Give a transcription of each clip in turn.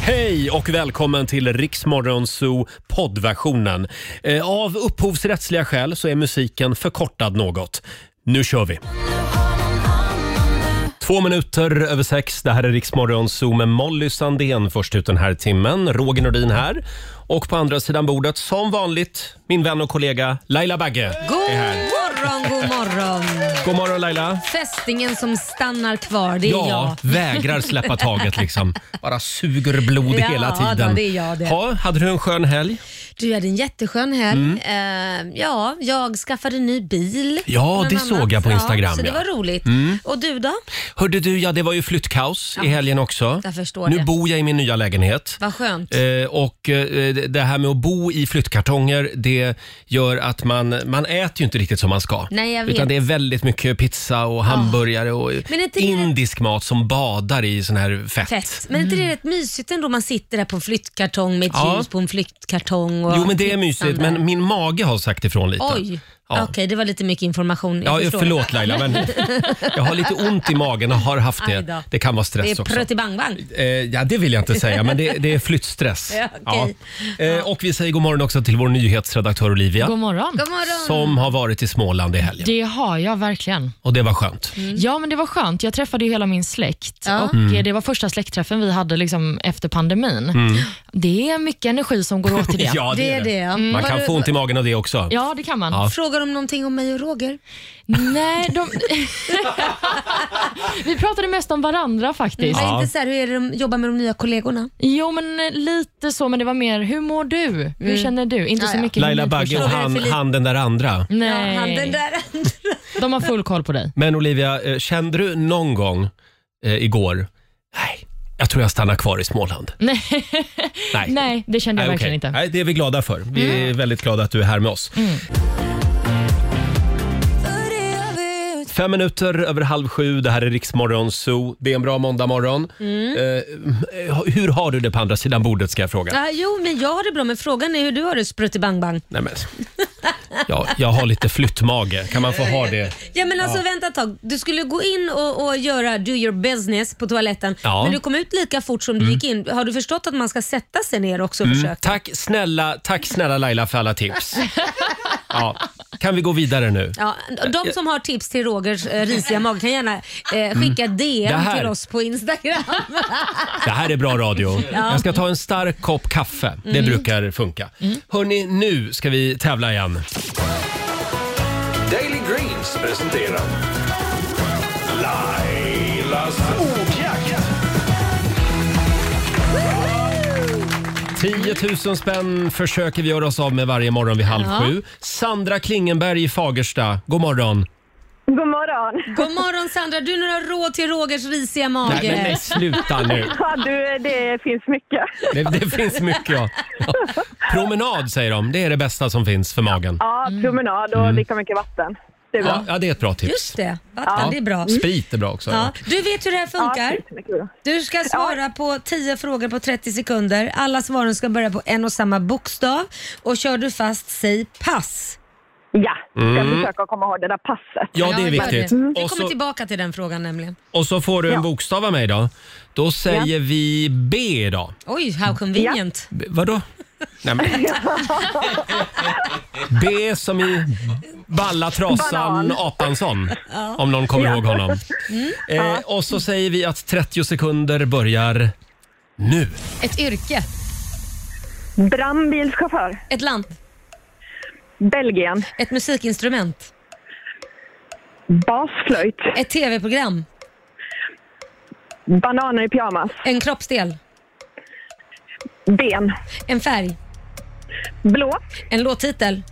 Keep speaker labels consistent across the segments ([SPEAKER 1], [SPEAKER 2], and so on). [SPEAKER 1] Hej och välkommen till Riksmorgon Zoo poddversionen. Eh, Av upphovsrättsliga skäl så är musiken förkortad något. Nu kör vi! Två minuter över sex. Det här är Riksmorgon Zoo med Molly Sandén först ut den här timmen. Roger Nordin här. Och på andra sidan bordet, som vanligt, min vän och kollega Laila Bagge.
[SPEAKER 2] God morgon, god morgon.
[SPEAKER 1] God morgon Laila!
[SPEAKER 2] Fästingen som stannar kvar, det är
[SPEAKER 1] Ja,
[SPEAKER 2] jag.
[SPEAKER 1] vägrar släppa taget liksom. Bara suger blod
[SPEAKER 2] Ja,
[SPEAKER 1] hela
[SPEAKER 2] då,
[SPEAKER 1] tiden.
[SPEAKER 2] det är jag det.
[SPEAKER 1] Ha, hade du en skön helg?
[SPEAKER 2] Du hade en jätteskön helg. Eh, ja, jag skaffade en ny bil.
[SPEAKER 1] Mm. Ja,
[SPEAKER 2] bland
[SPEAKER 1] det såg jag på Instagram,
[SPEAKER 2] Ja, så det
[SPEAKER 1] ja. Mm.
[SPEAKER 2] var roligt. Och du då?
[SPEAKER 1] Hörde du, ja det var ju flyttkaos i helgen också.
[SPEAKER 2] jag förstår
[SPEAKER 1] nu
[SPEAKER 2] det.
[SPEAKER 1] bor jag i min nya lägenhet.
[SPEAKER 2] Vad skönt.
[SPEAKER 1] Eh, och eh, det här med att bo i flyttkartonger, det gör att man, man äter ju inte riktigt som man ska.
[SPEAKER 2] Nej, jag vet. Ah.
[SPEAKER 1] Utan det är väldigt mycket pizza och hamburgare och
[SPEAKER 2] Men inte det-
[SPEAKER 1] indisk mat som badar i sån här fett.
[SPEAKER 2] Fett. Men är inte det rätt mysigt ändå man sitter där på en flyttkartong med ett
[SPEAKER 1] Mm. Ja.
[SPEAKER 2] ljus på en flyttkartong? Och
[SPEAKER 1] Jo men det är
[SPEAKER 2] pizzan
[SPEAKER 1] mysigt,
[SPEAKER 2] där.
[SPEAKER 1] men min mage har sagt ifrån lite.
[SPEAKER 2] Oj,
[SPEAKER 1] Ja.
[SPEAKER 2] okej det var lite mycket information.
[SPEAKER 1] Ja,
[SPEAKER 2] Jag förstår.
[SPEAKER 1] förlåt Laila, men jag har lite ont i magen och har haft
[SPEAKER 2] Aj
[SPEAKER 1] det.
[SPEAKER 2] då.
[SPEAKER 1] Det kan vara stress
[SPEAKER 2] Det är
[SPEAKER 1] också.
[SPEAKER 2] pruttibangbang.
[SPEAKER 1] Eh, ja, det vill jag inte säga, men det, det är flyttstress.
[SPEAKER 2] Ja, okej.
[SPEAKER 1] Eh, och vi säger god morgon också till vår nyhetsredaktör Olivia.
[SPEAKER 3] God morgon.
[SPEAKER 2] God morgon.
[SPEAKER 1] Som har varit i Småland i helgen.
[SPEAKER 3] Det har jag verkligen.
[SPEAKER 1] Och det var skönt.
[SPEAKER 2] Mm.
[SPEAKER 3] Ja, men det var skönt. Jag träffade ju hela min släkt
[SPEAKER 2] Ja.
[SPEAKER 3] och
[SPEAKER 1] Mm.
[SPEAKER 3] eh, det var första släktträffen vi hade liksom efter pandemin. Det är mycket energi som går åt till det.
[SPEAKER 2] Det är det. ja.
[SPEAKER 1] Man
[SPEAKER 2] Var
[SPEAKER 1] kan
[SPEAKER 2] du-
[SPEAKER 1] få ont i magen av det också.
[SPEAKER 3] Ja, det kan man.
[SPEAKER 1] Ja.
[SPEAKER 2] Frågar de någonting om mig och Roger?
[SPEAKER 3] Nej, de... vi pratade mest om varandra faktiskt.
[SPEAKER 2] Nej,
[SPEAKER 1] Ja.
[SPEAKER 2] inte så här, hur är det de jobbar med de nya kollegorna?
[SPEAKER 3] Jo, men eh, lite så, men det var mer, hur mår du? Hur känner du?
[SPEAKER 2] Mm.
[SPEAKER 3] Inte
[SPEAKER 2] Ja,
[SPEAKER 3] så
[SPEAKER 2] ja.
[SPEAKER 3] mycket hur
[SPEAKER 1] Laila
[SPEAKER 3] ni
[SPEAKER 1] Bagge
[SPEAKER 3] förstår.
[SPEAKER 1] och
[SPEAKER 2] förstår. Det är
[SPEAKER 1] han,
[SPEAKER 2] för lite-
[SPEAKER 1] han den där andra.
[SPEAKER 3] Nej,
[SPEAKER 2] Ja, han den där andra.
[SPEAKER 3] de har full koll på dig.
[SPEAKER 1] Men Olivia, eh, kände du någon gång eh, igår, nej, jag tror jag stannar kvar i Småland?
[SPEAKER 3] Nej,
[SPEAKER 1] Nej.
[SPEAKER 3] Nej det kände jag
[SPEAKER 1] Nej,
[SPEAKER 3] verkligen
[SPEAKER 1] okej.
[SPEAKER 3] inte.
[SPEAKER 1] Nej, det är vi glada för. Vi
[SPEAKER 2] Mm.
[SPEAKER 1] är väldigt glada att du är här med oss. Fem minuter över halv sju, det här är Riksmorgon Zoo. Det är en bra måndagmorgon. Eh, hur har du det på andra sidan bordet ska jag fråga?
[SPEAKER 2] Ja, jo, men jag har det bra, men frågan är hur du har det Sprutti-Bang-Bang.
[SPEAKER 1] Nej, men. Ja, jag har lite flyttmage, kan man få ha det? Mm.
[SPEAKER 2] Ja, men alltså vänta ett tag. Du skulle gå in och, och göra do your business på toaletten,
[SPEAKER 1] Ja. Mm.
[SPEAKER 2] men du kom ut lika fort som du gick in. Har du förstått att man ska sätta sig ner också och försöka?
[SPEAKER 1] Tack snälla, tack snälla Laila för alla tips. Ja. Kan vi gå vidare nu?
[SPEAKER 2] Ja,
[SPEAKER 1] Eh,
[SPEAKER 2] de som har tips till Rogers eh, risiga mage kan gärna eh, skicka
[SPEAKER 1] Mm. Det
[SPEAKER 2] DM
[SPEAKER 1] här-
[SPEAKER 2] till oss på Instagram.
[SPEAKER 1] Det här är bra radio. Jag ska ta en stark kopp kaffe. Det brukar funka. Hörni, nu ska vi tävla igen.
[SPEAKER 4] Daily Greens presenterar Lailas ordjakt.
[SPEAKER 1] 10 000 spänn försöker vi göra oss av med varje morgon vid halv sju. Sandra Klingenberg i Fagersta, god morgon.
[SPEAKER 5] God morgon.
[SPEAKER 2] God morgon Sandra, du några råd till Rogers risiga mage?
[SPEAKER 1] Nej, men nej, sluta nu.
[SPEAKER 5] Ja, du, det finns mycket.
[SPEAKER 1] Det, det finns mycket. Ja. Ja. Promenad säger de, det är det bästa som finns för magen.
[SPEAKER 5] Ja,
[SPEAKER 2] Mm.
[SPEAKER 5] promenad och lika mycket vatten. Det är
[SPEAKER 1] Mm. Ja,
[SPEAKER 5] bra.
[SPEAKER 1] ja det är ett bra tips.
[SPEAKER 2] Just det, vatten, det är bra.
[SPEAKER 1] Sprit är bra också.
[SPEAKER 2] Ja.
[SPEAKER 1] Mm. Ja.
[SPEAKER 2] Du vet hur det här funkar?
[SPEAKER 5] det är mycket bra.
[SPEAKER 2] Du ska svara på 10 frågor på 30 sekunder. Alla svaren ska börja på en och samma bokstav. Och kör du fast, säg pass.
[SPEAKER 5] Ja, jag
[SPEAKER 1] Mm.
[SPEAKER 5] ska försöka komma ihåg det där passet.
[SPEAKER 1] Ja, det är
[SPEAKER 2] gör
[SPEAKER 1] viktigt. Mm.
[SPEAKER 2] Vi
[SPEAKER 1] Och
[SPEAKER 2] Mm. kommer
[SPEAKER 1] så,
[SPEAKER 2] tillbaka till den frågan nämligen.
[SPEAKER 1] och så får du en bokstav av mig då. Då säger vi B idag.
[SPEAKER 2] Oj, how convenient.
[SPEAKER 1] B, vadå? Nej, men. B som i Balla Trasan
[SPEAKER 5] Banan.
[SPEAKER 1] Apansson, om någon kommer ihåg honom. Eh, och så säger vi att 30 sekunder börjar nu.
[SPEAKER 2] Ett yrke,
[SPEAKER 5] Brandbilschaufför.
[SPEAKER 2] ett land,
[SPEAKER 5] Belgien.
[SPEAKER 2] ett musikinstrument,
[SPEAKER 5] Basflöjt.
[SPEAKER 2] ett tv-program,
[SPEAKER 5] Bananer i pyjamas.
[SPEAKER 2] en kroppsdel,
[SPEAKER 5] Ben.
[SPEAKER 2] en färg,
[SPEAKER 5] Blå.
[SPEAKER 2] en låttitel,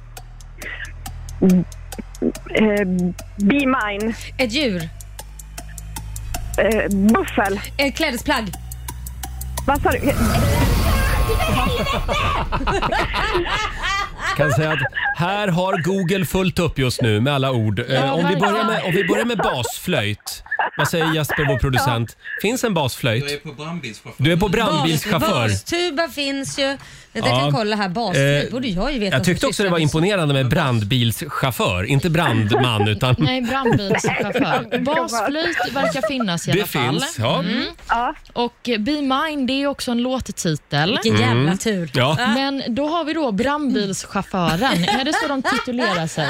[SPEAKER 5] Eh, be mine.
[SPEAKER 2] ett djur,
[SPEAKER 5] Eh, buffel.
[SPEAKER 2] ett klädesplagg.
[SPEAKER 5] Vad sa du?
[SPEAKER 1] kan säga att Här har Google fullt upp just nu med alla ord. Eh, om, vi
[SPEAKER 3] verkligen.
[SPEAKER 1] börjar med, om vi börjar med basflöjt. Vad säger Jesper, vår producent? Finns en
[SPEAKER 6] Jag är
[SPEAKER 1] basflöjt?
[SPEAKER 6] på brandbilschaufför.
[SPEAKER 1] Du är på
[SPEAKER 2] Bas-
[SPEAKER 1] brandbilschaufför.
[SPEAKER 2] Bastuba finns ju. Jag
[SPEAKER 1] Ja.
[SPEAKER 2] kan kolla här. Bas,
[SPEAKER 1] Eh,
[SPEAKER 2] borde jag ju veta.
[SPEAKER 1] Jag
[SPEAKER 2] som
[SPEAKER 1] tyckte också det
[SPEAKER 2] sysslar
[SPEAKER 1] var
[SPEAKER 2] med sånt.
[SPEAKER 1] imponerande med brandbilschaufför, inte brandman utan
[SPEAKER 3] Nej, brandbilschaufför. Basflöjt verkar finnas i alla
[SPEAKER 1] det
[SPEAKER 3] fall. Mm.
[SPEAKER 1] finns. Ja.
[SPEAKER 5] Ja.
[SPEAKER 3] Och eh, Be Mine, det är också en låttitel.
[SPEAKER 2] Vilken jävla tur.
[SPEAKER 1] Mm. Ja.
[SPEAKER 3] Men då har vi då brandbilschauffören. Är det så de titulerar sig?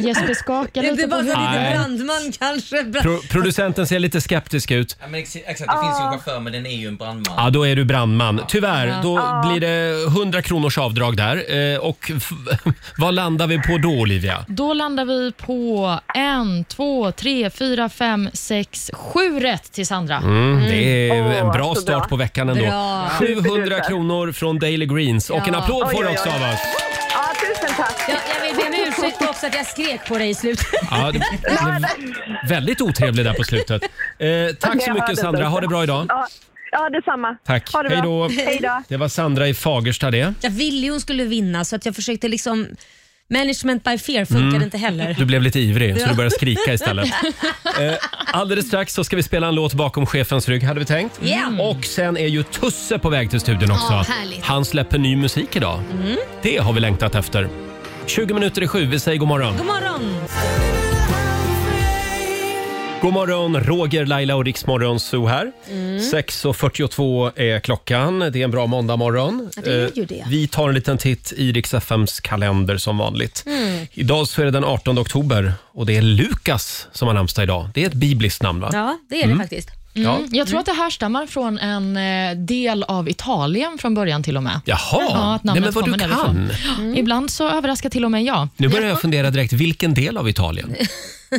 [SPEAKER 3] Jesper skakar
[SPEAKER 2] Det är
[SPEAKER 3] lite
[SPEAKER 2] inte
[SPEAKER 3] på
[SPEAKER 2] bara så
[SPEAKER 3] huvudet.
[SPEAKER 2] lite
[SPEAKER 1] Nej.
[SPEAKER 2] brandman kanske. Bra-
[SPEAKER 1] Pro producenten ser lite skeptisk ut.
[SPEAKER 6] Ja, men ex- exakt, det finns ju en chaufför men den är ju en brandman.
[SPEAKER 1] Ja, då är du brandman. Tyvärr, då blir det 100 kronors avdrag där. Eh, Och f- vad landar vi på då, Olivia?
[SPEAKER 3] Då landar vi på en, två, tre, fyra, fem, sex, sju rätt till Sandra.
[SPEAKER 1] Mm, det är en
[SPEAKER 5] Åh,
[SPEAKER 1] bra
[SPEAKER 5] så
[SPEAKER 1] start
[SPEAKER 5] bra.
[SPEAKER 1] på veckan ändå.
[SPEAKER 2] Bra.
[SPEAKER 1] 700
[SPEAKER 5] Superduper.
[SPEAKER 1] kronor från Daily Greens och en
[SPEAKER 3] Ja.
[SPEAKER 1] applåd får
[SPEAKER 5] Oj,
[SPEAKER 1] du
[SPEAKER 5] oj,
[SPEAKER 1] också
[SPEAKER 5] oj.
[SPEAKER 1] av oss.
[SPEAKER 5] ja, tusen tack.
[SPEAKER 2] Ja, jag vill be om ursäkt också att jag skrek på dig i slutet.
[SPEAKER 1] Ja, det blev väldigt otrevlig där på slutet. Eh, tack så
[SPEAKER 5] Jag hörde
[SPEAKER 1] mycket
[SPEAKER 5] inte.
[SPEAKER 1] Sandra, ha det bra idag.
[SPEAKER 5] Ja, ja detsamma.
[SPEAKER 1] Tack.
[SPEAKER 5] Ha det
[SPEAKER 1] Hej
[SPEAKER 5] bra.
[SPEAKER 1] då.
[SPEAKER 5] Hej då.
[SPEAKER 1] Det var Sandra i Fagersta det.
[SPEAKER 2] Jag ville ju hon skulle vinna så att jag försökte liksom... Management by fear funkade
[SPEAKER 3] Mm.
[SPEAKER 2] inte heller.
[SPEAKER 1] Du blev lite ivrig så
[SPEAKER 2] Ja.
[SPEAKER 1] du började skrika istället. Eh, alldeles strax så ska vi spela en låt bakom chefens rygg hade vi tänkt.
[SPEAKER 2] Ja.
[SPEAKER 1] Och sen är ju Tusse på väg till studion också.
[SPEAKER 2] Ja, härligt. Mm.
[SPEAKER 1] Han släpper ny musik idag. Det har vi längtat efter. 20 minuter i sju, vi säger god morgon.
[SPEAKER 2] God morgon!
[SPEAKER 1] God morgon, Roger, Laila och Riksmorgon Zoo här.
[SPEAKER 3] Mm.
[SPEAKER 1] 6.42 är klockan. Det är en bra måndagmorgon.
[SPEAKER 2] Ja, det är ju det.
[SPEAKER 1] Eh, Vi tar en liten titt i Rix FMs kalender som vanligt.
[SPEAKER 3] Mm.
[SPEAKER 1] Idag så är det den 18 oktober och det är Lukas som har namnsdag idag. Det är ett bibliskt namn va?
[SPEAKER 2] Ja, det är det faktiskt.
[SPEAKER 1] Ja.
[SPEAKER 3] Mm. Jag tror att det härstammar från en eh, del av Italien från början till och med.
[SPEAKER 1] Jaha,
[SPEAKER 3] Ja, att
[SPEAKER 1] Nej,
[SPEAKER 3] namnet
[SPEAKER 1] men vad du
[SPEAKER 3] kommer
[SPEAKER 1] kan.
[SPEAKER 3] därifrån.
[SPEAKER 2] Mm.
[SPEAKER 3] Ibland så överraskar till och med jag.
[SPEAKER 1] Nu börjar jag fundera direkt, vilken del av Italien?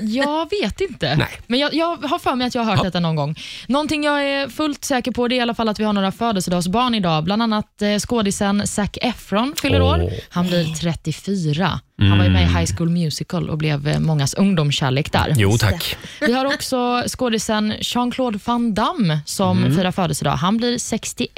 [SPEAKER 3] Jag vet inte.
[SPEAKER 1] Nej.
[SPEAKER 3] Men jag, jag har för mig att jag har hört detta någon gång. Någonting jag är fullt säker på det är i alla fall att vi har några födelsedagsbarn idag. Bland annat eh, skådisen Zac Efron fyller
[SPEAKER 1] Åh. Mm.
[SPEAKER 3] år. Han blir 34. Han var ju med i High School Musical och blev eh, mångas ungdomskärlek där.
[SPEAKER 1] Jo tack.
[SPEAKER 3] Vi har också skådisen Jean-Claude Van Damme som
[SPEAKER 1] Mm.
[SPEAKER 3] firar födelsedag. Han blir 61.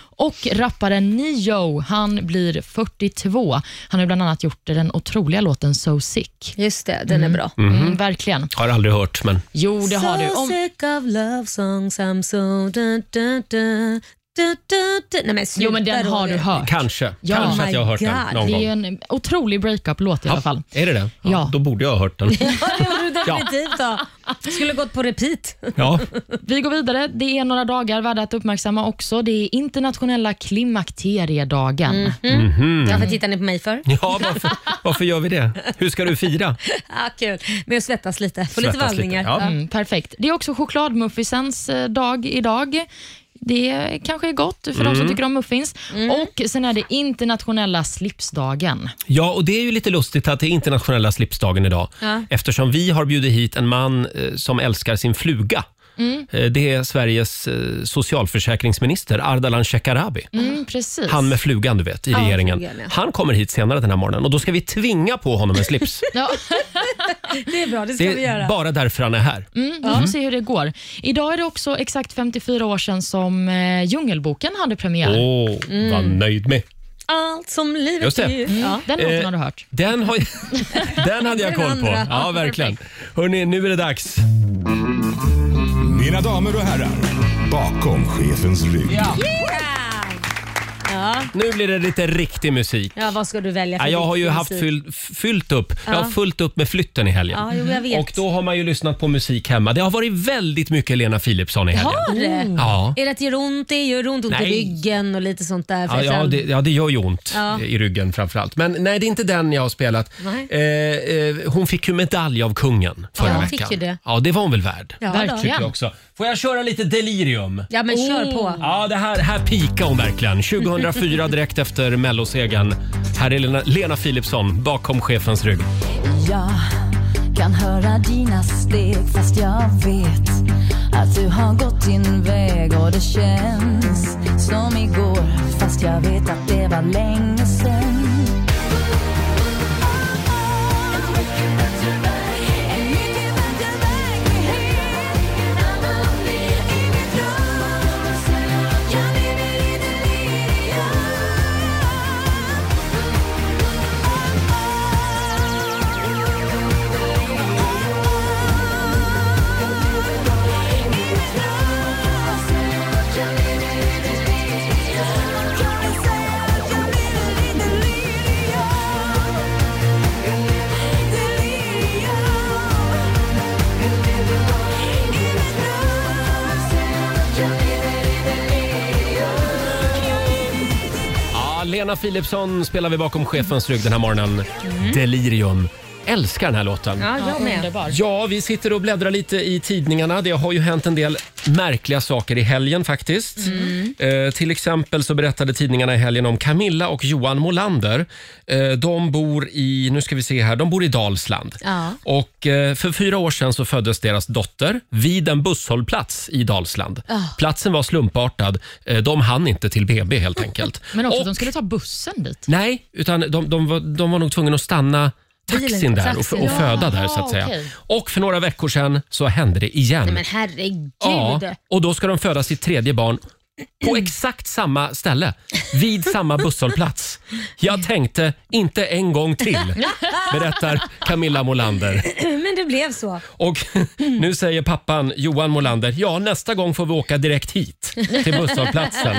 [SPEAKER 3] Och rapparen Neo, han blir 42. Han har bland annat gjort den otroliga låten So Sick.
[SPEAKER 2] Just det, den är bra.
[SPEAKER 3] Mm, verkligen.
[SPEAKER 1] Har aldrig hört men
[SPEAKER 3] Jo, det har du.
[SPEAKER 2] So
[SPEAKER 3] Om,
[SPEAKER 2] sick of love songs I'm so... Dun, dun, dun, dun, dun, dun. Nej men sluta
[SPEAKER 3] jo, men den har
[SPEAKER 2] Roger.
[SPEAKER 3] du hört.
[SPEAKER 1] kanske.
[SPEAKER 3] Ja.
[SPEAKER 1] Kanske att jag har hört
[SPEAKER 2] My
[SPEAKER 1] den
[SPEAKER 2] God.
[SPEAKER 1] någon
[SPEAKER 3] Det är ju
[SPEAKER 1] gång.
[SPEAKER 3] en otrolig breakup-låt i alla fall.
[SPEAKER 1] Är det det? Ja,
[SPEAKER 3] Ja.
[SPEAKER 1] Då borde jag ha hört den.
[SPEAKER 2] Ja, det gjorde du definitivt då. Skulle gått på repeat.
[SPEAKER 1] Ja.
[SPEAKER 3] Vi går vidare. Det är några dagar värda att uppmärksamma också. Det är internationella klimakteriedagen. Mm.
[SPEAKER 2] Varför tittar ni på mig för?
[SPEAKER 1] Ja, varför, varför gör vi det? Hur ska du fira?
[SPEAKER 2] Ah, kul. Men jag svettas lite. Får lite
[SPEAKER 1] Svettas lite,
[SPEAKER 2] vallningar.
[SPEAKER 1] ja.
[SPEAKER 3] Mm, perfekt. Det är också chokladmuffinsens eh, dag idag. Det kanske är gott för de
[SPEAKER 1] Mm.
[SPEAKER 3] som tycker om muffins. Och Sen är det internationella slipsdagen.
[SPEAKER 1] Ja, och det är ju lite lustigt att det är internationella slipsdagen idag.
[SPEAKER 2] Ja.
[SPEAKER 1] Eftersom vi har bjudit hit en man eh, som älskar sin fluga.
[SPEAKER 2] Mm.
[SPEAKER 1] Eh, Det är Sveriges eh, socialförsäkringsminister Ardalan Shekarabi.
[SPEAKER 3] Mm, precis.
[SPEAKER 1] Han med flugan, du vet, i regeringen.
[SPEAKER 2] flugan, ja.
[SPEAKER 1] Han kommer hit senare den här morgonen och då ska vi tvinga på honom en slips.
[SPEAKER 3] ja,
[SPEAKER 2] Det är bra, det ska
[SPEAKER 1] Det
[SPEAKER 2] vi
[SPEAKER 1] är
[SPEAKER 2] göra.
[SPEAKER 1] bara därför han är här.
[SPEAKER 3] mm, vi får se hur det går. Idag är det också exakt 54 år sedan som eh, Djungelboken hade premiär.
[SPEAKER 1] Åh,
[SPEAKER 2] Mm.
[SPEAKER 1] vad nöjd med.
[SPEAKER 2] Allt som livet
[SPEAKER 1] Just det.
[SPEAKER 2] är. Ja.
[SPEAKER 3] Mm. Den låten
[SPEAKER 1] Eh,
[SPEAKER 3] har du hört.
[SPEAKER 1] Den, har, den hade jag
[SPEAKER 2] Den
[SPEAKER 1] koll på.
[SPEAKER 2] andra.
[SPEAKER 1] Ja, verkligen. Hörrni, nu är det dags.
[SPEAKER 4] Mina damer och herrar, bakom chefens rygg.
[SPEAKER 2] Ja.
[SPEAKER 1] Nu blir det lite riktig musik.
[SPEAKER 2] ja, vad ska du välja för
[SPEAKER 1] Ja, jag har ju
[SPEAKER 2] riktig
[SPEAKER 1] haft
[SPEAKER 2] musik?
[SPEAKER 1] fyll, fyllt upp. Jag har fullt upp med flytten i helgen.
[SPEAKER 2] Ja, jo, jag vet.
[SPEAKER 1] Och då har man ju lyssnat på musik hemma. Det har varit väldigt mycket Lena Philipsson i helgen.
[SPEAKER 2] Har det?
[SPEAKER 1] Mm. Ja.
[SPEAKER 2] Är det att det gör ont? Det gör ont, ont i
[SPEAKER 1] Nej.
[SPEAKER 2] ryggen och lite sånt där.
[SPEAKER 1] Ja, ja, det, ja, det gör ju ont
[SPEAKER 2] Ja.
[SPEAKER 1] i ryggen framförallt. Men nej, det är inte den jag har spelat.
[SPEAKER 2] Nej.
[SPEAKER 1] Eh, eh, hon fick ju medalj av kungen förra
[SPEAKER 2] Ja, hon
[SPEAKER 1] veckan.
[SPEAKER 2] fick ju det.
[SPEAKER 1] Ja, det var hon väl värd.
[SPEAKER 2] Ja, då.
[SPEAKER 3] Verkligen.
[SPEAKER 1] Tycker jag också. Får jag köra lite delirium?
[SPEAKER 2] ja men kör
[SPEAKER 1] Oh.
[SPEAKER 2] på.
[SPEAKER 1] Ja, det här, här pikar hon verkligen. 2004 direkt efter mellosegern. Här är Lena, Lena Philipsson bakom chefens rygg.
[SPEAKER 7] Jag kan höra dina steg fast jag vet att du har gått din väg och det känns som igår fast jag vet att det var länge sen
[SPEAKER 1] Ja, Lena Philipsson spelar vi bakom chefens rygg den här morgonen. Delirium. Älskar den här låten.
[SPEAKER 2] Ja, jag med.
[SPEAKER 3] Underbar.
[SPEAKER 1] Ja, vi sitter och bläddrar lite i tidningarna. Det har ju hänt en del märkliga saker i helgen faktiskt.
[SPEAKER 3] Mm.
[SPEAKER 1] Eh, till exempel så berättade tidningarna i helgen om Camilla och Johan Molander. Eh, de bor i, nu ska vi se här, de bor i Dalsland.
[SPEAKER 3] Ja.
[SPEAKER 1] Och eh, för fyra år sedan så föddes deras dotter vid en busshållplats i Dalsland.
[SPEAKER 3] Ah.
[SPEAKER 1] Platsen var slumpartad. Eh, de hann inte till BB helt enkelt.
[SPEAKER 3] Men också
[SPEAKER 1] Och-
[SPEAKER 3] att de skulle ta bussen dit.
[SPEAKER 1] Nej, utan de, de, var, de var nog tvungna att stanna taxin
[SPEAKER 2] Bilen,
[SPEAKER 1] där och,
[SPEAKER 2] taxin,
[SPEAKER 1] och
[SPEAKER 2] ja.
[SPEAKER 1] föda där så att
[SPEAKER 3] Ja,
[SPEAKER 1] säga.
[SPEAKER 3] okej.
[SPEAKER 1] Och för några veckor sedan så hände det igen.
[SPEAKER 2] Nej men herregud.
[SPEAKER 1] ja, och då ska de föda sitt tredje barn på exakt samma ställe, vid samma busshållplats. Jag tänkte, inte en gång till, berättar Camilla Molander.
[SPEAKER 2] Men det blev så.
[SPEAKER 1] Och nu säger pappan Johan Molander, ja nästa gång får vi åka direkt hit till busshållplatsen.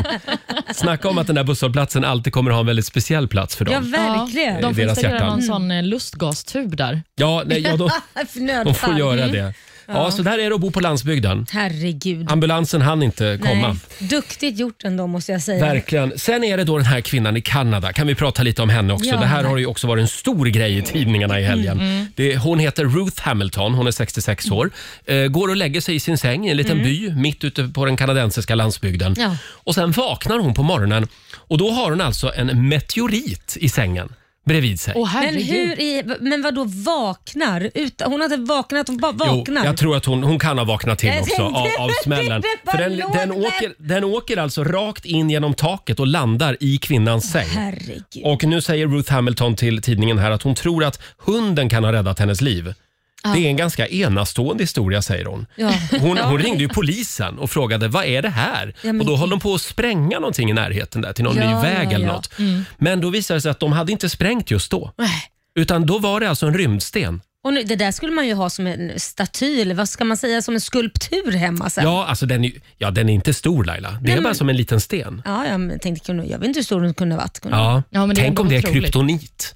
[SPEAKER 1] Snacka om att den där busshållplatsen alltid kommer att ha en väldigt speciell plats för dem.
[SPEAKER 2] Ja, verkligen. Mm.
[SPEAKER 1] Ja,
[SPEAKER 3] De får
[SPEAKER 1] Deras
[SPEAKER 3] installera
[SPEAKER 1] hjärtan.
[SPEAKER 3] någon sån eh, lustgastub där.
[SPEAKER 1] Ja, nej, ja de, de får
[SPEAKER 2] Nödfall.
[SPEAKER 1] göra det. Ja, så där är det att bo på landsbygden.
[SPEAKER 2] Herregud.
[SPEAKER 1] Ambulansen hann inte komma.
[SPEAKER 2] Nej. Duktigt gjort ändå måste jag säga.
[SPEAKER 1] Verkligen. Sen är det då den här kvinnan i Kanada. Kan vi prata lite om henne också?
[SPEAKER 3] Ja. Mm-hmm.
[SPEAKER 1] Det här har ju också varit en stor grej i tidningarna i helgen. Det, hon heter Ruth Hamilton, hon är 66 år. Eh, går och lägger sig i sin säng i en liten by mitt ute på den kanadensiska landsbygden.
[SPEAKER 3] Mm. Ja.
[SPEAKER 1] Och sen vaknar hon på morgonen och då har hon alltså en meteorit i sängen bredvid sig.
[SPEAKER 3] Åh
[SPEAKER 2] Men
[SPEAKER 3] herregud.
[SPEAKER 2] hur i, men vad då vaknar? Ut, hon har inte vaknat, hon bara
[SPEAKER 1] Jo,
[SPEAKER 2] vaknar.
[SPEAKER 1] jag tror att hon, hon kan ha vaknat till
[SPEAKER 2] Jag
[SPEAKER 1] också
[SPEAKER 2] tänkte
[SPEAKER 1] av, av
[SPEAKER 2] precis,
[SPEAKER 1] smällen.
[SPEAKER 2] det
[SPEAKER 1] För
[SPEAKER 2] bara
[SPEAKER 1] den,
[SPEAKER 2] låg
[SPEAKER 1] den,
[SPEAKER 2] där.
[SPEAKER 1] åker, den åker alltså rakt in genom taket och landar i kvinnans säng.
[SPEAKER 2] Herregud.
[SPEAKER 1] Och nu säger Ruth Hamilton till tidningen här att hon tror att hunden kan ha räddat hennes liv. Det är en ganska enastående historia, säger hon.
[SPEAKER 2] Ja.
[SPEAKER 1] Hon, hon ringde ju polisen och frågade vad är det här?
[SPEAKER 2] Ja, men-
[SPEAKER 1] och då höll de på att spränga någonting i närheten där till någon
[SPEAKER 2] Ja,
[SPEAKER 1] ny väg
[SPEAKER 2] ja,
[SPEAKER 1] eller
[SPEAKER 2] ja. Mm.
[SPEAKER 1] något. Men då visade det sig att de hade inte sprängt just då. Utan då var det alltså en rymdsten.
[SPEAKER 2] Och nu, det där skulle man ju ha som en staty, eller vad ska man säga, som en skulptur hemma sen.
[SPEAKER 1] Ja, alltså den är, ja, den är inte stor Laila. Det är bara som en liten sten.
[SPEAKER 2] Ja, jag men tänkte, kunde- jag vet inte hur stor den kunde ha varit. Kunde
[SPEAKER 1] Ja,
[SPEAKER 3] Ja, men det är
[SPEAKER 1] tänk
[SPEAKER 3] ändå
[SPEAKER 1] om det är
[SPEAKER 3] otroligt.
[SPEAKER 1] kryptonit.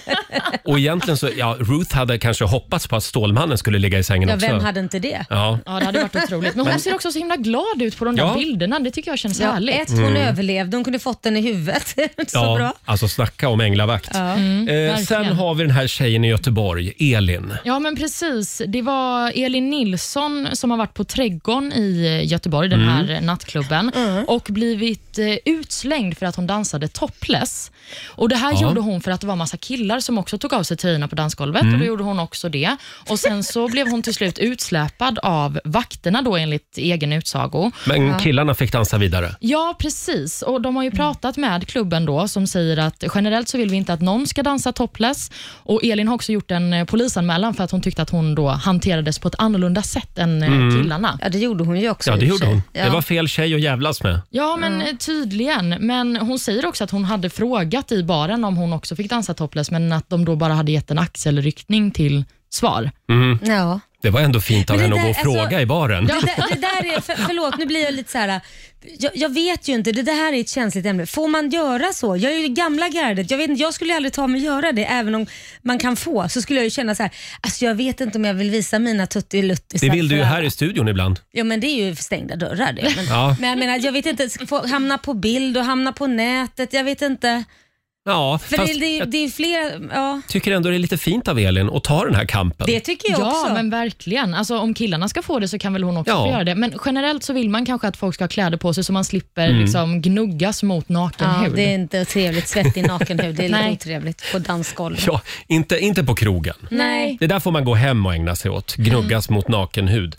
[SPEAKER 1] och egentligen så, ja, Ruth hade kanske hoppats på att Stålmannen skulle ligga i sängen
[SPEAKER 2] ja,
[SPEAKER 1] också.
[SPEAKER 2] vem hade inte det?
[SPEAKER 1] Ja.
[SPEAKER 3] Ja, det hade varit otroligt. Men hon ser också så himla glad ut på de där
[SPEAKER 1] Ja.
[SPEAKER 3] bilderna. Det tycker jag känns
[SPEAKER 2] Ja,
[SPEAKER 3] härligt.
[SPEAKER 2] ett, hon överlevde, hon kunde fått den i huvudet. Så
[SPEAKER 1] Mm. ja,
[SPEAKER 2] bra.
[SPEAKER 1] alltså snacka om änglavakt. eh, sen
[SPEAKER 3] verkligen.
[SPEAKER 1] har vi den här tjejen i Göteborg, Elin.
[SPEAKER 3] Ja, men precis. Det var Elin Nilsson som har varit på Trädgården i eh, Göteborg, den här nattklubben, och blivit eh, utslängd för att hon dansade topless. Och Det här
[SPEAKER 1] Ja.
[SPEAKER 3] gjorde hon för att det var massa killar som också tog av sig tröjorna på dansgolvet och då gjorde hon också det. Och Sen så blev hon till slut utsläpad av vakterna då enligt egen utsago.
[SPEAKER 1] Men killarna fick dansa vidare.
[SPEAKER 3] Ja, precis. Och De har
[SPEAKER 2] Mm.
[SPEAKER 3] ju pratat med klubben då som säger att generellt så vill vi inte att någon ska dansa topless. Och Elin har också gjort en eh, polisanmälan för att hon tyckte att hon då hanterades på ett annorlunda sätt än eh, killarna.
[SPEAKER 2] Ja, det gjorde hon ju också.
[SPEAKER 1] Ja, det
[SPEAKER 2] i och för
[SPEAKER 1] gjorde hon.
[SPEAKER 2] sig. Ja.
[SPEAKER 1] Det var fel tjej att jävlas med.
[SPEAKER 3] Ja, men eh, tydligen. Men hon säger också att hon hade frågat i baren om hon också fick dansa topless, men att de då bara hade gett en axelryckning till svar.
[SPEAKER 2] ja.
[SPEAKER 1] Det var ändå fint av
[SPEAKER 2] Men det
[SPEAKER 1] henne att
[SPEAKER 2] där-
[SPEAKER 1] gå och
[SPEAKER 2] alltså-
[SPEAKER 1] fråga i baren.
[SPEAKER 2] Det där, det där är, för, förlåt, nu blir jag lite så här. Jag, jag vet ju inte, det, det här är ett känsligt ämne. Får man göra så? Jag är ju gamla gardet. Jag, vet, inte, jag skulle ju aldrig ta mig och göra det, även om man kan få. Så skulle jag ju känna så här, alltså jag vet inte om jag vill visa mina tuttiluttisar.
[SPEAKER 1] Det vill du ju
[SPEAKER 2] för
[SPEAKER 1] här
[SPEAKER 2] alla.
[SPEAKER 1] i studion ibland.
[SPEAKER 2] Ja men det är ju för stängda dörrar det. Men,
[SPEAKER 1] Ja.
[SPEAKER 2] men jag menar, jag vet inte, ska få hamna på bild och hamna på nätet, jag vet inte.
[SPEAKER 1] Ja,
[SPEAKER 2] För
[SPEAKER 1] fast
[SPEAKER 2] det, det, är-
[SPEAKER 1] jag
[SPEAKER 2] det är flera, ja.
[SPEAKER 1] tycker ändå det är lite fint av Elin att ta den här kampen.
[SPEAKER 2] Det tycker jag
[SPEAKER 3] ja,
[SPEAKER 2] också.
[SPEAKER 3] men verkligen. Alltså, om killarna ska få det så kan väl hon också
[SPEAKER 1] Ja.
[SPEAKER 3] få göra det. Men generellt så vill man kanske att folk ska ha kläder på sig så man slipper liksom, gnuggas mot naken
[SPEAKER 2] ja,
[SPEAKER 3] hud.
[SPEAKER 2] det är inte trevligt, svettig nakenhud, det är lite
[SPEAKER 3] Nej.
[SPEAKER 2] otrevligt på dansgolvet.
[SPEAKER 1] Ja, inte, inte på krogen.
[SPEAKER 2] Nej.
[SPEAKER 1] Det där får man gå hem och ägna sig åt. Gnuggas mot naken hud.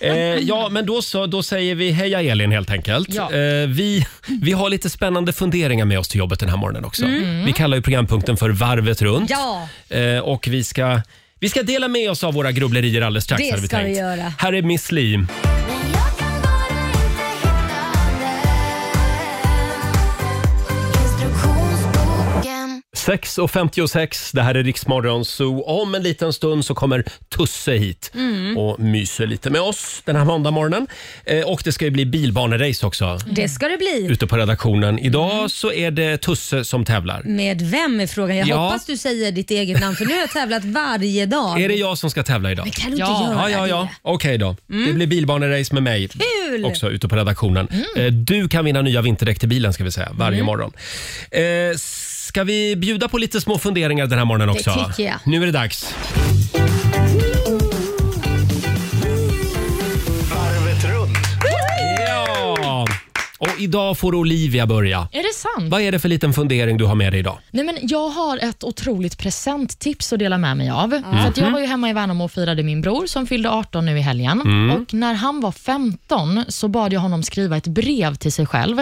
[SPEAKER 1] Eh, ja, men då så. Då säger vi heja Elin helt enkelt.
[SPEAKER 3] Ja.
[SPEAKER 1] Eh, vi, vi har lite spännande funderingar med oss till jobbet den här morgonen också. Vi kallar ju programpunkten för Varvet runt.
[SPEAKER 2] Mm. Ja.
[SPEAKER 1] Eh, och vi ska, vi ska dela med oss av våra grubblerier alldeles strax.
[SPEAKER 2] Det
[SPEAKER 1] hade vi
[SPEAKER 2] ska vi
[SPEAKER 1] tänkt.
[SPEAKER 2] göra.
[SPEAKER 1] Här är Miss Li.
[SPEAKER 7] Men jag kan bara inte hitta den Instruktionsboken
[SPEAKER 1] 6.56, det här är Riksmorgon Zoo. Om en liten stund så kommer Tusse hit
[SPEAKER 2] Mm.
[SPEAKER 1] och myser lite med oss den här måndagmorgonen. Eh, och det ska ju bli bilbanerace också
[SPEAKER 2] Det ska det bli.
[SPEAKER 1] ute på redaktionen.
[SPEAKER 2] Mm.
[SPEAKER 1] Idag så är det Tusse som tävlar.
[SPEAKER 2] Med vem är frågan? Jag
[SPEAKER 1] Ja.
[SPEAKER 2] hoppas du säger ditt eget namn för nu har jag tävlat varje dag.
[SPEAKER 1] Är det jag som ska tävla idag?
[SPEAKER 2] Men kan du inte
[SPEAKER 3] Ja.
[SPEAKER 2] göra
[SPEAKER 1] Ja, ja, ja. Okej då. Det blir bilbanerace med mig
[SPEAKER 2] Kul! Mm.
[SPEAKER 1] också ute på redaktionen. Eh, Du kan vinna nya vinterdäck till bilen ska vi säga varje morgon. Eh, Ska vi bjuda på lite små funderingar den här morgonen också?
[SPEAKER 2] tycker jag.
[SPEAKER 1] Nu är det dags.
[SPEAKER 8] Varvet runt.
[SPEAKER 1] Ja! Och idag får Olivia börja.
[SPEAKER 3] Är det sant?
[SPEAKER 1] Vad är det för liten fundering du har med dig idag?
[SPEAKER 3] Nej, men jag har ett otroligt presenttips att dela med mig av. För att jag var ju hemma i Värnamo och firade min bror som fyllde 18 nu i helgen. Och När han var 15 så bad jag honom skriva ett brev till sig själv.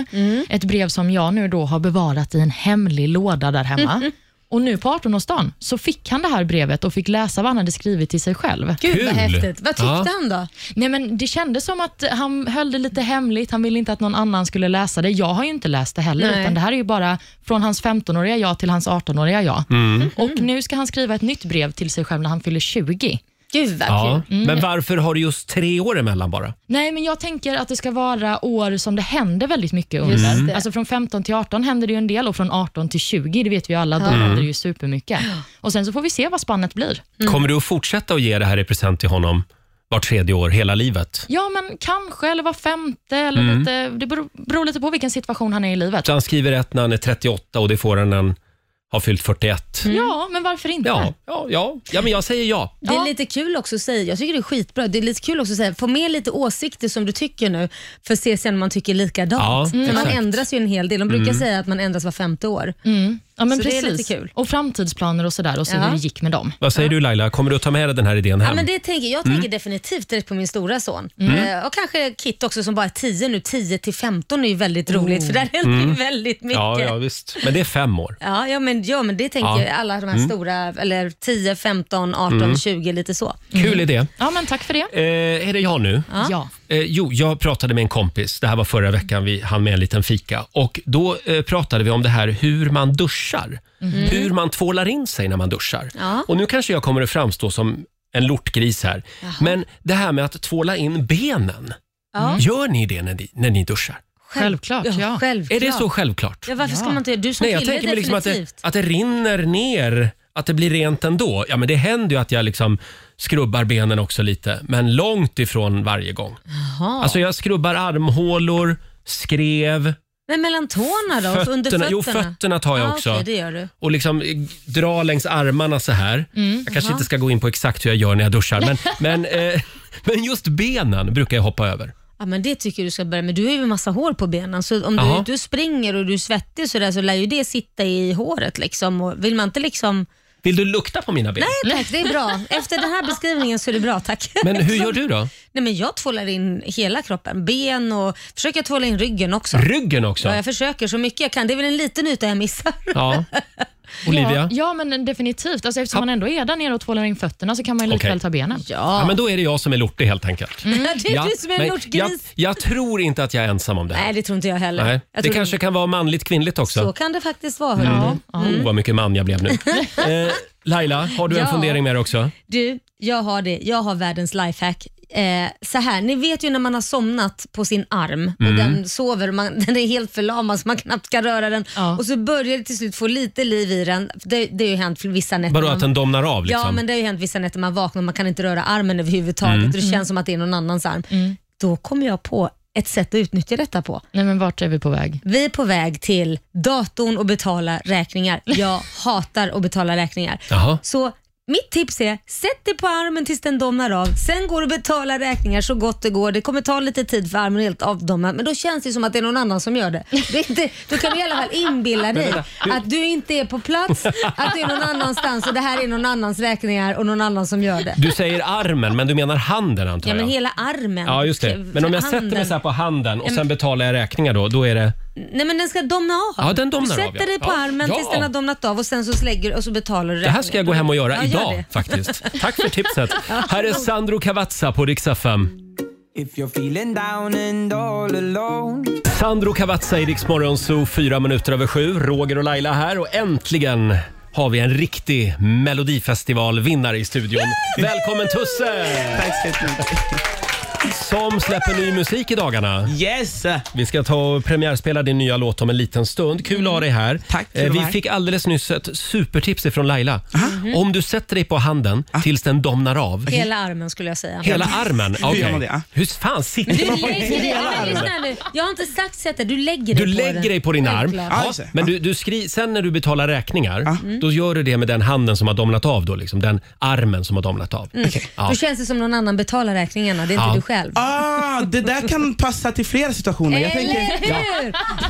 [SPEAKER 3] Ett brev som jag nu då har bevarat i en hemlig låda där hemma. Och Nu på 18-årsdagen så fick han det här brevet och fick läsa vad han hade skrivit till sig själv.
[SPEAKER 2] Gud vad
[SPEAKER 1] Kul.
[SPEAKER 2] häftigt. Vad tyckte
[SPEAKER 1] Ja.
[SPEAKER 2] han då?
[SPEAKER 3] Nej, men det kändes som att han höll det lite hemligt. Han ville inte att någon annan skulle läsa det. Jag har ju inte läst det heller,
[SPEAKER 2] Nej.
[SPEAKER 3] utan det här är ju bara från hans 15-åriga jag till hans 18-åriga jag.
[SPEAKER 2] Mm.
[SPEAKER 3] Och Nu ska han skriva ett nytt brev till sig själv när han fyller 20.
[SPEAKER 2] Gud vad
[SPEAKER 1] Ja.
[SPEAKER 2] kul.
[SPEAKER 1] Men varför har du just tre år emellan bara?
[SPEAKER 3] Nej, men jag tänker att det ska vara år som det händer väldigt mycket under.
[SPEAKER 2] Mm. Just det.
[SPEAKER 3] Alltså från 15 till 18 händer det ju en del och från 18 till 20, det vet vi ju alla, då
[SPEAKER 2] Mm.
[SPEAKER 3] händer det ju supermycket. Och sen så får vi se vad spannet blir.
[SPEAKER 1] Kommer du att fortsätta att ge det här i present till honom vart tredje år, hela livet?
[SPEAKER 3] Ja, men kanske, eller var femte, eller
[SPEAKER 2] Mm.
[SPEAKER 3] lite, det beror, beror lite på vilken situation han är i livet.
[SPEAKER 1] Så han skriver ett när han är 38 och det får han när han har fyllt 41.
[SPEAKER 2] Mm.
[SPEAKER 3] Ja, men varför inte?
[SPEAKER 1] Ja, ja, ja. ja, men jag säger ja.
[SPEAKER 2] Det är
[SPEAKER 3] Ja.
[SPEAKER 2] lite kul också att säga, jag tycker det är skitbra, det är lite kul också att säga, få med lite åsikter som du tycker nu, för att se sen om man tycker likadant.
[SPEAKER 1] Ja,
[SPEAKER 2] För man
[SPEAKER 1] exakt. Mm.
[SPEAKER 2] ändras ju en hel del, de brukar säga att man ändras var femte år.
[SPEAKER 3] Ja, men
[SPEAKER 2] Så det är
[SPEAKER 3] precis.
[SPEAKER 2] lite kul.
[SPEAKER 3] Och framtidsplaner och sådär och se
[SPEAKER 2] Ja.
[SPEAKER 3] hur det gick med dem.
[SPEAKER 1] Vad säger du Laila, kommer du att ta med dig den här idén
[SPEAKER 2] Ja,
[SPEAKER 1] hem?
[SPEAKER 2] men det tänker, jag
[SPEAKER 1] Mm.
[SPEAKER 2] tänker definitivt direkt på min stora son. Eh, och kanske Kit också som bara är 10 nu. 10 till 15 är ju väldigt roligt för där händer ju väldigt mycket.
[SPEAKER 1] Oh. Mm. ja, ja, visst. Men det är fem år.
[SPEAKER 2] Ja, ja, men, ja, men det tänker
[SPEAKER 1] Ja. Mm.
[SPEAKER 2] ju alla de här stora, eller 10, 15, 18, 20, lite så.
[SPEAKER 1] Kul idé.
[SPEAKER 3] Ja, men tack för det.
[SPEAKER 1] Eh, är det jag nu?
[SPEAKER 3] Ja.
[SPEAKER 1] Eh, jo, jag pratade med en kompis. Det här var förra veckan. Vi hann med en liten fika. Och Då eh, pratade vi om det här hur man duschar. Hur man tvålar in sig när man duschar.
[SPEAKER 2] Mhm. Ja.
[SPEAKER 1] Och Nu kanske jag kommer att framstå som en lortgris här. Men det här med att tvåla in benen.
[SPEAKER 2] Ja.
[SPEAKER 1] Gör ni det när ni, när ni duschar?
[SPEAKER 3] Självklart, ja.
[SPEAKER 2] självklart.
[SPEAKER 1] Är det så självklart?
[SPEAKER 2] Ja, varför ska
[SPEAKER 3] Ja.
[SPEAKER 2] man inte göra Du som
[SPEAKER 1] Nej, jag
[SPEAKER 2] kille
[SPEAKER 1] tänker mig liksom att, det,
[SPEAKER 2] definitivt.
[SPEAKER 1] att det rinner ner, att det blir rent ändå. Ja, men det händer ju att jag liksom skrubbar benen också lite, men långt ifrån varje gång.
[SPEAKER 2] Jaha.
[SPEAKER 1] Alltså jag skrubbar armhålor, skrev,
[SPEAKER 2] Men mellan tårna då? Fötterna. Under fötterna?
[SPEAKER 1] Jo, fötterna tar jag
[SPEAKER 2] Ja,
[SPEAKER 1] också.
[SPEAKER 2] okej, det gör du.
[SPEAKER 1] Och liksom eh, dra längs armarna så här.
[SPEAKER 2] Mm,
[SPEAKER 1] jag kanske inte ska gå in på exakt hur jag gör när jag duschar, men, men, eh, men just benen brukar jag hoppa över.
[SPEAKER 2] Ja, men det tycker jag du ska börja med. Du har ju en massa hår på benen, så om
[SPEAKER 1] Jaha.
[SPEAKER 2] du, du springer och du är svettig så, där, så lär ju det sitta i håret. Liksom. Och vill man inte liksom...
[SPEAKER 1] Vill du lukta på mina ben?
[SPEAKER 2] Nej, tack, det är bra. Efter den här beskrivningen så är det bra, tack.
[SPEAKER 1] Men hur gör du då?
[SPEAKER 2] Nej, men jag tvålar in hela kroppen. Ben och försöker tvåla in ryggen också.
[SPEAKER 1] Ryggen också?
[SPEAKER 2] Ja, jag försöker så mycket jag kan. Det är väl en liten yta jag missar.
[SPEAKER 1] Ja. Olivia?
[SPEAKER 3] Ja, ja, men definitivt. Alltså, eftersom man ändå är där nere och tvålar in fötterna så kan man ju lika
[SPEAKER 1] Okej.
[SPEAKER 3] väl ta benen.
[SPEAKER 1] Ja, men då är det jag som är lortig helt enkelt.
[SPEAKER 2] Det är
[SPEAKER 1] Ja,
[SPEAKER 2] du som är
[SPEAKER 1] men
[SPEAKER 2] en
[SPEAKER 1] jag,
[SPEAKER 2] hjortgris.
[SPEAKER 1] jag tror inte att jag är ensam om det här.
[SPEAKER 2] Nej, det tror inte jag heller.
[SPEAKER 1] Nej.
[SPEAKER 2] Jag
[SPEAKER 1] Det
[SPEAKER 2] tror
[SPEAKER 1] kanske kan vara manligt kvinnligt
[SPEAKER 2] Så
[SPEAKER 1] också.
[SPEAKER 2] kan det faktiskt vara. hörru.
[SPEAKER 1] Oh, vad mycket man jag blev nu. eh, Laila, har du en
[SPEAKER 2] Ja.
[SPEAKER 1] fundering med dig också?
[SPEAKER 2] Du, jag har det. Jag har världens lifehack. Eh, så här, ni vet ju när man har somnat på sin arm och
[SPEAKER 1] Mm.
[SPEAKER 2] den sover, och man, den är helt förlamad så man knappt kan röra den
[SPEAKER 3] Ja.
[SPEAKER 2] och så börjar det till slut få lite liv i den. Det, det har ju hänt vissa nätter.
[SPEAKER 1] Vadå,
[SPEAKER 2] man-
[SPEAKER 1] att den domnar av liksom? Mm.
[SPEAKER 2] Ja, men det har ju hänt vissa nätter man vaknar och man kan inte röra armen överhuvudtaget och det känns som att det är någon annans arm. Då kom jag på ett sätt att utnyttja detta på.
[SPEAKER 3] Nej, men vart är vi på väg?
[SPEAKER 2] Vi är på väg till datorn och betala räkningar. Jag hatar att betala räkningar.
[SPEAKER 1] Jaha.
[SPEAKER 2] Så mitt tips är, sätt dig på armen tills den domnar av. Sen går du och betalar räkningar så gott det går. Det kommer ta lite tid för armen är helt avdomnad, men då känns det som att det är någon annan som gör det. det är inte, då kan du i alla fall inbilla dig att du inte är på plats, att du är någon annanstans och det här är någon annans räkningar och någon annan som gör det.
[SPEAKER 1] Du säger armen, men du menar handen antar
[SPEAKER 2] Ja,
[SPEAKER 1] jag?
[SPEAKER 2] men hela armen.
[SPEAKER 1] Ja, just det. Men om jag sätter mig
[SPEAKER 2] Handen.
[SPEAKER 1] så här på handen och sen betalar jag räkningar då, då är det...
[SPEAKER 2] Nej men den ska domna av.
[SPEAKER 1] Ja, den domnar
[SPEAKER 2] du
[SPEAKER 1] av,
[SPEAKER 2] sätter
[SPEAKER 1] ja.
[SPEAKER 2] dig på
[SPEAKER 1] Ja.
[SPEAKER 2] armen tills
[SPEAKER 1] Ja.
[SPEAKER 2] den har domnat av och sen så slägger du och så betalar du
[SPEAKER 1] Det här ska jag gå hem och göra
[SPEAKER 2] Ja, gör
[SPEAKER 1] idag
[SPEAKER 2] det.
[SPEAKER 1] faktiskt. Tack för tipset. Här är Sandro Cavazza på Rix FM.
[SPEAKER 9] If you're feeling down and all alone
[SPEAKER 1] Sandro Cavazza i Rix Morgon Zoo, fyra minuter över sju. Roger och Laila här och äntligen har vi en riktig melodifestivalvinnare i studion. Välkommen Tusse!
[SPEAKER 8] Tack så jättemycket.
[SPEAKER 1] Som släpper ny musik i dagarna.
[SPEAKER 8] Yes!
[SPEAKER 1] Vi ska ta och premiärspela din nya låt om en liten stund. Kul att ha dig här.
[SPEAKER 8] Tack, kul
[SPEAKER 1] Eh,
[SPEAKER 8] att
[SPEAKER 1] Vi
[SPEAKER 8] vara här.
[SPEAKER 1] fick alldeles nyss ett supertips ifrån Laila. Mm-hmm. Om du sätter dig på handen
[SPEAKER 8] Ah.
[SPEAKER 1] tills den domnar av.
[SPEAKER 2] Hela armen skulle jag säga.
[SPEAKER 1] Hela armen?
[SPEAKER 8] Hur gör
[SPEAKER 1] Okej.
[SPEAKER 8] man det? Ah.
[SPEAKER 1] Hur fan sitter
[SPEAKER 2] Du
[SPEAKER 1] man på
[SPEAKER 2] lägger dig,
[SPEAKER 1] hela
[SPEAKER 2] ja, men
[SPEAKER 1] armen?
[SPEAKER 2] lyssna nu. Jag har inte sagt sätta, du lägger dig
[SPEAKER 1] Du
[SPEAKER 2] på
[SPEAKER 1] lägger
[SPEAKER 2] den.
[SPEAKER 1] dig på din arm.
[SPEAKER 2] Självklart.
[SPEAKER 8] Ja,
[SPEAKER 1] Ja,
[SPEAKER 8] just det. Mm.
[SPEAKER 1] men du,
[SPEAKER 8] Ja.
[SPEAKER 1] du skri- sen när du betalar räkningar, då gör du det med den handen som har domnat av. Då, liksom, den armen som har domnat av.
[SPEAKER 8] Mm.
[SPEAKER 1] Ja.
[SPEAKER 2] Då känns det som någon annan betalar räkningarna, det är inte
[SPEAKER 1] Ja.
[SPEAKER 2] du själv.
[SPEAKER 8] Ah, det där kan passa till flera situationer. Jag tänker,
[SPEAKER 2] Eller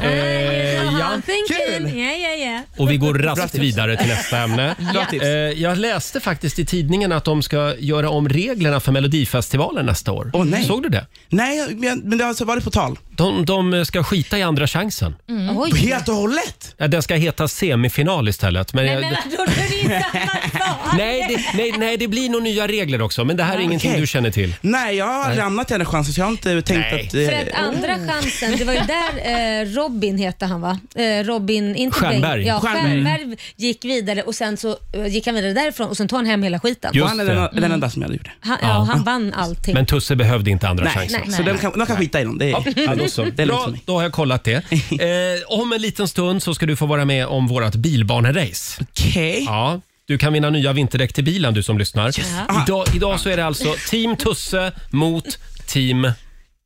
[SPEAKER 2] hur?
[SPEAKER 1] Eh, ja.
[SPEAKER 2] I'm thinking.
[SPEAKER 8] Kul.
[SPEAKER 2] Ja, ja, ja.
[SPEAKER 1] Och vi går
[SPEAKER 8] Bra
[SPEAKER 1] raskt
[SPEAKER 8] tips.
[SPEAKER 1] vidare till nästa ämne.
[SPEAKER 8] Bra tips.
[SPEAKER 1] Eh, jag läste faktiskt i tidningen att de ska göra om reglerna för Melodifestivalen nästa år.
[SPEAKER 8] Åh, nej.
[SPEAKER 1] Såg du det?
[SPEAKER 8] nej, men men det har alltså varit på tal.
[SPEAKER 1] De, de ska skita i andra chansen.
[SPEAKER 8] Mm.
[SPEAKER 2] Oj.
[SPEAKER 8] Helt och hållet?
[SPEAKER 1] Nej, Den ska heta semifinal istället. Men
[SPEAKER 2] Nej
[SPEAKER 1] jag,
[SPEAKER 2] men vadå, det är inte annat
[SPEAKER 1] nej, det, nej, nej, det blir nog nya regler också, men det här är ingenting
[SPEAKER 8] okej.
[SPEAKER 1] du känner till.
[SPEAKER 8] Nej, jag har ramlat i den här chansen så jag har inte tänkt
[SPEAKER 1] Nej.
[SPEAKER 8] att...
[SPEAKER 2] För att andra chansen, det var ju där eh, Robin hette han va? Eh, Robin, inte
[SPEAKER 1] Stjernberg.
[SPEAKER 2] Bengt. Ja,
[SPEAKER 8] Stjernberg.
[SPEAKER 2] Stjernberg gick vidare och sen så eh, gick han vidare därifrån och sen tog han hem hela skiten.
[SPEAKER 1] Just
[SPEAKER 8] han är
[SPEAKER 1] det.
[SPEAKER 8] den, den enda som jag gjorde.
[SPEAKER 2] Han, ja, han vann allting.
[SPEAKER 1] Men Tusse behövde inte andra
[SPEAKER 8] Nej,
[SPEAKER 1] chansen.
[SPEAKER 8] så de kan, de kan skita i dem. Det är,
[SPEAKER 1] Mm. Ja, då så.
[SPEAKER 8] det är lugnt
[SPEAKER 1] Bra,
[SPEAKER 8] för mig.
[SPEAKER 1] då har jag kollat det. Eh, om en liten stund så ska du få vara med om vårt bilbanerace.
[SPEAKER 8] Okej.
[SPEAKER 1] Ja, du kan vinna nya vinterdäck till bilen du som lyssnar. Idag, idag så är det alltså Team Tusse mot Team...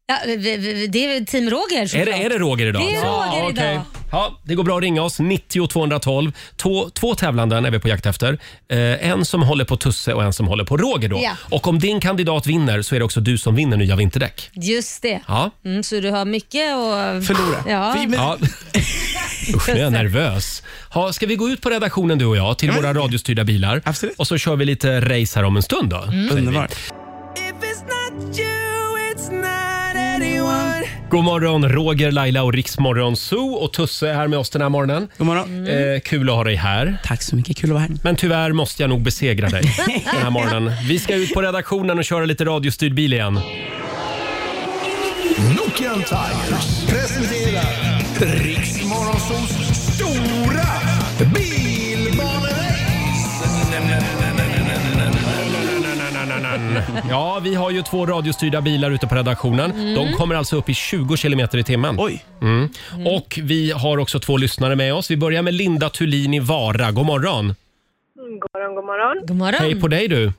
[SPEAKER 2] Ja, vi- vi- det är väl team Roger
[SPEAKER 1] Är det, är det Roger idag?
[SPEAKER 2] Det är Roger
[SPEAKER 1] ja, okej.
[SPEAKER 2] idag.
[SPEAKER 1] Ja, det går bra att ringa oss. 90 212. Två, två tävlanden är vi på jakt efter. Eh, en som håller på Tusse och en som håller på Roger. Då.
[SPEAKER 2] Ja.
[SPEAKER 1] Och om din kandidat vinner så är det också du som vinner nya vinterdäck.
[SPEAKER 2] Just det.
[SPEAKER 1] Ja.
[SPEAKER 2] Mm, så du har mycket att...
[SPEAKER 8] Förlora.
[SPEAKER 2] Ja.
[SPEAKER 8] Vi- men-
[SPEAKER 1] Ja. Usch, nu är jag nervös. Ha, ska vi gå ut på redaktionen du och jag till våra radiostyrda bilar?
[SPEAKER 8] Absolut.
[SPEAKER 1] Och så kör vi lite race här om en stund då. säger vi.
[SPEAKER 8] Underbart.
[SPEAKER 1] God morgon Roger, Laila och Riksmorgon Zoo och Tusse är här med oss den här morgonen.
[SPEAKER 8] God morgon.
[SPEAKER 1] Eh, kul att ha dig här.
[SPEAKER 8] Tack så mycket, kul att vara här.
[SPEAKER 1] Men tyvärr måste jag nog besegra dig den här morgonen. Vi ska ut på redaktionen och köra lite radiostyrd bil igen.
[SPEAKER 4] Nokian Tigers presenterar Riksmorgonsols stora bilbanerace.
[SPEAKER 1] Ja, vi har ju två radiostyrda bilar ute på redaktionen. De kommer alltså upp i 20 kilometer i timmen.
[SPEAKER 8] Mm. Oj.
[SPEAKER 1] Mm. Och vi har också två lyssnare med oss. Vi börjar med Linda Thulin i Vara. God morgon!
[SPEAKER 5] God morgon, god morgon.
[SPEAKER 2] God morgon.
[SPEAKER 1] Hej på dig du!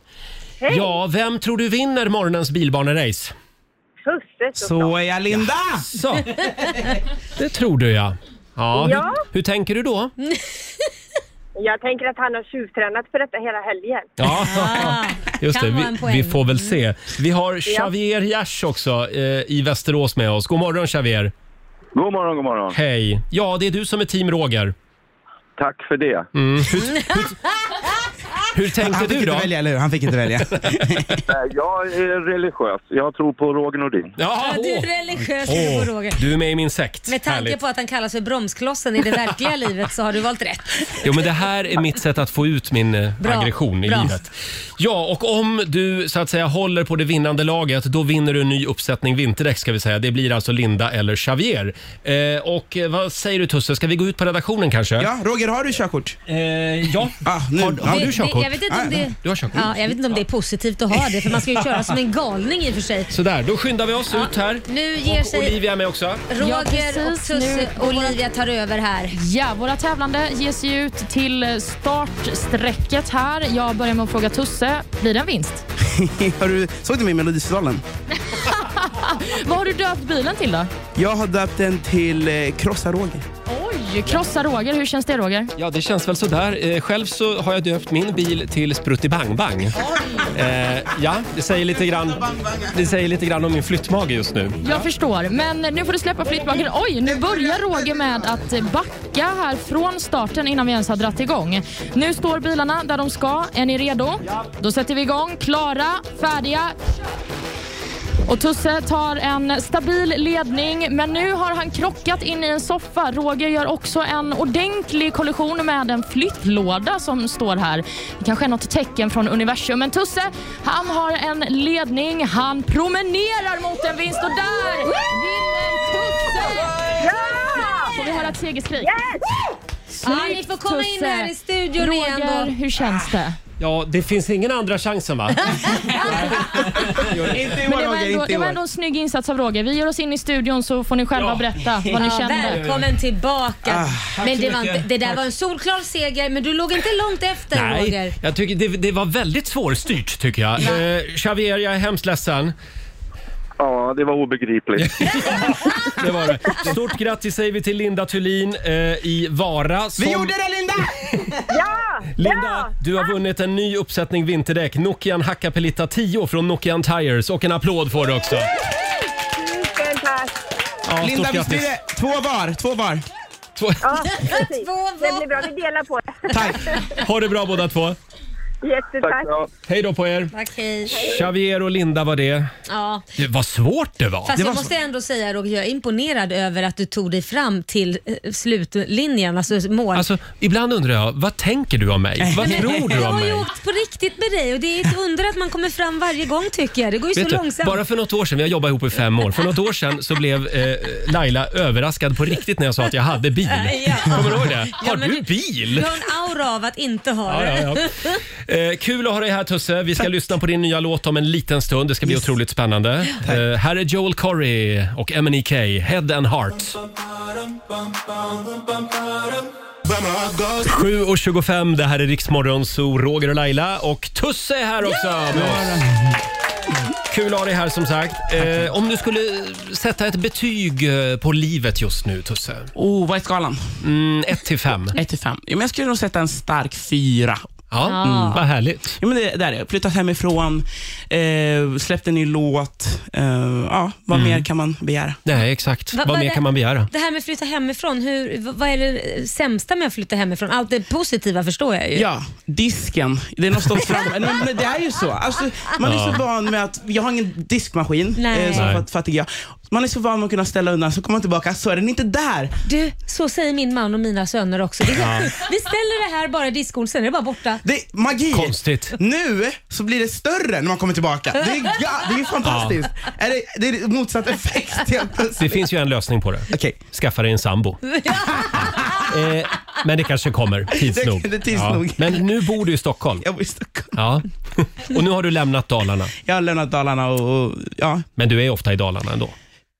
[SPEAKER 1] Ja, vem tror du vinner morgonens bilbanerace?
[SPEAKER 5] Husse såklart.
[SPEAKER 8] Så är jag Linda!
[SPEAKER 1] Så, det tror du ja. Ja,
[SPEAKER 5] Ja.
[SPEAKER 1] Hur, hur tänker du då?
[SPEAKER 2] Mm.
[SPEAKER 5] Jag tänker att han har tjuvtränat för detta hela helgen.
[SPEAKER 1] Ja, just det.
[SPEAKER 2] Ah, kan vara en
[SPEAKER 1] Vi,
[SPEAKER 2] poäng. Mm.
[SPEAKER 1] vi får väl se. Vi har Xavier Giertz också eh, i Västerås med oss. God morgon Xavier!
[SPEAKER 10] God morgon, god morgon.
[SPEAKER 1] Hej! Ja, det är du som är team Roger.
[SPEAKER 10] Tack för det.
[SPEAKER 8] Mm.
[SPEAKER 1] Hur tänkte
[SPEAKER 8] Han fick
[SPEAKER 1] du
[SPEAKER 8] inte
[SPEAKER 1] då?
[SPEAKER 8] välja, eller hur? Han fick inte välja.
[SPEAKER 10] Nej, Jag är religiös. Jag tror på Roger Nordin.
[SPEAKER 1] Ja,
[SPEAKER 2] Ja, du är
[SPEAKER 1] åh.
[SPEAKER 2] religiös
[SPEAKER 1] Åh,
[SPEAKER 2] oh. Roger.
[SPEAKER 1] du är med i min sekt.
[SPEAKER 2] Med tanke
[SPEAKER 1] Härligt.
[SPEAKER 2] på att han kallas för bromsklossen i det verkliga livet så har du valt rätt.
[SPEAKER 1] Jo, men det här är mitt sätt att få ut min eh,
[SPEAKER 2] Bra,
[SPEAKER 1] aggression i
[SPEAKER 2] bra.
[SPEAKER 1] livet. Ja, och om du så att säga håller på det vinnande laget, då vinner du en ny uppsättning vinterdäck ska vi säga. Det blir alltså Linda eller Xavier. Eh, och eh, vad säger du Tusse, ska vi gå ut på redaktionen kanske?
[SPEAKER 8] Ja, Roger, har du körkort?
[SPEAKER 1] Eh, ja.
[SPEAKER 8] Ah, nu.
[SPEAKER 1] Har, har
[SPEAKER 2] Det-
[SPEAKER 1] du
[SPEAKER 2] det-
[SPEAKER 1] körkort?
[SPEAKER 2] Jag vet inte om det...
[SPEAKER 1] Du har körkort.
[SPEAKER 2] Ja, jag vet inte om det är positivt att ha det, för man ska ju köra som en galning i och för sig.
[SPEAKER 1] Sådär, då skyndar vi oss ut här.
[SPEAKER 2] Nu ger
[SPEAKER 1] Och
[SPEAKER 2] sig
[SPEAKER 1] Olivia är med också.
[SPEAKER 3] Ja,
[SPEAKER 2] Roger och
[SPEAKER 3] precis.
[SPEAKER 2] Tusse
[SPEAKER 3] Nu-
[SPEAKER 2] och Olivia tar över här.
[SPEAKER 3] Ja, våra tävlande ges ju ut till startsträcket här. Jag börjar med att fråga Tusse, blir det en vinst?
[SPEAKER 8] Ah, Har du, såg du mig i Melodifestivalen?
[SPEAKER 3] Vad har du döpt bilen till då?
[SPEAKER 8] Jag har döpt den till eh, Krossa Roger.
[SPEAKER 3] Oj, krossa Roger. Hur känns det Roger?
[SPEAKER 1] Ja, det känns väl sådär. Eh, själv så har jag döpt min bil till Sprutti Bang Bang. Eh, ja, det säger, lite grann, det säger lite grann om min flyttmage just nu.
[SPEAKER 3] Jag förstår, men nu får du släppa flyttbacken. Oj, nu börjar Roger med att backa här från starten innan vi ens har dratt igång. Nu står bilarna där de ska. Är ni redo? Då sätter vi igång. Klara, färdiga. Och Tusse tar en stabil ledning, men nu har han krockat in i en soffa. Roger gör också en ordentlig kollision med en flyttlåda som står här. Det kanske är något tecken från universum, men Tusse, han har en ledning. Han promenerar mot en vinst och där vinner Tusse! Får vi höra ett segerskrik?
[SPEAKER 2] Ja, ni får komma in här i studion
[SPEAKER 3] Roger,
[SPEAKER 2] igen då.
[SPEAKER 3] hur känns det?
[SPEAKER 1] Ja, det finns ingen andra chansen va?
[SPEAKER 8] Inte i
[SPEAKER 3] Men
[SPEAKER 8] år
[SPEAKER 3] det, var
[SPEAKER 8] Roger,
[SPEAKER 3] ändå,
[SPEAKER 8] inte i
[SPEAKER 3] det var
[SPEAKER 8] år.
[SPEAKER 3] ändå en snygg insats av Roger. Vi ger oss in i studion så får ni själva
[SPEAKER 1] Ja.
[SPEAKER 3] berätta vad ni
[SPEAKER 2] Ja,
[SPEAKER 3] kände.
[SPEAKER 2] välkommen tillbaka. men
[SPEAKER 1] Ah, så
[SPEAKER 2] det, var
[SPEAKER 1] mycket.
[SPEAKER 2] inte, det där var en solklar seger, men du låg inte långt efter Roger.
[SPEAKER 1] Nej, jag tycker det, det var väldigt svårstyrt tycker jag. Eh, Xavier, jag är hemskt ledsen.
[SPEAKER 10] Ja, det var obegripligt.
[SPEAKER 1] Det var det. Stort grattis säger vi till Linda Thulin eh, i Vara. Som...
[SPEAKER 8] Vi gjorde det Linda!
[SPEAKER 5] Ja!
[SPEAKER 1] Linda, du har vunnit en ny uppsättning vinterdäck. Nokian Hakkapeliitta 10 från Nokian Tires. Och en applåd får du också.
[SPEAKER 5] Tusen tack!
[SPEAKER 1] Ja,
[SPEAKER 8] Linda
[SPEAKER 1] stort
[SPEAKER 8] visst blir
[SPEAKER 1] grattis.
[SPEAKER 8] det två var, två var.
[SPEAKER 1] Två-
[SPEAKER 5] Ja, precis.
[SPEAKER 2] Två var.
[SPEAKER 5] Det blir bra, vi delar på det.
[SPEAKER 8] Tack.
[SPEAKER 1] Ha det bra båda två.
[SPEAKER 5] Jättetack.
[SPEAKER 10] Tack, ja.
[SPEAKER 1] Hej då på er.
[SPEAKER 2] Okej.
[SPEAKER 1] Xavier och Linda var det.
[SPEAKER 2] Ja.
[SPEAKER 1] det vad svårt det var.
[SPEAKER 2] Fast
[SPEAKER 8] var
[SPEAKER 2] jag måste ändå säga Roger, jag är imponerad över att du tog dig fram till eh, slutlinjen, alltså mål.
[SPEAKER 1] Alltså, ibland undrar jag, vad tänker du om mig? Vad tror du
[SPEAKER 2] jag
[SPEAKER 1] om
[SPEAKER 2] har ju
[SPEAKER 1] mig?
[SPEAKER 2] åkt på riktigt med dig och det är ett under att man kommer fram varje gång tycker jag. Det går ju
[SPEAKER 1] Vet
[SPEAKER 2] så
[SPEAKER 1] du,
[SPEAKER 2] långsamt.
[SPEAKER 1] bara för något år sedan, vi har jobbat ihop i fem år, för något år sedan så blev eh, Laila överraskad på riktigt när jag sa att jag hade bil.
[SPEAKER 2] Ja.
[SPEAKER 1] Kommer du ihåg det?
[SPEAKER 2] Ja,
[SPEAKER 1] Har
[SPEAKER 2] men
[SPEAKER 1] du
[SPEAKER 2] det-
[SPEAKER 1] bil?
[SPEAKER 2] Du har en aura av att inte ha
[SPEAKER 1] Ja,
[SPEAKER 2] det.
[SPEAKER 1] ja, ja. Eh, kul att ha dig här Tusse. Vi ska lyssna på din nya låt om en liten stund. Det ska bli otroligt spännande. Eh, här är Joel Corey och MNEK, Head and Heart. 7.25, det här är Riksmorgon, så Roger och Laila och Tusse är här också med oss. Kul att ha dig här som sagt. Eh, om du skulle sätta ett betyg eh, på livet just nu Tusse?
[SPEAKER 8] Oh, vad är skalan?
[SPEAKER 1] Mm, 1 till 5.
[SPEAKER 8] 1 till 5. Ja, men jag skulle nog sätta en stark fyra.
[SPEAKER 1] Ja, Mm.
[SPEAKER 2] Ja.
[SPEAKER 1] vad härligt.
[SPEAKER 8] Ja, men det, där är jag. Flyttat hemifrån, eh, släppt en ny låt. Eh, ja, vad mer kan man begära?
[SPEAKER 1] Nej, exakt.
[SPEAKER 2] Va-
[SPEAKER 1] vad
[SPEAKER 2] vad
[SPEAKER 1] mer
[SPEAKER 2] det-
[SPEAKER 1] kan man begära?
[SPEAKER 2] Det här med att flytta hemifrån, hur, v- vad är det sämsta med att flytta hemifrån? Allt det positiva förstår jag ju.
[SPEAKER 8] Ja, disken. Den har stått fram. Nej, men det är ju så. Alltså, man är så van med att, jag har ingen diskmaskin,
[SPEAKER 2] Nej.
[SPEAKER 8] eh, som
[SPEAKER 1] Nej.
[SPEAKER 8] fatt- fattig jag. Man är så van med att kunna ställa undan, så kommer man tillbaka, så är den inte där.
[SPEAKER 2] Du, så säger min man och mina söner också. Det är helt sjukt. Vi ställer det här bara i diskon, sen är det bara borta.
[SPEAKER 8] Det är magi.
[SPEAKER 1] Konstigt.
[SPEAKER 8] Nu så blir det större när man kommer tillbaka. Det är, ga- det är fantastiskt. Är det, det är motsatt effekt helt
[SPEAKER 1] Det
[SPEAKER 8] plötsligt.
[SPEAKER 1] finns ju en lösning på det.
[SPEAKER 8] Okej.
[SPEAKER 1] Skaffa dig en sambo. eh, men det kanske kommer tids
[SPEAKER 8] Det-
[SPEAKER 1] nog.
[SPEAKER 8] det är tids
[SPEAKER 1] ja.
[SPEAKER 8] nog.
[SPEAKER 1] Men nu bor du i Stockholm.
[SPEAKER 8] Jag bor i Stockholm.
[SPEAKER 1] Ja. Och nu har du lämnat Dalarna.
[SPEAKER 8] Jag har lämnat Dalarna och, och ja.
[SPEAKER 1] Men du är ofta i Dalarna ändå.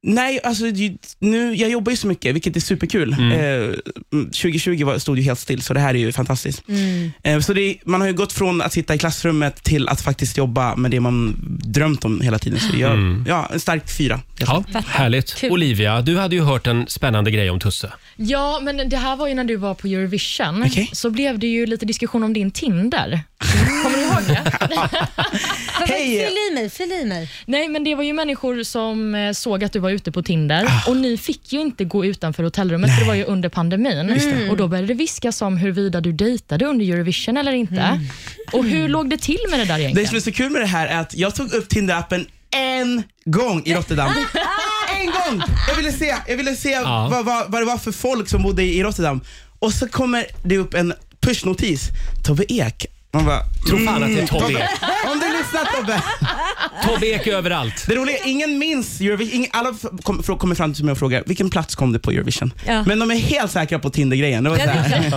[SPEAKER 8] Nej, alltså ju- nu, jag jobbar ju så mycket, vilket är superkul. Eh, 2020 var, stod ju helt still, så det här är ju fantastiskt. Eh, så det, är- man har ju gått från att sitta i klassrummet till att faktiskt jobba med det man drömt om hela tiden. Så jag, ja, en stark fyra.
[SPEAKER 1] Ja, härligt.
[SPEAKER 2] Kul.
[SPEAKER 1] Olivia, du hade ju hört en spännande grej om Tusse.
[SPEAKER 3] Ja, men det här var ju när du var på Eurovision.
[SPEAKER 8] Okej.
[SPEAKER 3] Så blev det ju lite diskussion om din Tinder. Kommer du ihåg det?
[SPEAKER 8] Hej!
[SPEAKER 2] Fyll i mig, fyll i mig.
[SPEAKER 3] Nej, men det var ju människor som eh, såg att du var ute på Tinder och ni fick ju inte gå utanför hotellrummet för det var ju under pandemin. Och Då började det viskas om huruvida du dejtade under Eurovision eller inte. Och Hur låg det till med Mm. det där
[SPEAKER 8] Det
[SPEAKER 3] egentligen?
[SPEAKER 8] som är så kul med det här är att jag tog upp Tinder-appen en gång i Rotterdam. en gång! Jag ville se, jag ville se
[SPEAKER 1] Ja.
[SPEAKER 8] vad, vad, vad det var för folk som bodde i Rotterdam. Och så kommer det upp en pushnotis. Tobbe Ek. Man bara,
[SPEAKER 1] Tror fan att
[SPEAKER 8] Mm.
[SPEAKER 1] det är Mm. Tobbe Ek.
[SPEAKER 8] Om du lyssnar Tobbe.
[SPEAKER 1] Tobbe Ek är överallt.
[SPEAKER 8] Det roliga är, ingen minns Eurovision. Ingen, alla f- kom- fr- kommer fram till mig och frågar, vilken plats kom det på Eurovision?
[SPEAKER 2] Ja.
[SPEAKER 8] Men de är helt säkra på Tinder-grejen. Det var så här.
[SPEAKER 2] Hur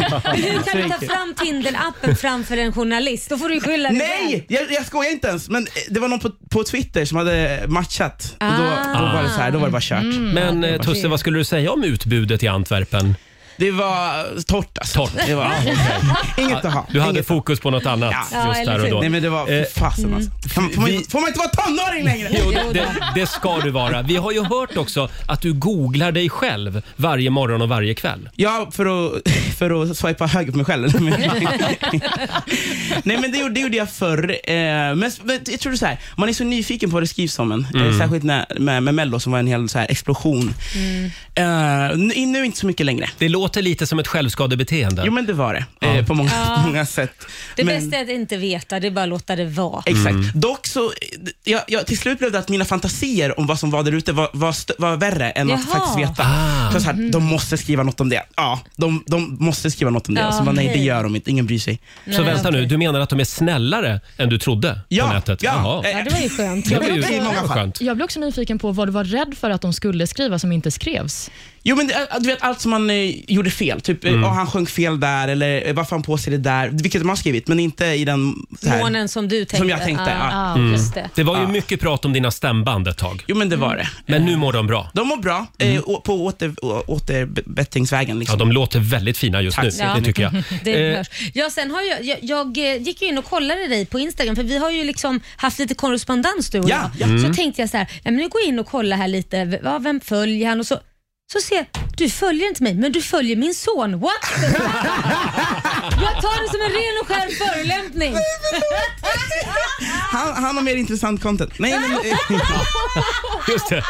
[SPEAKER 2] kan du ta fram Tinder-appen framför en journalist? Då får du ju skylla dig själv.
[SPEAKER 8] Nej, jag, jag skojar inte ens. Men eh, det var någon på, på Twitter som hade matchat. Och då, då, var det så här, då var det bara kört.
[SPEAKER 1] Men eh, Tusse, vad skulle du säga om utbudet i Antwerpen?
[SPEAKER 8] Det var torrt alltså.
[SPEAKER 1] Torrt.
[SPEAKER 8] Det var, Inget att ha.
[SPEAKER 1] Du hade
[SPEAKER 8] Inget.
[SPEAKER 1] fokus på något annat
[SPEAKER 2] Ja,
[SPEAKER 1] just
[SPEAKER 2] eller
[SPEAKER 1] där och
[SPEAKER 2] hur?
[SPEAKER 1] då.
[SPEAKER 8] Nej men det var, fy
[SPEAKER 1] Eh,
[SPEAKER 8] fasen alltså. Kan, får, man,
[SPEAKER 1] vi-
[SPEAKER 8] inte- får man inte vara tonåring längre?
[SPEAKER 1] Jo, det, det ska du vara. Vi har ju hört också att du googlar dig själv varje morgon och varje kväll.
[SPEAKER 8] Ja, för att, för att swipa höger på mig själv. Nej men det gjorde, det gjorde jag förr. Eh, men, men jag tror det är så här, man är så nyfiken på vad det skrivs om en. Eh, särskilt när, med, med Mello som var en hel så här, explosion. Eh, nu, nu inte så mycket längre.
[SPEAKER 1] Det låter lite som ett
[SPEAKER 8] Jo
[SPEAKER 1] självskadebeteende.
[SPEAKER 8] men det var det, eh, på många, många sätt.
[SPEAKER 2] Det
[SPEAKER 8] men,
[SPEAKER 2] bästa är att inte veta, det är bara att låta det vara.
[SPEAKER 8] Exakt.
[SPEAKER 1] Mm.
[SPEAKER 8] Dock så, jag, jag, till slut blev det att mina fantasier om vad som var där ute var, var, stö- var värre än att
[SPEAKER 2] Jaha. Mm.
[SPEAKER 8] faktiskt veta.
[SPEAKER 1] Ah.
[SPEAKER 8] Så så här, de måste skriva något om det. Ja, de, de måste skriva något om det.
[SPEAKER 2] Ja,
[SPEAKER 8] och så bara, nej, det
[SPEAKER 2] okej.
[SPEAKER 8] gör de inte. Ingen bryr sig.
[SPEAKER 1] Så
[SPEAKER 2] Nej,
[SPEAKER 1] vänta nu,
[SPEAKER 2] okej.
[SPEAKER 1] du menar att de är snällare än du trodde på
[SPEAKER 8] Ja,
[SPEAKER 1] nätet?
[SPEAKER 8] ja.
[SPEAKER 1] Jaha.
[SPEAKER 8] eh,
[SPEAKER 2] Ja, det var ju skönt.
[SPEAKER 1] Det var
[SPEAKER 8] i
[SPEAKER 1] ju
[SPEAKER 8] många fall.
[SPEAKER 1] skönt.
[SPEAKER 3] Jag blev också nyfiken på vad du var rädd för att de skulle skriva som inte skrevs.
[SPEAKER 8] Jo, men det- äh, du vet allt som han eh, gjorde fel. Typ, eh,
[SPEAKER 11] Mm.
[SPEAKER 8] ah, han sjöng fel där eller eh, varför har han på sig det där. Vilket de har skrivit, men inte i den... så här-
[SPEAKER 2] Månen som du tänkte. Ah,
[SPEAKER 8] Som jag tänkte,
[SPEAKER 2] Ja,
[SPEAKER 8] ja.
[SPEAKER 2] ja,
[SPEAKER 1] Mm.
[SPEAKER 2] just det.
[SPEAKER 1] var ju mycket prat om dina stämband ett tag.
[SPEAKER 8] Jo, men
[SPEAKER 2] mm.
[SPEAKER 8] det var det.
[SPEAKER 1] Men nu mår de bra.
[SPEAKER 8] De mår bra eh, å- på åter, å- återbättringsvägen. Liksom.
[SPEAKER 1] Mm. Ja, de låter väldigt fina just
[SPEAKER 8] Tack
[SPEAKER 1] nu.
[SPEAKER 8] så
[SPEAKER 1] Det
[SPEAKER 8] mycket.
[SPEAKER 1] tycker jag.
[SPEAKER 2] Det
[SPEAKER 1] Eh,
[SPEAKER 2] hörs. ja, sen har jag, jag, jag eh, gick ju in och kollade dig på Instagram för vi har ju liksom haft lite korrespondens du och
[SPEAKER 1] Ja,
[SPEAKER 2] jag.
[SPEAKER 1] ja.
[SPEAKER 2] Så
[SPEAKER 1] Mm.
[SPEAKER 2] tänkte jag så här, ja, men nu går jag in och kollar här lite, V- ja, vem följer han och så så ser jag, du följer inte mig, men du följer min son. What the fuck? Jag tar det som en ren och skär förolämpning. Nej,
[SPEAKER 8] Han, han har mer intressant content. Nej, men, eh,
[SPEAKER 1] Just det.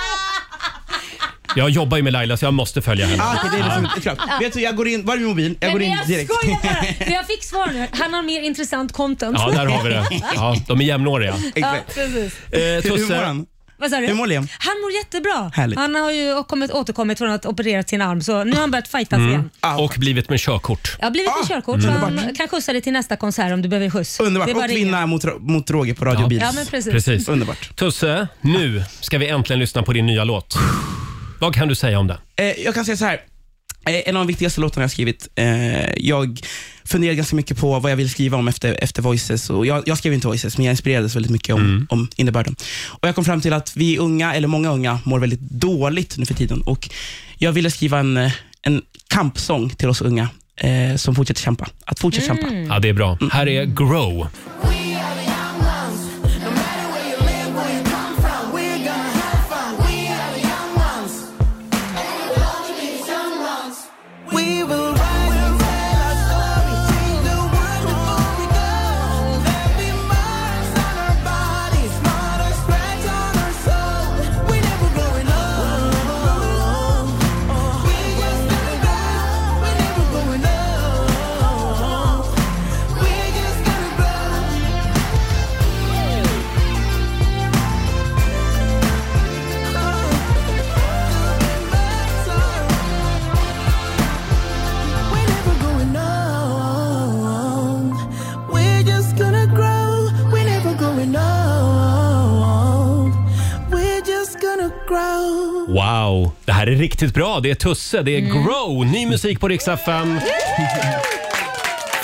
[SPEAKER 1] Jag jobbar ju med Laila så jag måste följa henne.
[SPEAKER 8] ah, okej, det är
[SPEAKER 1] Ja.
[SPEAKER 8] liksom, klart. Vet du, jag går in, var är min mobil? Jag
[SPEAKER 2] men
[SPEAKER 8] går in
[SPEAKER 2] jag
[SPEAKER 8] direkt.
[SPEAKER 2] skojar bara. För Jag fick svar nu. Han har mer intressant content.
[SPEAKER 1] Ja, där har vi det. Ja, de är jämnåriga.
[SPEAKER 2] Ja, precis.
[SPEAKER 1] Eh,
[SPEAKER 8] Hur mår
[SPEAKER 1] Tusse,
[SPEAKER 8] han?
[SPEAKER 2] Vad sa du?
[SPEAKER 1] Hur mår Liam?
[SPEAKER 2] Han mår jättebra.
[SPEAKER 1] Härligt.
[SPEAKER 2] Han har ju kommit, återkommit från att ha opererat sin arm så nu har han börjat fightas igen.
[SPEAKER 1] mm. och blivit med körkort.
[SPEAKER 2] Jag har blivit
[SPEAKER 8] Ah,
[SPEAKER 2] med körkort så han kan skjutsa dig till nästa konsert om du behöver skjuts.
[SPEAKER 8] Underbart.
[SPEAKER 2] Det är bara
[SPEAKER 8] Och
[SPEAKER 2] att ringa.
[SPEAKER 8] vinna mot, mot Roger på Radio Bil.
[SPEAKER 2] Ja, men precis.
[SPEAKER 8] Underbart.
[SPEAKER 1] Tusse, nu ska vi äntligen lyssna på din nya låt. Vad kan du säga om den?
[SPEAKER 8] Eh, jag kan säga så här. Eh, en av de viktigaste låtarna jag har skrivit. Eh, jag funderar ganska mycket på vad jag vill skriva om efter, efter Voices. Och jag, jag skrev inte Voices, men jag inspirerades väldigt mycket om, om innebörden. Och jag kom fram till att vi unga, eller många unga, mår väldigt dåligt nu för tiden. Och jag ville skriva en, eh, en kampsång till oss unga eh, som fortsätter kämpa. Att fortsätta kämpa.
[SPEAKER 1] Ja, det är bra. Här är Grow.
[SPEAKER 12] We're just gonna grow. We're never going old. We're just gonna grow.
[SPEAKER 1] Wow, det här är riktigt bra. Det är Tusse, det är Grow. Ny musik på Rix FM.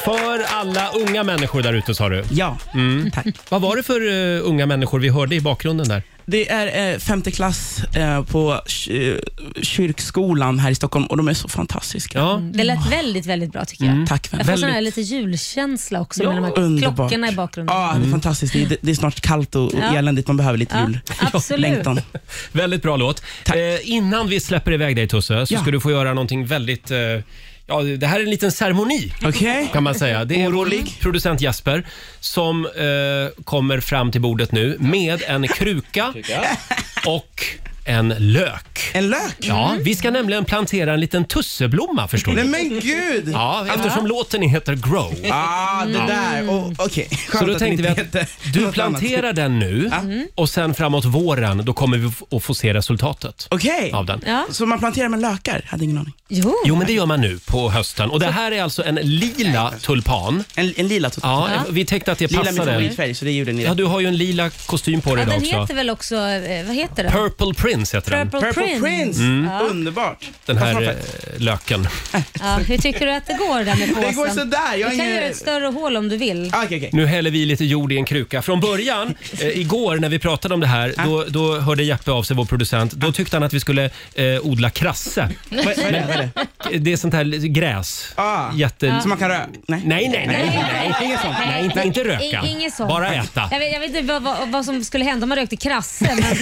[SPEAKER 1] För alla unga människor där ute sa du?
[SPEAKER 8] Ja,
[SPEAKER 1] mm.
[SPEAKER 8] tack.
[SPEAKER 1] Vad var det för eh, unga människor vi hörde i bakgrunden där?
[SPEAKER 8] Det är eh, femte klass eh, på ky- kyrkskolan här i Stockholm och de är så fantastiska.
[SPEAKER 2] Det lät väldigt, väldigt bra tycker jag.
[SPEAKER 8] Mm. Tack,
[SPEAKER 2] Jag får
[SPEAKER 8] väldigt.
[SPEAKER 2] sån här lite julkänsla också med de Mm. här
[SPEAKER 8] Underbart.
[SPEAKER 2] klockorna i bakgrunden.
[SPEAKER 8] Ja, det är fantastiskt. Det är, det är snart kallt och, och
[SPEAKER 2] Ja.
[SPEAKER 8] eländigt. Man behöver lite
[SPEAKER 2] Ja,
[SPEAKER 8] jul.
[SPEAKER 2] absolut.
[SPEAKER 8] Längtan.
[SPEAKER 1] Väldigt bra låt. Eh, innan vi släpper iväg dig Tusse så
[SPEAKER 8] Ja.
[SPEAKER 1] ska du få göra någonting väldigt... Eh, ja, det här är en liten ceremoni
[SPEAKER 8] Okej.
[SPEAKER 1] kan man säga. Det är vår producent Jasper som eh, kommer fram till bordet nu med en kruka och en lök.
[SPEAKER 8] En lök?
[SPEAKER 1] Ja, vi ska nämligen plantera en liten tusseblomma förstår du.
[SPEAKER 8] Mm. Nej men gud!
[SPEAKER 1] Ja, eftersom låten heter Grow.
[SPEAKER 8] Ah, det
[SPEAKER 2] Mm.
[SPEAKER 1] Ja.
[SPEAKER 8] där. Oh, Okej.
[SPEAKER 1] Så
[SPEAKER 8] Skönt
[SPEAKER 1] då
[SPEAKER 8] att
[SPEAKER 1] tänkte vi
[SPEAKER 8] ni inte
[SPEAKER 1] att
[SPEAKER 8] heter
[SPEAKER 1] du
[SPEAKER 8] något
[SPEAKER 1] planterar
[SPEAKER 8] annat.
[SPEAKER 1] den nu och sen framåt våren då kommer vi f- att få se resultatet
[SPEAKER 8] Okej.
[SPEAKER 1] av den.
[SPEAKER 8] Så man planterar med lökar? Hade ingen aning.
[SPEAKER 2] Jo.
[SPEAKER 1] Jo, men det gör man nu på hösten. Och det här är alltså en lila tulpan.
[SPEAKER 8] En, lila tulpan?
[SPEAKER 1] Ja,
[SPEAKER 2] Ja.
[SPEAKER 1] vi tänkte att det
[SPEAKER 8] Lila är
[SPEAKER 1] passade.
[SPEAKER 8] min favoritfärg, så det gjorde ni.
[SPEAKER 1] Ja, du har ju en lila kostym på dig
[SPEAKER 2] Ja,
[SPEAKER 1] idag
[SPEAKER 2] den
[SPEAKER 1] också.
[SPEAKER 2] heter väl också, eh, vad heter den?
[SPEAKER 1] Purple Prince heter den.
[SPEAKER 2] Purple Prince. Prince.
[SPEAKER 1] Mm.
[SPEAKER 2] Ja.
[SPEAKER 8] Underbart.
[SPEAKER 1] Den här
[SPEAKER 8] Fast
[SPEAKER 1] eh,
[SPEAKER 8] man-
[SPEAKER 1] löken.
[SPEAKER 2] Ja, hur tycker du att det går där med
[SPEAKER 8] Det
[SPEAKER 2] påsen?
[SPEAKER 8] går sådär, jag har
[SPEAKER 2] du kan
[SPEAKER 8] ingen-
[SPEAKER 2] göra ett större hål om du vill.
[SPEAKER 8] Ah,
[SPEAKER 1] Nu häller vi lite jord i en kruka. Från början, eh, igår när vi pratade om det här, då, då hörde Jeppe av sig, vår producent. Då tyckte han att vi skulle eh, odla krasse.
[SPEAKER 8] Vad- vad är det? Vad är
[SPEAKER 1] det? är sånt här li- gräs.
[SPEAKER 8] Ah,
[SPEAKER 1] Jätte...
[SPEAKER 8] Som man kan röra? Nej.
[SPEAKER 1] Nej, nej, nej. nej. Inget sånt. Nej, inte, inte röka.
[SPEAKER 2] I- Inget sånt.
[SPEAKER 1] Bara äta.
[SPEAKER 2] Jag vet, jag vet inte vad, vad, vad som skulle hända om man rökte krasse. Men...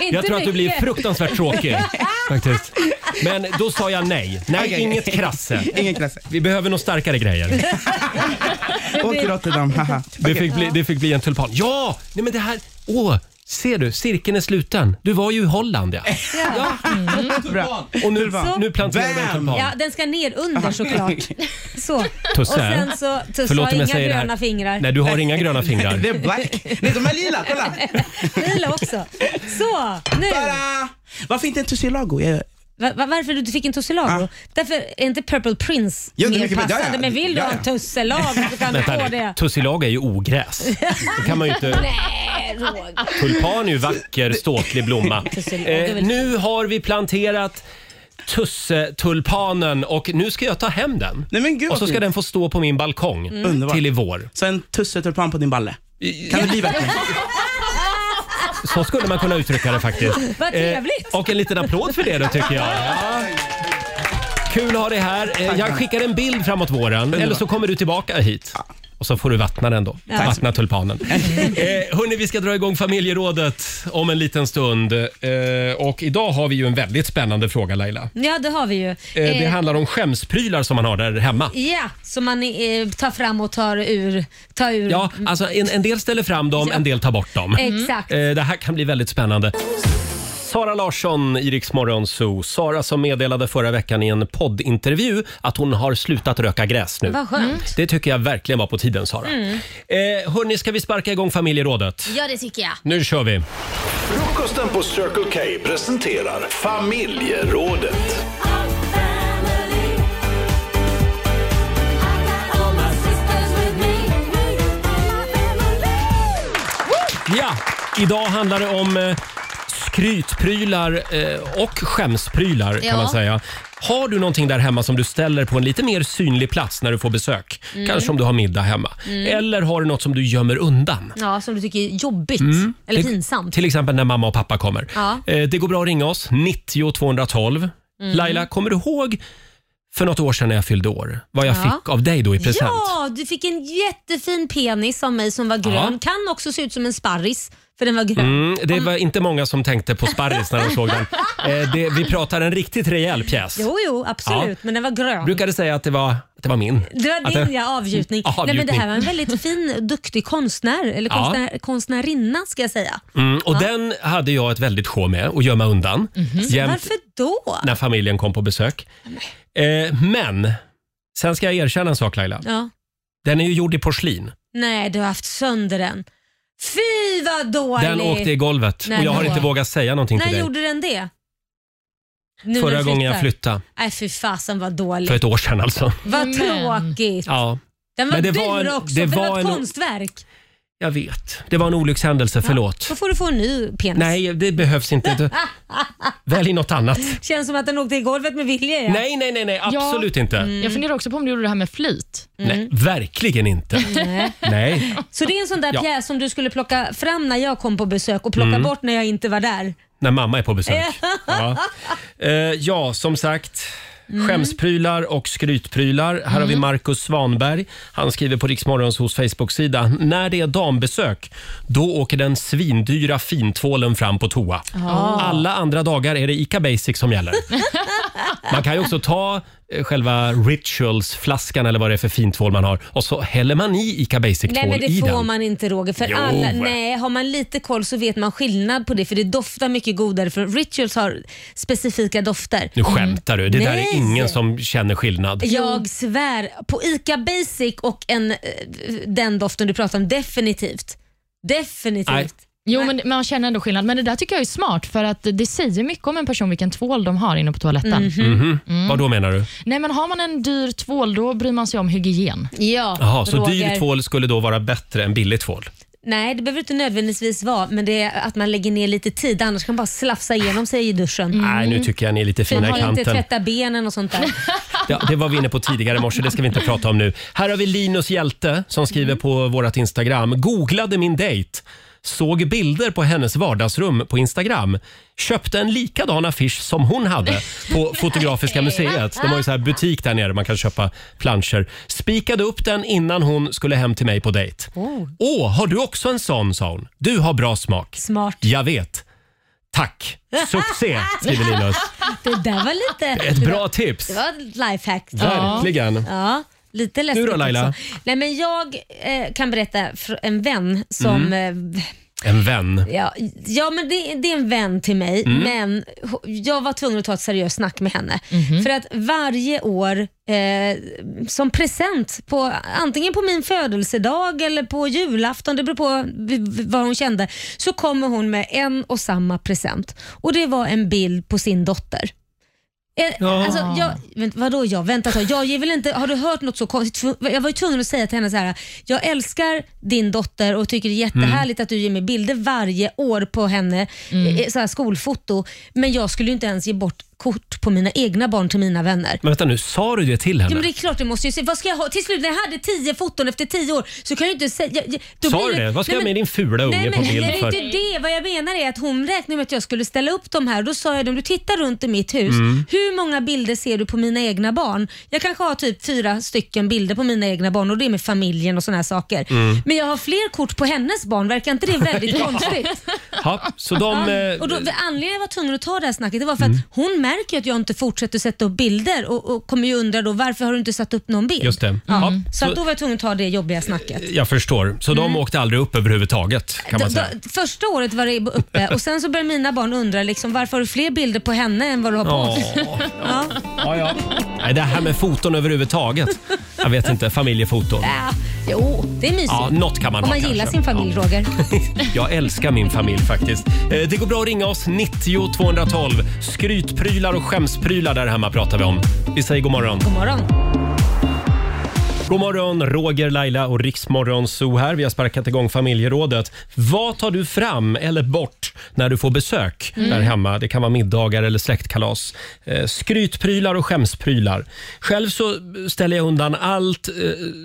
[SPEAKER 2] Inte
[SPEAKER 1] Jag tror att du blir
[SPEAKER 2] mycket.
[SPEAKER 1] fruktansvärt tråkig. Faktiskt. Men då sa jag nej. Nej,
[SPEAKER 8] Ah, Okej.
[SPEAKER 1] inget krasse.
[SPEAKER 8] Ingen krasse.
[SPEAKER 1] Vi behöver nog starkare grejer.
[SPEAKER 8] Åk till Rotterdam, haha.
[SPEAKER 1] Det fick bli, det fick bli en tulpan. Ja! Nej men det här... Åh! Ser du? Cirkeln är sluten. Du var ju i Holland ja.
[SPEAKER 2] Ja.
[SPEAKER 1] Bra. Och nu,
[SPEAKER 2] Så-
[SPEAKER 1] nu planterar vi en tulpan.
[SPEAKER 2] Ja, den ska ner under såklart. Så.
[SPEAKER 1] Tusse.
[SPEAKER 2] Och sen så, Tusse
[SPEAKER 1] Förlåt
[SPEAKER 2] har
[SPEAKER 1] om
[SPEAKER 2] inga
[SPEAKER 1] jag säger det här.
[SPEAKER 2] gröna fingrar.
[SPEAKER 1] Nej, du har inga gröna fingrar.
[SPEAKER 8] Det är black. Nej, de är lila. Kolla!
[SPEAKER 2] Lila också. Så, nu.
[SPEAKER 8] Varför inte en tussilago? Jag-
[SPEAKER 2] Va- va- varför du inte fick en tussilago? Därför är inte Purple Prince
[SPEAKER 1] Ja, Ah. det är
[SPEAKER 2] mer
[SPEAKER 1] mycket bättre. Ja, ja.
[SPEAKER 2] passande. Men vill du
[SPEAKER 1] Ja,
[SPEAKER 2] ha en
[SPEAKER 1] ja.
[SPEAKER 2] tusselago så kan du få
[SPEAKER 1] Vänta
[SPEAKER 2] det.
[SPEAKER 1] nu. Tussilaga är ju ogräs. Det kan man ju inte...
[SPEAKER 2] Nej, Roger.
[SPEAKER 1] Tulpan är ju vacker, ståtlig blomma.
[SPEAKER 2] Tussilaga är
[SPEAKER 1] Eh,
[SPEAKER 2] väl-
[SPEAKER 1] nu har vi planterat tussetulpanen och nu ska jag ta hem den.
[SPEAKER 8] Nej, men gud,
[SPEAKER 1] och så
[SPEAKER 8] vad
[SPEAKER 1] ska
[SPEAKER 8] fint.
[SPEAKER 1] den få stå på min balkong
[SPEAKER 8] Mm. Underbart.
[SPEAKER 1] till i vår.
[SPEAKER 8] Så en tussetulpan på din balle. Kan det bli verkligen?
[SPEAKER 1] Så skulle man kunna uttrycka det faktiskt.
[SPEAKER 2] Vad trevligt.
[SPEAKER 1] Eh, och en liten applåd för det då tycker jag. Ja. Kul att ha dig här. Eh, jag skickar en bild framåt våren eller så kommer du tillbaka hit. Och så får du vattna den då.
[SPEAKER 4] Ja.
[SPEAKER 1] Vattna tulpanen. eh, hörni, vi ska dra igång familjerådet om en liten stund. Eh, och idag har vi ju en väldigt spännande fråga Laila. Eh,
[SPEAKER 2] Ja, det har vi ju.
[SPEAKER 1] det
[SPEAKER 2] Eh,
[SPEAKER 1] handlar om skämsprylar som man har där hemma.
[SPEAKER 2] Ja, som man eh, tar fram och tar ur. Tar ur. Mm.
[SPEAKER 1] Ja, alltså en, en del ställer fram dem, en del tar bort dem.
[SPEAKER 2] Exakt.
[SPEAKER 1] Eh, Det här kan bli väldigt spännande. Sara Larsson i Rix Morgon Zoo. Sara som meddelade förra veckan i en poddintervju att hon har slutat röka gräs nu.
[SPEAKER 2] Vad skönt.
[SPEAKER 1] Det tycker jag verkligen var på tiden Sara.
[SPEAKER 2] Mm.
[SPEAKER 1] Eh, hörni, ska vi sparka igång familjerådet?
[SPEAKER 2] Ja, det tycker jag.
[SPEAKER 1] Nu kör vi!
[SPEAKER 4] Frukosten på Circle K presenterar familjerådet.
[SPEAKER 1] Ja, idag handlar det om eh, skrytprylar eh, och skämsprylar
[SPEAKER 4] Ja.
[SPEAKER 1] kan man säga. Har du någonting där hemma som du ställer på en lite mer synlig plats när du får besök?
[SPEAKER 2] Mm.
[SPEAKER 1] Kanske om du har middag hemma.
[SPEAKER 2] Mm.
[SPEAKER 1] Eller har du något som du gömmer undan?
[SPEAKER 2] Ja, som du tycker är jobbigt
[SPEAKER 1] Mm.
[SPEAKER 2] eller
[SPEAKER 1] Det-
[SPEAKER 2] pinsamt.
[SPEAKER 1] Till exempel när mamma och pappa kommer.
[SPEAKER 2] Ja.
[SPEAKER 1] Eh, Det går bra att ringa oss, 90 212.
[SPEAKER 2] Mm.
[SPEAKER 1] Laila, kommer du ihåg för något år sedan när jag fyllde år? Vad jag
[SPEAKER 2] Ja.
[SPEAKER 1] fick av dig då i present?
[SPEAKER 2] Ja, du fick en jättefin penis av mig som var grön.
[SPEAKER 1] Ja.
[SPEAKER 2] Kan också se ut som en sparris, för den var grön.
[SPEAKER 1] Mm, det var inte många som tänkte på sparris när de såg den. Eh, det, vi pratar en riktigt rejäl pjäs.
[SPEAKER 2] Jo, jo, absolut,
[SPEAKER 1] Ja.
[SPEAKER 2] men den var grön.
[SPEAKER 1] Jag brukade säga att det var, att det var min.
[SPEAKER 2] Det var
[SPEAKER 1] Att
[SPEAKER 2] din
[SPEAKER 1] det-
[SPEAKER 2] ja, avgjutning.
[SPEAKER 1] Ja,
[SPEAKER 2] Nej, men det
[SPEAKER 1] avgjutning.
[SPEAKER 2] här var en väldigt fin, duktig konstnär, eller
[SPEAKER 1] Ja.
[SPEAKER 2] konstnär, konstnärinna ska jag säga.
[SPEAKER 1] Mm, och den hade jag ett väldigt sjå med att gömma undan.
[SPEAKER 2] Mhm.
[SPEAKER 1] Jämt
[SPEAKER 2] Varför då?
[SPEAKER 1] när familjen kom på besök. Eh, men, sen ska jag erkänna en sak Laila.
[SPEAKER 2] Ja.
[SPEAKER 1] Den är ju gjord i porslin.
[SPEAKER 2] Nej, du har haft sönder den. Fy vad dålig!
[SPEAKER 1] Den åkte i golvet
[SPEAKER 2] Nej,
[SPEAKER 1] och jag har
[SPEAKER 2] då.
[SPEAKER 1] inte vågat säga någonting
[SPEAKER 2] När
[SPEAKER 1] till dig.
[SPEAKER 2] gjorde den det? Nu när
[SPEAKER 1] Förra
[SPEAKER 2] du
[SPEAKER 1] gången jag
[SPEAKER 2] flyttar.
[SPEAKER 1] flyttade,
[SPEAKER 2] Nej, fy fasen vad
[SPEAKER 1] för
[SPEAKER 2] dåligt.
[SPEAKER 1] ett år sedan alltså.
[SPEAKER 2] Vad tråkigt.
[SPEAKER 1] Ja.
[SPEAKER 2] Den var
[SPEAKER 1] Men
[SPEAKER 2] dyr
[SPEAKER 1] det var en-
[SPEAKER 2] också,
[SPEAKER 1] det
[SPEAKER 2] för det
[SPEAKER 1] var
[SPEAKER 2] var ett
[SPEAKER 1] en-
[SPEAKER 2] konstverk.
[SPEAKER 1] Jag vet, det var en olyckshändelse, förlåt.
[SPEAKER 2] Då får du få en ny penis.
[SPEAKER 1] Nej, det behövs inte. Du- Välj något annat.
[SPEAKER 2] Känns som att den åkte i golvet med vilja. Ja. Mm,
[SPEAKER 1] Nej, nej, nej, nej absolut inte.
[SPEAKER 3] Jag funderar också på om du gjorde det här med flit.
[SPEAKER 1] Nej, verkligen inte.
[SPEAKER 2] Nej.
[SPEAKER 1] nej.
[SPEAKER 2] Så det är en sån där
[SPEAKER 1] Ja.
[SPEAKER 2] pjäs som du skulle plocka fram när jag kom på besök och plocka
[SPEAKER 1] Mm.
[SPEAKER 2] bort när jag inte var där.
[SPEAKER 1] När mamma är på besök. Ja, Eh, ja som sagt.
[SPEAKER 2] Mm.
[SPEAKER 1] Skämsprylar och skrytprylar. Här har vi Marcus Svanberg. Han skriver på Riksmorgons hos Facebook-sida. När det är dambesök, då åker den svindyra fintvålen fram på toa.
[SPEAKER 4] Ah.
[SPEAKER 1] Alla andra dagar är det Ica Basic som gäller. Man kan ju också ta eh, själva Rituals-flaskan eller vad det är för fintvål man har och så häller man i Ica
[SPEAKER 2] Nej
[SPEAKER 1] Basic-tvål
[SPEAKER 2] men
[SPEAKER 1] i
[SPEAKER 2] det får
[SPEAKER 1] den.
[SPEAKER 2] man inte Roger. För
[SPEAKER 1] Jo.
[SPEAKER 2] alla, nej, har man lite koll så vet man skillnad på det för det doftar mycket godare för Rituals har specifika dofter.
[SPEAKER 1] Nu skämtar du. Det där
[SPEAKER 2] Nej.
[SPEAKER 1] är ingen som känner skillnad.
[SPEAKER 2] Jag svär. På ICA Basic och en, eh, den doften du pratar om, definitivt. Definitivt.
[SPEAKER 3] Nej. Jo, men man känner ändå skillnad. Men det där tycker jag är smart för att det säger mycket om en person vilken tvål de har inne på toaletten.
[SPEAKER 2] Mm.
[SPEAKER 1] Mhm. Vad då menar du?
[SPEAKER 3] Nej, men har man en dyr tvål då bryr man sig om hygien.
[SPEAKER 2] Ja,
[SPEAKER 1] Jaha, så dyr tvål skulle då vara bättre än billig tvål?
[SPEAKER 2] Nej, det behöver inte nödvändigtvis vara, men det är att man lägger ner lite tid. Annars kan man bara slafsa igenom sig i duschen.
[SPEAKER 1] Nej, nu tycker jag ni är lite
[SPEAKER 2] Sen
[SPEAKER 1] fina i
[SPEAKER 2] har inte
[SPEAKER 1] kanten.
[SPEAKER 2] tvätta benen och sånt där.
[SPEAKER 1] Ja, det var vi inne på tidigare i morse, det ska vi inte prata om nu. Här har vi Linus Hjälte som skriver på vårt Instagram. Googlade min dejt. Såg bilder på hennes vardagsrum på Instagram. Köpte en likadan affisch som hon hade på Fotografiska museet. De har ju så här butik där nere, man kan köpa planscher. Spikade upp den innan hon skulle hem till mig på dejt. Åh, har du också en sån? sa hon. Du har bra smak.
[SPEAKER 2] Smart.
[SPEAKER 1] Jag vet. Tack. Succé, skriver Linus.
[SPEAKER 2] Det där var lite...
[SPEAKER 1] Ett bra tips.
[SPEAKER 2] Det var ett lifehack.
[SPEAKER 1] Verkligen.
[SPEAKER 2] Ja. Lite läskigt
[SPEAKER 1] då, Laila?
[SPEAKER 2] Också. Nej, men jag eh, kan berätta för en vän som...
[SPEAKER 1] Mm.
[SPEAKER 2] Eh,
[SPEAKER 1] En vän.
[SPEAKER 2] ja, ja, men det, det är en vän till mig,
[SPEAKER 1] Mm.
[SPEAKER 2] men ho- jag var tvungen att ta ett seriöst snack med henne.
[SPEAKER 3] Mhm.
[SPEAKER 2] För att varje år eh, som present, på, antingen på min födelsedag eller på julafton, det beror på v- v- vad hon kände, så kommer hon med en och samma present. Och det var en bild på sin dotter. Eh,
[SPEAKER 4] Ja.
[SPEAKER 2] Alltså, jag, vänt, vadå jag? Vänta ett tag. Jag ger väl inte, har du hört något så konstigt? Tv- Jag var ju tvungen att säga till henne så här. jag älskar din dotter och tycker det är
[SPEAKER 1] Mm.
[SPEAKER 2] jättehärligt att du ger mig bilder varje år på henne,
[SPEAKER 3] Mm.
[SPEAKER 2] eh, så här skolfoto, men jag skulle ju inte ens ge bort kort på mina egna barn till mina vänner.
[SPEAKER 1] Men vänta nu, sa du det till
[SPEAKER 2] Ja,
[SPEAKER 1] henne?
[SPEAKER 2] men det är klart, det måste ju se. Vad ska jag ha? Till slut när jag hade tio foton efter tio år så kan jag ju inte säga... jag- jag- då
[SPEAKER 1] Sa
[SPEAKER 2] blir
[SPEAKER 1] du det? Vad ska
[SPEAKER 2] Nej,
[SPEAKER 1] jag
[SPEAKER 2] men-
[SPEAKER 1] med din fula unge
[SPEAKER 2] Nej, men
[SPEAKER 1] på bild
[SPEAKER 2] det är
[SPEAKER 1] för?
[SPEAKER 2] inte det. Vad jag menar är att hon räknade med att jag skulle ställa upp dem här. Då sa jag dem, du tittar runt i mitt hus.
[SPEAKER 1] Mm.
[SPEAKER 2] Hur många bilder ser du på mina egna barn? Jag kanske har typ fyra stycken bilder på mina egna barn och det är med familjen och såna här saker.
[SPEAKER 1] Mm.
[SPEAKER 2] Men jag har fler kort på hennes barn. Verkar inte det väldigt
[SPEAKER 1] Ja.
[SPEAKER 2] konstigt?
[SPEAKER 1] Ja, så de...
[SPEAKER 2] Ja,
[SPEAKER 1] eh, Mm.
[SPEAKER 2] och då, anledningen till att jag var tvungen att ta det här snacket det var för att hon märker ju att jag inte fortsätter sätta upp bilder och, och kommer ju undra då varför har du inte satt upp någon bild?
[SPEAKER 1] Just det.
[SPEAKER 2] Ja.
[SPEAKER 1] Mm.
[SPEAKER 2] Så att
[SPEAKER 1] Så-
[SPEAKER 2] då var jag tvungen att ta det jobbiga snacket.
[SPEAKER 1] Jag förstår. Så
[SPEAKER 2] Mm.
[SPEAKER 1] de åkte aldrig upp överhuvudtaget kan man
[SPEAKER 2] D-
[SPEAKER 1] säga.
[SPEAKER 2] d- första året var det uppe och sen så började mina barn undra liksom, varför har du fler bilder på henne än vad du har på
[SPEAKER 1] Ja.
[SPEAKER 2] oss? Ja.
[SPEAKER 1] Ja, ja. Nej, det här med foton överhuvudtaget. Jag vet inte, familjefoton.
[SPEAKER 2] Äh, jo, det är mysigt.
[SPEAKER 1] Ja, något kan man
[SPEAKER 2] Om
[SPEAKER 1] ha
[SPEAKER 2] man gillar sin
[SPEAKER 1] kanske.
[SPEAKER 2] familj, Roger.
[SPEAKER 1] Jag älskar min familj faktiskt. Eh, Det går bra att ringa oss 90 212. Skrytprylar och skämsprylar där hemma pratar vi om. Vi säger god morgon.
[SPEAKER 2] God morgon.
[SPEAKER 1] God morgon, Roger, Laila och Riksmorgon Zoo här. Vi har sparkat igång familjerådet. Vad tar du fram eller bort när du får besök
[SPEAKER 11] Mm.
[SPEAKER 1] där hemma? Det kan vara middagar eller släktkalas. Eh, Skrytprylar och skämsprylar. Själv så ställer jag undan allt eh,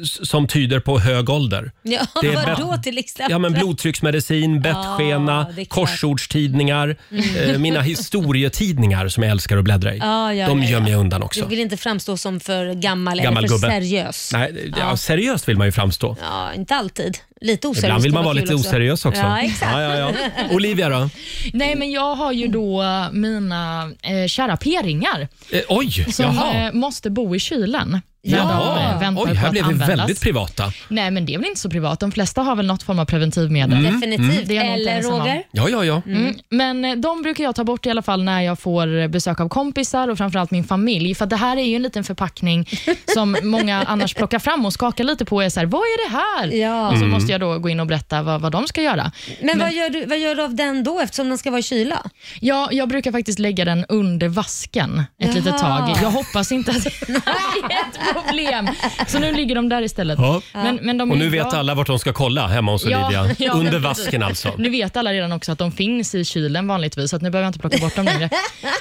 [SPEAKER 1] s- som tyder på hög ålder.
[SPEAKER 2] Ja,
[SPEAKER 1] Det är
[SPEAKER 2] vadå
[SPEAKER 1] bäst-
[SPEAKER 2] till exempel?
[SPEAKER 1] Ja, men blodtrycksmedicin, bettskena,
[SPEAKER 2] Ja, det är klart.
[SPEAKER 1] korsordstidningar,
[SPEAKER 2] Mm.
[SPEAKER 1] eh, mina historietidningar som jag älskar att bläddra i.
[SPEAKER 2] Ja, ja,
[SPEAKER 1] De
[SPEAKER 2] ja, ja.
[SPEAKER 1] gömmer jag undan
[SPEAKER 2] Du
[SPEAKER 1] också.
[SPEAKER 2] vill inte framstå som för gammal,
[SPEAKER 1] Gammal
[SPEAKER 2] eller för
[SPEAKER 1] gubbe.
[SPEAKER 2] seriös.
[SPEAKER 1] Nej, ja.
[SPEAKER 2] Ja.
[SPEAKER 1] seriöst vill man ju framstå.
[SPEAKER 2] Ja, inte alltid. Lite oseriös
[SPEAKER 1] Ibland vill
[SPEAKER 2] kan
[SPEAKER 1] man vara
[SPEAKER 2] kul
[SPEAKER 1] lite oseriös också. Mm.
[SPEAKER 2] Ja, exakt.
[SPEAKER 1] Ja, ja, ja. Olivia då?
[SPEAKER 3] Nej, men jag har ju då mina eh, kära p-ringar
[SPEAKER 1] Eh, oj,
[SPEAKER 3] som
[SPEAKER 1] jaha.
[SPEAKER 3] eh, måste bo i kylen. när de, eh,
[SPEAKER 1] Ja,
[SPEAKER 3] väntar
[SPEAKER 1] oj,
[SPEAKER 3] på
[SPEAKER 1] här
[SPEAKER 3] att
[SPEAKER 1] blev vi
[SPEAKER 3] användas.
[SPEAKER 1] väldigt privata.
[SPEAKER 3] Nej, men det är väl inte så privat. De flesta har väl något form av preventivmedel.
[SPEAKER 1] Mm, Definitivt.
[SPEAKER 3] Det är jag nog inte
[SPEAKER 2] Eller,
[SPEAKER 3] ensam om.
[SPEAKER 2] Roger?
[SPEAKER 1] Ja, ja, ja.
[SPEAKER 3] Mm. Men eh, de brukar jag ta bort i alla fall när jag får besök av kompisar och framförallt min familj. För att det här är ju en liten förpackning som många annars plockar fram och skakar lite på och är så här, vad är det här?
[SPEAKER 2] Ja.
[SPEAKER 3] Och så
[SPEAKER 2] Mm.
[SPEAKER 3] måste jag då gå in och berätta vad, vad de ska göra.
[SPEAKER 2] Men, vad, gör du, vad gör du av den då eftersom den ska vara i
[SPEAKER 1] Eh,
[SPEAKER 2] kyla?
[SPEAKER 3] Ja, jag brukar faktiskt lägga den under vasken ett
[SPEAKER 2] Jaha.
[SPEAKER 3] litet tag. Jag hoppas inte att det är ett problem. Så nu ligger de där istället.
[SPEAKER 1] Ja.
[SPEAKER 3] Men, men de
[SPEAKER 1] Och
[SPEAKER 3] är
[SPEAKER 1] nu
[SPEAKER 3] bra.
[SPEAKER 1] vet alla vart de ska kolla hemma hos
[SPEAKER 3] Ja,
[SPEAKER 1] Olivia.
[SPEAKER 3] ja,
[SPEAKER 1] Under
[SPEAKER 3] precis.
[SPEAKER 1] vasken alltså.
[SPEAKER 3] Nu vet alla redan också att de finns i kylen vanligtvis, så att nu behöver jag inte plocka bort dem längre.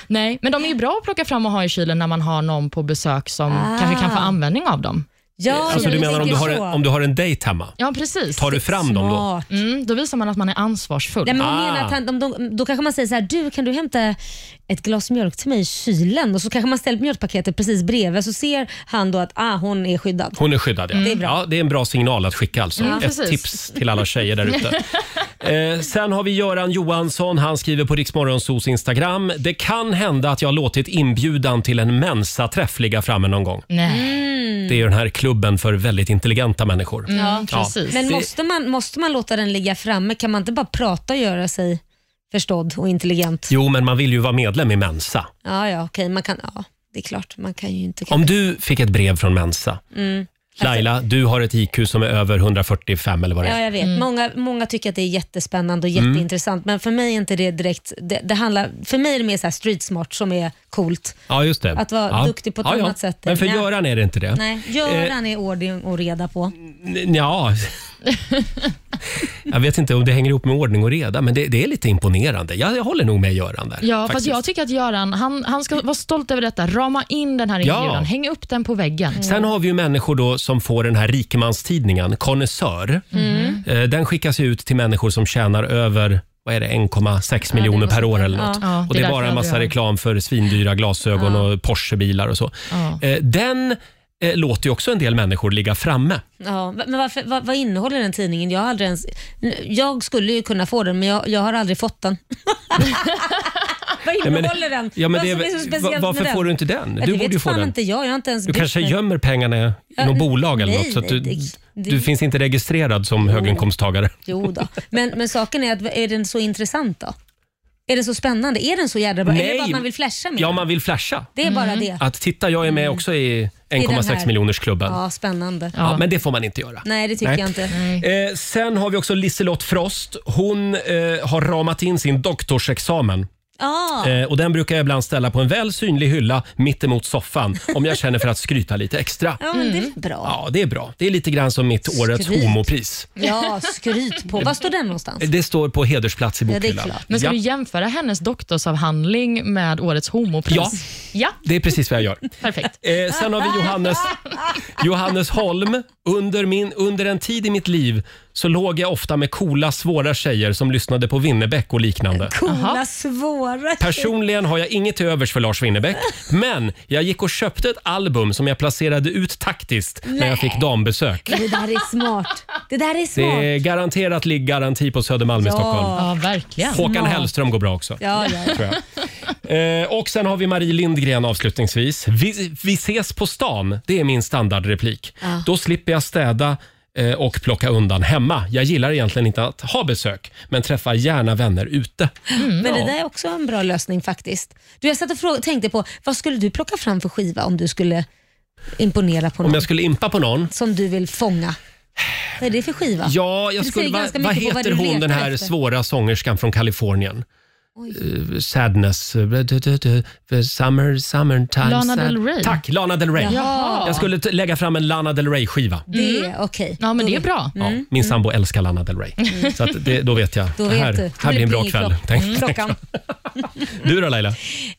[SPEAKER 3] Nej, men de är ju bra att plocka fram och ha i kylen när man har någon på besök som
[SPEAKER 2] Ah.
[SPEAKER 3] kanske kan få användning av dem.
[SPEAKER 2] Ja,
[SPEAKER 1] Alltså du menar om du har en, om du har en dejt hemma?
[SPEAKER 3] Ja, precis.
[SPEAKER 1] Tar du fram dem då? Smart.
[SPEAKER 3] Mm, då visar man att man är ansvarsfull.
[SPEAKER 2] Nej, men hon menar att
[SPEAKER 1] Ah.
[SPEAKER 2] han, de, de, då kanske man säger så här, du kan du hämta ett glas mjölk till mig i kylen? Och så kanske man ställer mjölkpaketet precis bredvid så ser han då att ah, hon är skyddad.
[SPEAKER 1] Hon är skyddad ja.
[SPEAKER 2] Mm. Det är bra.
[SPEAKER 1] ja. Det är en bra signal att skicka alltså.
[SPEAKER 2] Ja,
[SPEAKER 1] Ett
[SPEAKER 2] precis.
[SPEAKER 1] tips till alla tjejer där ute. Eh, sen har vi Göran Johansson. Han skriver på Riksmorgonsos Instagram. Det kan hända att jag låtit inbjudan till en mensaträff ligga framme någon gång.
[SPEAKER 3] Nej.
[SPEAKER 2] Mm.
[SPEAKER 1] Det är ju den här klubben för väldigt intelligenta människor.
[SPEAKER 3] Mm,
[SPEAKER 2] Ja, Men
[SPEAKER 1] Det-
[SPEAKER 2] måste man, måste man låta den ligga framme? Kan man inte bara prata och göra sig förstådd och intelligent?
[SPEAKER 1] Jo, men man vill ju vara medlem i Mensa.
[SPEAKER 2] Ja, ja, okej. Man kan, ja, det är klart. Man kan ju inte...
[SPEAKER 1] Om du fick ett brev från Mensa.
[SPEAKER 2] Mm.
[SPEAKER 1] Laila, du har ett IQ som är över 145 eller vad det
[SPEAKER 2] Ja,
[SPEAKER 1] är.
[SPEAKER 2] jag vet. Många, många tycker att det är jättespännande och
[SPEAKER 1] Mm.
[SPEAKER 2] jätteintressant, men för mig är inte det direkt... Det, det handlar, för mig är det mer så här street smart som är coolt.
[SPEAKER 1] Ja, just det.
[SPEAKER 2] Att vara
[SPEAKER 1] ja.
[SPEAKER 2] duktig på ett
[SPEAKER 1] ja, ja.
[SPEAKER 2] annat sätt.
[SPEAKER 1] Men för
[SPEAKER 2] Nej.
[SPEAKER 1] Göran är det inte det.
[SPEAKER 2] Nej,
[SPEAKER 1] Eh.
[SPEAKER 2] Göran är ordning och reda på.
[SPEAKER 1] N- Ja. Jag vet inte om det hänger ihop med ordning och reda, men det, det är lite imponerande. Jag, jag håller nog med Göran där.
[SPEAKER 3] Ja, fast
[SPEAKER 1] faktiskt.
[SPEAKER 3] jag tycker att Göran han, han ska vara stolt över detta. Rama in den här
[SPEAKER 1] Ja. Mm.
[SPEAKER 3] inbjudan. Häng upp den på väggen.
[SPEAKER 1] Sen har vi ju människor då som får den här rikemanstidningen, Konnässör.
[SPEAKER 3] Mm.
[SPEAKER 1] Eh, Den skickas ju ut till människor som tjänar över vad är det, 1,6 miljoner per år eller
[SPEAKER 3] Ja.
[SPEAKER 1] något.
[SPEAKER 3] Ja, det är
[SPEAKER 1] och det är
[SPEAKER 3] därför
[SPEAKER 1] bara en
[SPEAKER 3] jag
[SPEAKER 1] massa
[SPEAKER 3] aldrig har-
[SPEAKER 1] reklam för svindyra glasögon
[SPEAKER 3] Ja.
[SPEAKER 1] och Porschebilar och så.
[SPEAKER 3] Ja.
[SPEAKER 1] Eh, Den eh, låter ju också en del människor ligga framme.
[SPEAKER 2] Ja, va- men varför, vad, vad innehåller den tidningen? Jag, har aldrig ens, jag skulle ju kunna få den, men jag, jag har aldrig fått den. vad
[SPEAKER 1] Ja, men-
[SPEAKER 2] innehåller den?
[SPEAKER 1] ja, men
[SPEAKER 2] vad
[SPEAKER 1] det är
[SPEAKER 2] som
[SPEAKER 1] väl-
[SPEAKER 2] så
[SPEAKER 1] va-
[SPEAKER 2] speciellt
[SPEAKER 1] varför
[SPEAKER 2] med
[SPEAKER 1] får du inte den?
[SPEAKER 2] Ja,
[SPEAKER 1] Du
[SPEAKER 2] det
[SPEAKER 1] borde
[SPEAKER 2] vet
[SPEAKER 1] ju få
[SPEAKER 2] fan
[SPEAKER 1] den.
[SPEAKER 2] inte jag. Jag har inte ens
[SPEAKER 1] Du
[SPEAKER 2] brytt
[SPEAKER 1] kanske
[SPEAKER 2] mig.
[SPEAKER 1] gömmer pengarna i
[SPEAKER 2] Ja,
[SPEAKER 1] något
[SPEAKER 2] nej,
[SPEAKER 1] bolag eller
[SPEAKER 2] nej,
[SPEAKER 1] något, så att
[SPEAKER 2] nej,
[SPEAKER 1] du,
[SPEAKER 2] det- Mm.
[SPEAKER 1] du finns inte registrerad som höginkomsttagare.
[SPEAKER 2] Jo då. Men, men saken är att är den så intressant då? Är den så spännande? Är den så jädra bra? Är det
[SPEAKER 1] Nej.
[SPEAKER 2] bara att man vill flasha med
[SPEAKER 1] Ja,
[SPEAKER 2] den?
[SPEAKER 1] man Mm. vill flasha.
[SPEAKER 2] Det är bara det.
[SPEAKER 1] Att titta, jag är med också i
[SPEAKER 2] den här.
[SPEAKER 1] 1,6 miljonersklubben.
[SPEAKER 2] Ja, spännande.
[SPEAKER 1] Ja, men det får man inte göra.
[SPEAKER 2] Nej, det tycker
[SPEAKER 1] Nej.
[SPEAKER 2] jag inte.
[SPEAKER 1] Eh, sen har vi också Liselott Frost. Hon eh, har ramat in sin doktorsexamen.
[SPEAKER 2] Ja.
[SPEAKER 1] Eh, och Den brukar jag ibland ställa på en väl synlig hylla mitt emot soffan om jag känner för att skryta lite extra.
[SPEAKER 2] Ja, men det är väl bra.
[SPEAKER 1] Mm. Ja, det är bra. Det är lite grann som mitt årets
[SPEAKER 2] Skryt.
[SPEAKER 1] homopris.
[SPEAKER 2] Ja, skryt på. Var står den någonstans?
[SPEAKER 1] Det står på hedersplats i
[SPEAKER 2] Ja, det är
[SPEAKER 1] bokhyllan.
[SPEAKER 2] klart.
[SPEAKER 3] Men ska
[SPEAKER 1] Ja,
[SPEAKER 3] du jämföra hennes doktorsavhandling med årets homopris?
[SPEAKER 1] Ja.
[SPEAKER 3] ja.
[SPEAKER 1] det är precis vad jag gör.
[SPEAKER 3] Perfekt.
[SPEAKER 1] Eh, sen har vi Johannes, Johannes Holm. Under, min, under en tid i mitt liv så låg jag ofta med coola, svåra tjejer som lyssnade på Winnerbäck och liknande.
[SPEAKER 2] Coola, svåra
[SPEAKER 1] Personligen har jag inget till övers för Lars Winnerbäck, men jag gick och köpte ett album som jag placerade ut taktiskt när jag
[SPEAKER 2] Nej.
[SPEAKER 1] fick dambesök.
[SPEAKER 2] Det där är smart. Det där är smart.
[SPEAKER 1] Det är garanterat ligg-garanti på Södermalm i Stockholm.
[SPEAKER 3] Ja, verkligen.
[SPEAKER 1] Håkan
[SPEAKER 2] smart.
[SPEAKER 1] Hellström går bra också.
[SPEAKER 2] Ja, ja.
[SPEAKER 1] Tror jag. Eh, och sen har vi Marie Lindgren avslutningsvis. Vi, vi ses på stan, det är min standardreplik.
[SPEAKER 2] Ja.
[SPEAKER 1] Då slipper jag städa eh, och plocka undan hemma. Jag gillar egentligen inte att ha besök, men träffar gärna vänner ute.
[SPEAKER 2] Men
[SPEAKER 1] Ja.
[SPEAKER 2] det där är också en bra lösning faktiskt. Du, jag satt och frå- tänkte på, vad skulle du plocka fram för skiva om du skulle imponera på någon?
[SPEAKER 1] Om jag skulle impa på någon,
[SPEAKER 2] Som du vill fånga? Vad är det för skiva?
[SPEAKER 1] Ja, jag
[SPEAKER 2] Det
[SPEAKER 1] skulle,
[SPEAKER 2] säger
[SPEAKER 1] vad,
[SPEAKER 2] ganska
[SPEAKER 1] vad
[SPEAKER 2] mycket på
[SPEAKER 1] heter
[SPEAKER 2] du
[SPEAKER 1] hon
[SPEAKER 2] letar
[SPEAKER 1] den här
[SPEAKER 2] efter.
[SPEAKER 1] svåra sångerskan från Kalifornien?
[SPEAKER 2] Oj.
[SPEAKER 1] Eh, Sadness. eh, du- du- du- eh, Summer, summertime.
[SPEAKER 3] Lana
[SPEAKER 1] sad-
[SPEAKER 3] Del Rey.
[SPEAKER 1] Tack, Lana Del Rey.
[SPEAKER 2] Jaha.
[SPEAKER 1] Jag skulle t- lägga fram en Lana Del Rey-skiva.
[SPEAKER 2] Det, okej.
[SPEAKER 3] Mm. Ja, men det är bra.
[SPEAKER 1] Ja, min sambo älskar Lana Del Rey. Så att det, då vet jag.
[SPEAKER 2] Mm, Då
[SPEAKER 1] det
[SPEAKER 2] vet
[SPEAKER 1] här,
[SPEAKER 2] du.
[SPEAKER 1] här blir en bra
[SPEAKER 2] pling i
[SPEAKER 1] kväll.
[SPEAKER 2] klock-
[SPEAKER 1] Tänk, tänk.
[SPEAKER 2] klockan.
[SPEAKER 1] Du då Laila?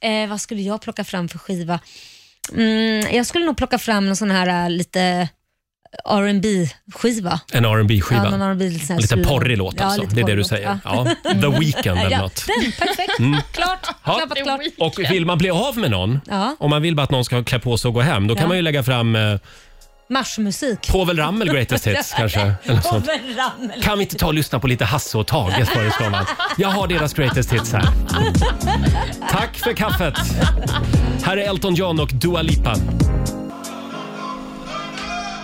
[SPEAKER 2] Eh, vad skulle jag plocka fram för skiva? Mm, jag skulle nog plocka fram någon sån här eh, lite rb skiva
[SPEAKER 1] En rb skiva
[SPEAKER 2] Ja, någon R&B, lite sån här
[SPEAKER 1] Lite
[SPEAKER 2] sur-
[SPEAKER 1] porrig låt
[SPEAKER 2] Ja,
[SPEAKER 1] alltså.
[SPEAKER 2] lite
[SPEAKER 1] det är det
[SPEAKER 2] porrig
[SPEAKER 1] du
[SPEAKER 2] låt,
[SPEAKER 1] säger.
[SPEAKER 2] ja.
[SPEAKER 1] Ja. The Weeknd eller
[SPEAKER 2] Ja,
[SPEAKER 1] något.
[SPEAKER 2] Den, perfekt.
[SPEAKER 1] Mm.
[SPEAKER 2] Klart.
[SPEAKER 1] Ja.
[SPEAKER 2] Klappat klart.
[SPEAKER 1] Och vill man bli av med någon,
[SPEAKER 2] Ja.
[SPEAKER 1] om man vill bara att någon ska klä på sig och gå hem, då kan
[SPEAKER 2] Ja.
[SPEAKER 1] man ju lägga fram eh,
[SPEAKER 2] Marschmusik.
[SPEAKER 1] Povel Ramel Greatest Hits kanske. Eller något sånt.
[SPEAKER 2] Överrammel.
[SPEAKER 1] Kan vi inte ta och lyssna på lite Hasse och Tage föreslår man. Jag har deras greatest hits här. Tack för kaffet. Här är Elton John och Dua Lipa.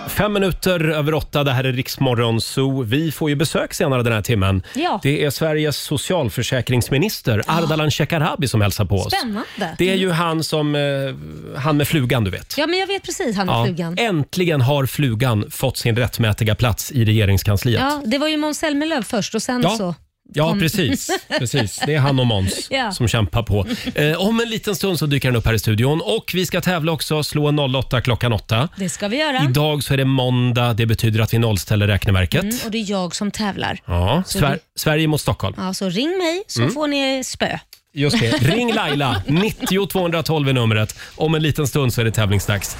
[SPEAKER 1] Fem minuter över åtta, det här är Riksmorgon Zoo. Vi får ju besök senare den här timmen.
[SPEAKER 2] Ja.
[SPEAKER 1] Det är Sveriges socialförsäkringsminister Ardalan Shekarabi som hälsar på oss.
[SPEAKER 2] Spännande.
[SPEAKER 1] Det är ju han som, eh, han med flugan du vet.
[SPEAKER 2] Ja, men jag vet precis han med
[SPEAKER 1] Ja.
[SPEAKER 2] flugan.
[SPEAKER 1] Äntligen har flugan fått sin rättmätiga plats i regeringskansliet.
[SPEAKER 2] Ja, det var ju Måns Zelmerlöw först och sen
[SPEAKER 1] Ja.
[SPEAKER 2] så.
[SPEAKER 1] Ja,
[SPEAKER 2] Om-
[SPEAKER 1] precis. precis. Det är han och Måns
[SPEAKER 2] Alltså, Ja.
[SPEAKER 1] som kämpar på. Eh, om en liten stund så dyker han upp här i studion. Och Vi ska tävla också, slå en 08 klockan 8.
[SPEAKER 2] Det ska vi göra.
[SPEAKER 1] Idag så är det måndag, det betyder att vi nollställer räkneverket.
[SPEAKER 2] Mm, och det är jag som tävlar.
[SPEAKER 1] Ja,
[SPEAKER 2] Så
[SPEAKER 1] Sver-
[SPEAKER 2] det-
[SPEAKER 1] Sverige mot Stockholm.
[SPEAKER 2] Ja, så ring mig så
[SPEAKER 1] Mm.
[SPEAKER 2] får ni spö.
[SPEAKER 1] Just det. Ring Laila, 90 212 är numret. Om en liten stund så är det tävlingsdags.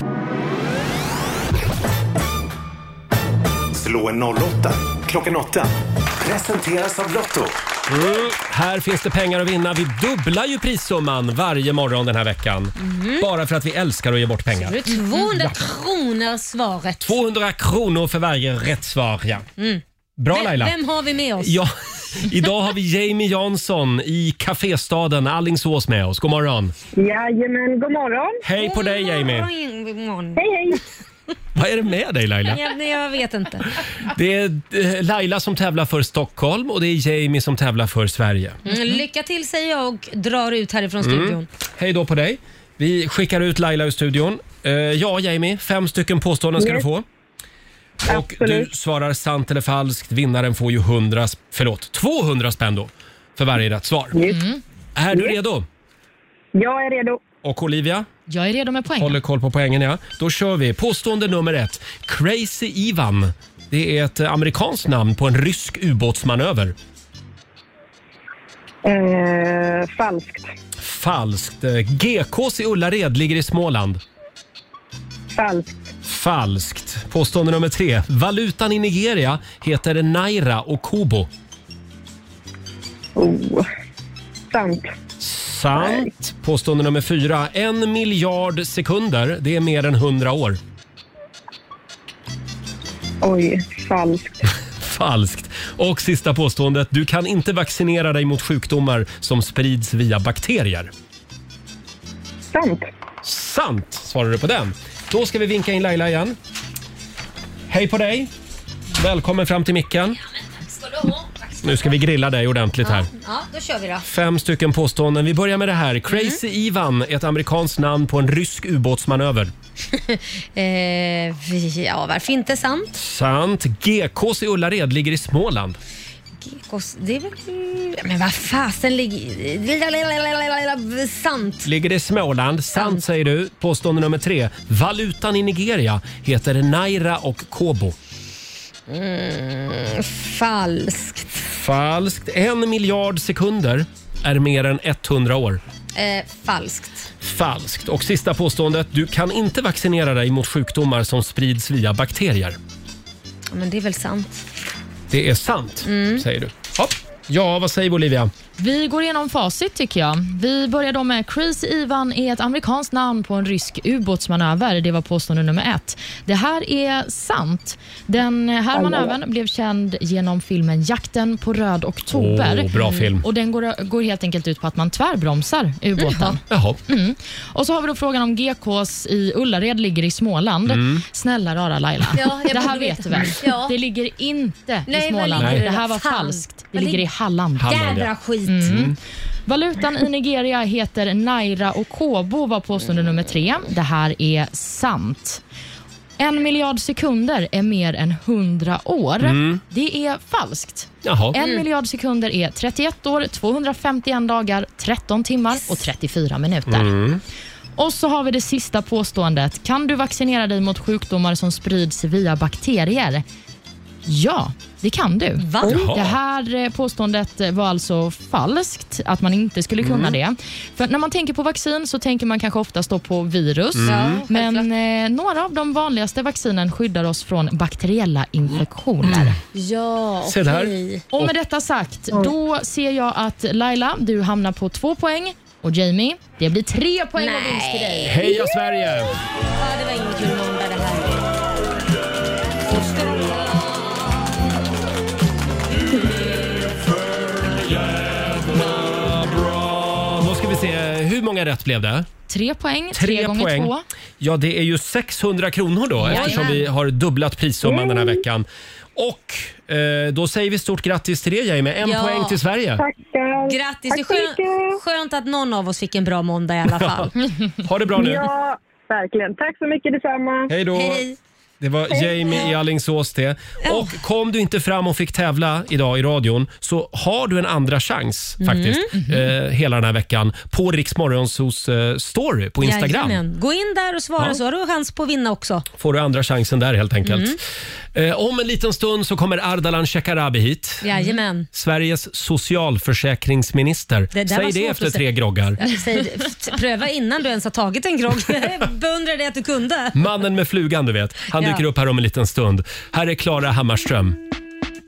[SPEAKER 4] Slå en 08 klockan 8. Presenteras av Lotto.
[SPEAKER 1] Mm. Här finns det pengar att vinna. Vi dubblar ju prissumman varje morgon den här veckan.
[SPEAKER 2] Mhm.
[SPEAKER 1] Bara för att vi älskar att ge bort pengar.
[SPEAKER 2] Det är 200 kronor svaret.
[SPEAKER 1] 200 kronor för varje rätt svar. Ja.
[SPEAKER 2] Mm.
[SPEAKER 1] Bra
[SPEAKER 2] Vem-
[SPEAKER 1] Laila.
[SPEAKER 2] Vem har vi med oss?
[SPEAKER 1] Ja, idag har vi Jamie Jansson i kaféstaden Allingsås med oss. God morgon.
[SPEAKER 5] Jajamän, god morgon.
[SPEAKER 1] Hej på dig Jamie.
[SPEAKER 5] Hej, hej.
[SPEAKER 1] Vad är det med dig Laila?
[SPEAKER 2] Jag, nej, jag vet inte.
[SPEAKER 1] Det är eh, Laila som tävlar för Stockholm och det är Jamie som tävlar för Sverige.
[SPEAKER 2] Mm, lycka till säger jag och drar ut härifrån
[SPEAKER 1] Mm.
[SPEAKER 2] studion.
[SPEAKER 1] Hej då på dig. Vi skickar ut Laila ur studion. Eh, ja, Jamie, fem stycken påståenden ska
[SPEAKER 2] Yes.
[SPEAKER 1] du få. Och du svarar sant eller falskt. Vinnaren får ju 100, sp- förlåt, 200 spänn då för varje rätt svar. Är du redo?
[SPEAKER 5] Jag är redo.
[SPEAKER 1] Och Olivia?
[SPEAKER 3] Jag är redo med poäng.
[SPEAKER 1] Håller koll på poängen, ja. Då kör vi. Påstående nummer ett. Crazy Ivan. Det är ett eh, amerikanskt namn på en rysk ubåtsmanöver.
[SPEAKER 5] Eh, falskt.
[SPEAKER 1] Falskt. Eh, GKs i Ullared ligger i Småland.
[SPEAKER 5] Falskt.
[SPEAKER 1] Falskt. Påstående nummer tre. Valutan i Nigeria heter naira och kobo.
[SPEAKER 5] Oh. Sant.
[SPEAKER 1] Sant. Påstående nummer fyra. En miljard sekunder, det är mer än hundra år.
[SPEAKER 5] Oj, falskt.
[SPEAKER 1] Falskt. Och sista påståendet. Du kan inte vaccinera dig mot sjukdomar som sprids via bakterier.
[SPEAKER 5] Sant.
[SPEAKER 1] Sant svarar du på den. Då ska vi vinka in Laila igen. Hej på dig. Välkommen fram till micken. Nu ska vi grilla dig ordentligt här.
[SPEAKER 2] Ja, då kör vi då.
[SPEAKER 1] Fem stycken påståenden. Vi börjar med det här. Crazy
[SPEAKER 3] Mm.
[SPEAKER 1] Ivan är ett amerikanskt namn på en rysk ubåtsmanöver.
[SPEAKER 2] Eh, vi- ja, varför inte sant?
[SPEAKER 1] Sant. GKs i Ullared ligger i Småland.
[SPEAKER 2] Gekos... Det är väl... Nej, Men vad fasen ligger... Sant.
[SPEAKER 1] Ligger det i Småland? Sant säger du. Påstående nummer tre. Valutan i Nigeria heter naira och kobo.
[SPEAKER 2] Mm, falskt.
[SPEAKER 1] Falskt. En miljard sekunder är mer än 100 år.
[SPEAKER 2] Eh, falskt.
[SPEAKER 1] Falskt. Och sista påståendet. Du kan inte vaccinera dig mot sjukdomar som sprids via bakterier.
[SPEAKER 2] Ja, men det är väl sant.
[SPEAKER 1] Det är sant,
[SPEAKER 3] Mm.
[SPEAKER 1] säger du. Hopp. Ja, vad säger Bolivia?
[SPEAKER 3] Vi går igenom facit tycker jag. Vi börjar då med Chris Ivan är ett amerikanskt namn på en rysk ubåtsmanöver. Det var påstående nummer ett. Det här är sant. Den här
[SPEAKER 11] Aj,
[SPEAKER 3] manövern
[SPEAKER 11] aj,
[SPEAKER 3] blev känd genom filmen Jakten på röd oktober.
[SPEAKER 11] Åh, bra film.
[SPEAKER 3] Och den går, går helt enkelt ut på att man tvärbromsar ubåten.
[SPEAKER 1] Jaha.
[SPEAKER 3] Mm. Och så har vi då frågan om GKs i Ullared ligger i Småland.
[SPEAKER 1] Mm.
[SPEAKER 3] Snälla rara Laila,
[SPEAKER 11] Ja, jag
[SPEAKER 3] det här
[SPEAKER 11] borde
[SPEAKER 3] vet du
[SPEAKER 11] veta.
[SPEAKER 3] väl?
[SPEAKER 11] Ja.
[SPEAKER 3] Det ligger inte
[SPEAKER 11] Nej, var
[SPEAKER 3] i Småland.
[SPEAKER 11] ligger det
[SPEAKER 3] Det här
[SPEAKER 11] då?
[SPEAKER 3] var
[SPEAKER 11] Fan.
[SPEAKER 3] falskt. Det
[SPEAKER 11] Var
[SPEAKER 3] ligger i
[SPEAKER 11] lig-
[SPEAKER 3] Halland.
[SPEAKER 11] Halland, ja. Jädra
[SPEAKER 2] skit.
[SPEAKER 1] Mm.
[SPEAKER 3] Valutan i Nigeria heter naira och kobo var påstående nummer tre. Det här är sant. En miljard sekunder är mer än 100 år.
[SPEAKER 11] Mm.
[SPEAKER 3] Det är falskt.
[SPEAKER 11] Jaha.
[SPEAKER 3] En
[SPEAKER 11] Mm.
[SPEAKER 3] miljard sekunder är 31 år, 251 dagar, 13 timmar och 34 minuter. Och så har vi det sista påståendet. Kan du vaccinera dig mot sjukdomar som sprids via bakterier? Ja, det kan du.
[SPEAKER 11] Va? Jaha.
[SPEAKER 3] Det här eh, påståendet var alltså falskt, att man inte skulle kunna
[SPEAKER 11] Mm.
[SPEAKER 3] det. För när man tänker på vaccin så tänker man kanske oftast då på virus.
[SPEAKER 11] Mm. Ja,
[SPEAKER 3] Men eh, några av de vanligaste vaccinen skyddar oss från bakteriella infektioner.
[SPEAKER 11] Ja,
[SPEAKER 3] Se där. Och med detta sagt, då ser jag att Laila, du hamnar på två poäng och Jamie, det blir tre poäng och vinst till dig.
[SPEAKER 1] Heja Sverige!
[SPEAKER 2] Ja, det var ingen kul måndag det här.
[SPEAKER 1] Då ska vi se. Hur många rätt blev det?
[SPEAKER 3] Tre poäng, tre, gånger två.
[SPEAKER 1] Ja, det är ju 600 kronor då
[SPEAKER 3] Jajamän.
[SPEAKER 1] eftersom vi har dubblat prissumman den här veckan. Och eh, då säger vi stort grattis till det Jamie. En
[SPEAKER 2] Ja.
[SPEAKER 1] poäng till Sverige.
[SPEAKER 2] Grattis. Det är skönt, skönt att någon av oss fick en bra måndag i alla fall.
[SPEAKER 1] Ha det bra nu.
[SPEAKER 5] Ja, verkligen. Tack så mycket detsamma.
[SPEAKER 1] Hej då. Det var Jamie i Alingsås det. Och kom du inte fram och fick tävla idag i radion så har du en andra chans
[SPEAKER 2] Mm.
[SPEAKER 1] faktiskt
[SPEAKER 3] Mm-hmm.
[SPEAKER 1] Eh, hela den här veckan på Riksmorgonsos eh, story på Instagram.
[SPEAKER 2] Jajamän. Gå in där och svara
[SPEAKER 1] Ja. Mm.
[SPEAKER 2] så har du chans på att vinna också.
[SPEAKER 1] Får du andra chansen där helt enkelt.
[SPEAKER 2] Mm.
[SPEAKER 1] Eh, om en liten stund så kommer Ardalan Shekarabi hit.
[SPEAKER 2] Jajamän.
[SPEAKER 1] Sveriges socialförsäkringsminister.
[SPEAKER 2] Det där var
[SPEAKER 1] Säg det
[SPEAKER 2] svårt
[SPEAKER 1] efter
[SPEAKER 2] att säga.
[SPEAKER 1] tre groggar.
[SPEAKER 2] Ja, säg- f- Pröva innan du ens har tagit en grogg. Jag beundrar dig att du kunde.
[SPEAKER 1] Mannen med flugan, du vet. Han
[SPEAKER 2] Ja.
[SPEAKER 1] dyker upp här om en liten stund. Här är Klara Hammarström.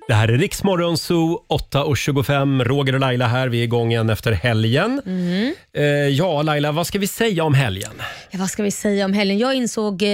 [SPEAKER 1] Det här är Riksmorgon Zoo, 8.25. Roger och Laila här. Vi är igång igen efter helgen.
[SPEAKER 2] Mm.
[SPEAKER 1] Eh, ja, Laila, vad ska vi säga om helgen?
[SPEAKER 2] Ja, Eh, vad ska vi säga om helgen? Jag insåg eh,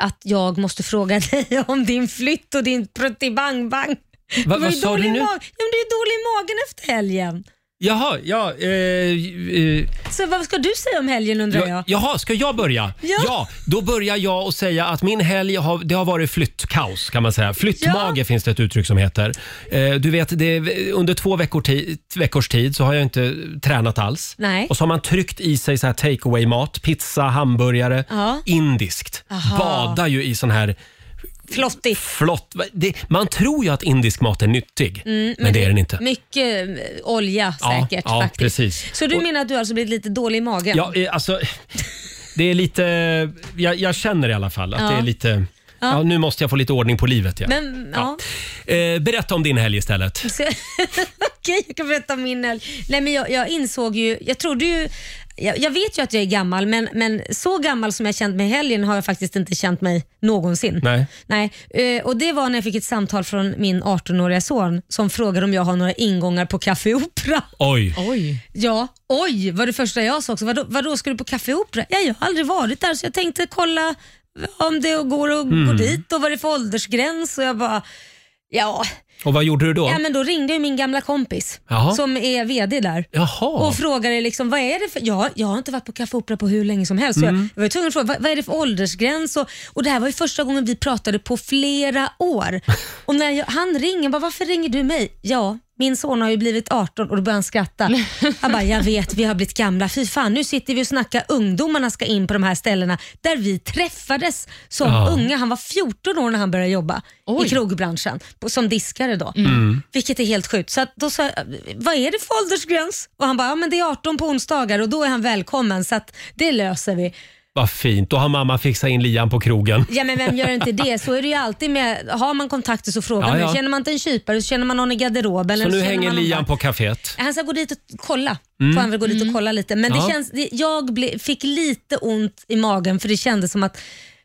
[SPEAKER 2] att jag måste fråga dig om din flytt och din pruttibang-bang. Det var
[SPEAKER 1] vad
[SPEAKER 2] ju
[SPEAKER 1] sa du
[SPEAKER 2] dålig
[SPEAKER 1] nu?
[SPEAKER 2] Mag- ja, men det är dålig i magen efter helgen.
[SPEAKER 1] Jaha, ja... Eh, eh,
[SPEAKER 2] Så vad ska du säga om helgen undrar jag?
[SPEAKER 1] ja, jaha, ska jag börja?
[SPEAKER 2] Ja.
[SPEAKER 1] då börjar jag och säga att min helg har, det har varit flyttkaos kan man säga. Flyttmage finns det ett uttryck som heter. Eh, du vet, det, är- under två veckor ti, veckors tid så har jag inte tränat alls.
[SPEAKER 2] Nej.
[SPEAKER 1] Och så har man tryckt i sig så här take away-mat, pizza, hamburgare,
[SPEAKER 2] Ja.
[SPEAKER 1] indiskt.
[SPEAKER 2] Aha.
[SPEAKER 1] Badar ju i sån här
[SPEAKER 2] Flottigt.
[SPEAKER 1] flott... Det, man tror ju att indisk mat är nyttig,
[SPEAKER 2] Mm,
[SPEAKER 1] men, det är den inte.
[SPEAKER 2] Mycket eh, olja säkert.
[SPEAKER 1] ja,
[SPEAKER 2] faktiskt.
[SPEAKER 1] precis.
[SPEAKER 2] Så du menar att du har alltså blivit lite dålig i magen?
[SPEAKER 1] Ja, eh, alltså, det är lite... Jag, jag känner i alla fall att
[SPEAKER 2] Ja.
[SPEAKER 1] det är lite...
[SPEAKER 2] Ja.
[SPEAKER 1] Ja. nu måste jag få lite ordning på livet. Ja.
[SPEAKER 2] Men, ja.
[SPEAKER 1] Eh, berätta om din helg istället.
[SPEAKER 2] Så- Okej, jag kan berätta om min helg. Nej, men jag, jag insåg ju, jag trodde ju, jag, jag vet ju att jag är gammal, men, men så gammal som jag känt mig i helgen har jag faktiskt inte känt mig någonsin.
[SPEAKER 1] Nej.
[SPEAKER 2] Nej, eh, och det var när jag fick ett samtal från min 18-åriga son som frågade om jag har några ingångar på Café Opera.
[SPEAKER 1] Oj.
[SPEAKER 3] Oj.
[SPEAKER 2] Ja, oj var det första jag sa också. Vadå, vadå ska du på Café Opera? Ja, jag har aldrig varit där så jag tänkte kolla om det går att gå
[SPEAKER 1] Mm.
[SPEAKER 2] dit och vad det är för åldersgräns och jag bara, ja.
[SPEAKER 1] Och vad gjorde du då?
[SPEAKER 2] Ja, men då ringde ju min gamla kompis
[SPEAKER 1] Jaha.
[SPEAKER 2] som är VD där
[SPEAKER 1] Jaha.
[SPEAKER 2] och frågade liksom, vad är det för... Jag, jag har inte varit på Café Opera på hur länge som helst. Så
[SPEAKER 1] Mm.
[SPEAKER 2] Jag, jag var ju tvungen att fråga, vad, vad är det för åldersgräns? Och, och det här var ju första gången vi pratade på flera år. och när jag, han ringer, bara, varför ringer du mig? Ja, min son har ju blivit 18 och då börjar han skratta. Han bara, jag vet vi har blivit gamla. Fy fan, nu sitter vi och snackar ungdomarna ska in på de här ställena där vi träffades som
[SPEAKER 12] Ja.
[SPEAKER 2] unga. Han var 14 år när han började jobba
[SPEAKER 12] Oj.
[SPEAKER 2] i krogbranschen på- som diskare då.
[SPEAKER 12] Mm.
[SPEAKER 2] Vilket är helt sjukt. Så att då sa jag, vad är det för åldersgräns? Och han bara, ja men det är 18 på onsdagar och då är han välkommen så att det löser vi.
[SPEAKER 1] Vad fint, då har mamma fixat in lian på krogen.
[SPEAKER 2] Ja men vem gör inte det? Så är det ju alltid med, har man kontakter så frågar
[SPEAKER 1] Ja,
[SPEAKER 2] man.
[SPEAKER 1] ja.
[SPEAKER 2] Känner man inte en kypare så känner man någon i garderoben.
[SPEAKER 1] Så
[SPEAKER 2] eller
[SPEAKER 1] nu
[SPEAKER 2] känner
[SPEAKER 1] hänger
[SPEAKER 2] man någon
[SPEAKER 1] lian
[SPEAKER 2] där.
[SPEAKER 1] på kaféet.
[SPEAKER 2] Han ska gå dit och kolla.
[SPEAKER 1] Mm.
[SPEAKER 2] Får han väl gå dit och kolla lite. Men
[SPEAKER 1] Ja.
[SPEAKER 2] det känns, det, jag ble, fick lite ont i magen för det kändes som att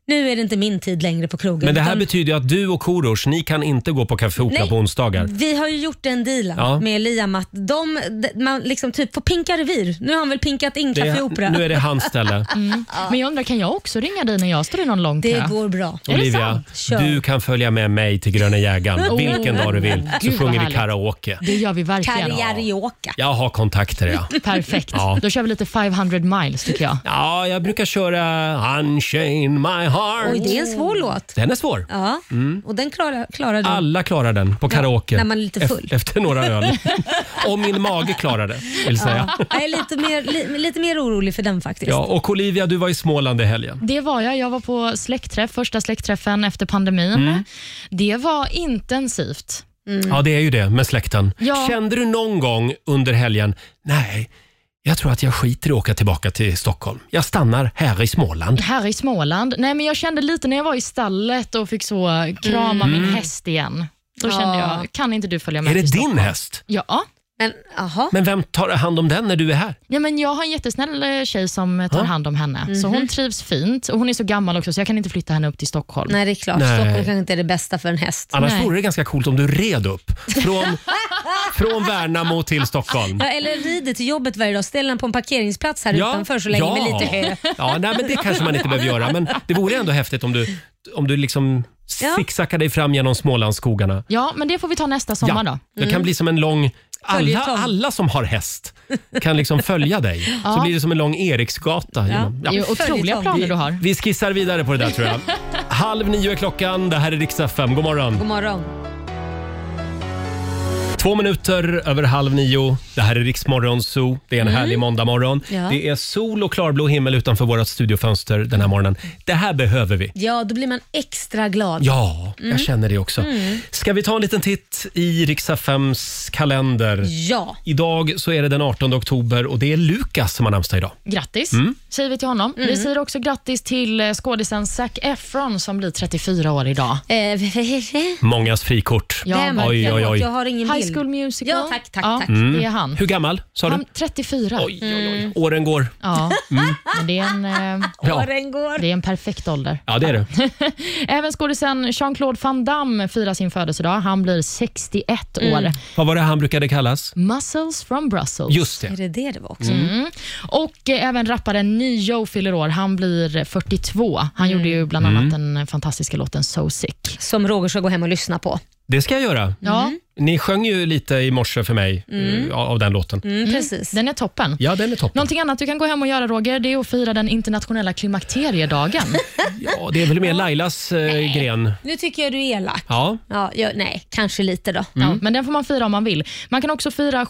[SPEAKER 2] nu är det inte min tid längre på krogen.
[SPEAKER 1] Men det här
[SPEAKER 2] Eh, utan-
[SPEAKER 1] betyder ju att du och Korosh, ni kan inte gå på Café Opera
[SPEAKER 2] Nej, Mm.
[SPEAKER 1] på onsdagar.
[SPEAKER 2] Vi har ju gjort en deal
[SPEAKER 1] Mm. Ja.
[SPEAKER 2] med Liam att de, de- man liksom typ får pinka revir. Nu har han väl pinkat in Café Opera.
[SPEAKER 1] nu är det hans ställe.
[SPEAKER 3] Mm. Men jag undrar, kan jag också ringa dig när jag står i någon lång
[SPEAKER 2] Det
[SPEAKER 3] kö?
[SPEAKER 2] går bra.
[SPEAKER 1] Olivia,
[SPEAKER 3] Kör.
[SPEAKER 1] du kan följa med mig till Gröna jägaren
[SPEAKER 3] Oh.
[SPEAKER 1] vilken dag du vill. Så
[SPEAKER 3] Gud, vad
[SPEAKER 1] sjunger vi
[SPEAKER 3] härligt.
[SPEAKER 1] karaoke.
[SPEAKER 3] Det gör vi verkligen.
[SPEAKER 2] Karriärioka.
[SPEAKER 1] Jag har kontakter ja.
[SPEAKER 3] Perfekt.
[SPEAKER 1] Ja.
[SPEAKER 3] Då kör vi lite 500 miles tycker jag.
[SPEAKER 1] Ja, jag brukar köra Unchain my heart.
[SPEAKER 2] Oj, det är en svår låt.
[SPEAKER 1] Den är svår.
[SPEAKER 2] Ja,
[SPEAKER 1] Mm.
[SPEAKER 2] och den klarar, klarar du.
[SPEAKER 1] Alla klarar den på karaoke.
[SPEAKER 2] när man är lite full.
[SPEAKER 1] Ef- Efter några öl. Och min mage klarar det, vill säga.
[SPEAKER 2] Ja, jag är lite mer, li, lite mer orolig för den faktiskt.
[SPEAKER 1] Ja, och Olivia, du var i Småland i helgen.
[SPEAKER 3] Det var jag. Jag var på släktträff, första släktträffen efter pandemin.
[SPEAKER 1] Mm.
[SPEAKER 3] Det var intensivt.
[SPEAKER 2] Mm.
[SPEAKER 1] Ja, det är ju det med släkten.
[SPEAKER 3] Ja.
[SPEAKER 1] Kände du någon gång under helgen, nej, jag tror att jag skiter i att åka tillbaka till Stockholm. Jag stannar här i Småland.
[SPEAKER 3] Här i Småland. Nej, men jag kände lite när jag var i stallet och fick så krama
[SPEAKER 1] Mm.
[SPEAKER 3] min häst igen. Då kände
[SPEAKER 1] Ja.
[SPEAKER 3] jag, kan inte du följa med
[SPEAKER 1] Är det
[SPEAKER 3] till
[SPEAKER 1] din
[SPEAKER 3] Stockholm?
[SPEAKER 1] häst?
[SPEAKER 3] Ja.
[SPEAKER 2] Men, aha.
[SPEAKER 1] Men vem tar hand om den när du är här?
[SPEAKER 3] Ja, men jag har en jättesnäll eh, tjej som eh, tar
[SPEAKER 1] Ja.
[SPEAKER 3] hand om henne. Så
[SPEAKER 2] Mhm.
[SPEAKER 3] Hon trivs fint och hon är så gammal också så jag kan inte flytta henne upp till Stockholm.
[SPEAKER 2] Nej, det är klart.
[SPEAKER 1] Nej. Ah.
[SPEAKER 2] Stockholm kanske inte är det bästa för en häst.
[SPEAKER 1] Annars vore det ganska coolt om du red upp från, från Värnamo till Stockholm.
[SPEAKER 2] Ja, eller rider till jobbet varje dag. Ställer den på en parkeringsplats här utanför så länge med lite hö.
[SPEAKER 1] Ja, nej, men det kanske man inte behöver göra. Men det vore ändå häftigt om du, om du liksom
[SPEAKER 3] Ja.
[SPEAKER 1] sicksackar dig fram genom Smålandsskogarna.
[SPEAKER 3] Ja, men det får vi ta nästa sommar
[SPEAKER 1] ja,
[SPEAKER 3] då.
[SPEAKER 1] Det kan bli som en lång... Alla,
[SPEAKER 3] Följetong.
[SPEAKER 1] alla som har häst kan liksom följa dig.
[SPEAKER 3] Ja.
[SPEAKER 1] Så blir det som en lång Eriksgata.
[SPEAKER 3] Ja.
[SPEAKER 1] genom-
[SPEAKER 3] Det är otroliga planer du har.
[SPEAKER 1] Vi, vi skissar vidare på det där tror jag. Halv nio är klockan. Det här är Rix FM. God morgon.
[SPEAKER 2] God morgon.
[SPEAKER 1] Två minuter över halv nio. Det här är Riksmorgon Zoo. Det är en
[SPEAKER 11] Mm.
[SPEAKER 1] härlig måndagmorgon.
[SPEAKER 2] Ja.
[SPEAKER 1] Det är sol och klarblå himmel utanför vårt studiofönster den här morgonen. Det här behöver vi.
[SPEAKER 2] Ja, då blir man extra glad.
[SPEAKER 1] Ja,
[SPEAKER 2] Mm.
[SPEAKER 1] jag känner det också.
[SPEAKER 2] Mm.
[SPEAKER 1] Ska vi ta en liten titt i Riks-FMs kalender?
[SPEAKER 2] Ja.
[SPEAKER 1] Idag så är det den 18 oktober och det är Lukas som har namnsdag idag.
[SPEAKER 3] Grattis
[SPEAKER 1] Mm.
[SPEAKER 3] säger vi till honom. Vi säger också grattis till eh, skådisen Zac Efron som blir 34 år idag.
[SPEAKER 2] Eh,
[SPEAKER 1] Mångas frikort. oj, oj, oj.
[SPEAKER 2] Jag har ingen
[SPEAKER 3] High
[SPEAKER 2] bild.
[SPEAKER 3] School Musical. Ja, tack, tack, tack.
[SPEAKER 1] Mm.
[SPEAKER 3] Det är han.
[SPEAKER 1] Hur gammal sa du?
[SPEAKER 3] Han 34.
[SPEAKER 1] Oj, Åren går.
[SPEAKER 3] Ja,
[SPEAKER 1] Mm.
[SPEAKER 3] men det är en... Eh,
[SPEAKER 1] Ja.
[SPEAKER 3] går. Det är en perfekt ålder.
[SPEAKER 1] Ja, det är det.
[SPEAKER 3] Även skådisen Jean-Claude Van Damme firar sin födelsedag. Han blir 61 år.
[SPEAKER 1] Vad var det han brukade kallas?
[SPEAKER 3] Muscles from Brussels.
[SPEAKER 1] Just det. Är
[SPEAKER 2] det det var
[SPEAKER 1] också?
[SPEAKER 3] Mm. Och eh, även rapparen Nio fyller år. Han blir 42. Han gjorde ju bland annat
[SPEAKER 1] Mm.
[SPEAKER 3] den fantastiska låten So sick.
[SPEAKER 2] Som Roger ska gå hem och lyssna på.
[SPEAKER 1] Det ska jag göra.
[SPEAKER 3] Ja.
[SPEAKER 1] Ni sjöng ju lite i morse för mig
[SPEAKER 3] Mm.
[SPEAKER 1] eh, av den låten.
[SPEAKER 2] Mm.
[SPEAKER 3] Precis. Den är toppen.
[SPEAKER 1] Ja, den är toppen.
[SPEAKER 3] Någonting annat du kan gå hem och göra, Roger, det är att fira den internationella klimakteriedagen.
[SPEAKER 1] Ja, det är väl mer Lailas eh, gren.
[SPEAKER 2] Nu tycker jag du är elak.
[SPEAKER 1] Ja. Mm.
[SPEAKER 2] Ja, ja, nej, kanske lite då.
[SPEAKER 3] Ja, men den får man fira om man vill. Man kan också fira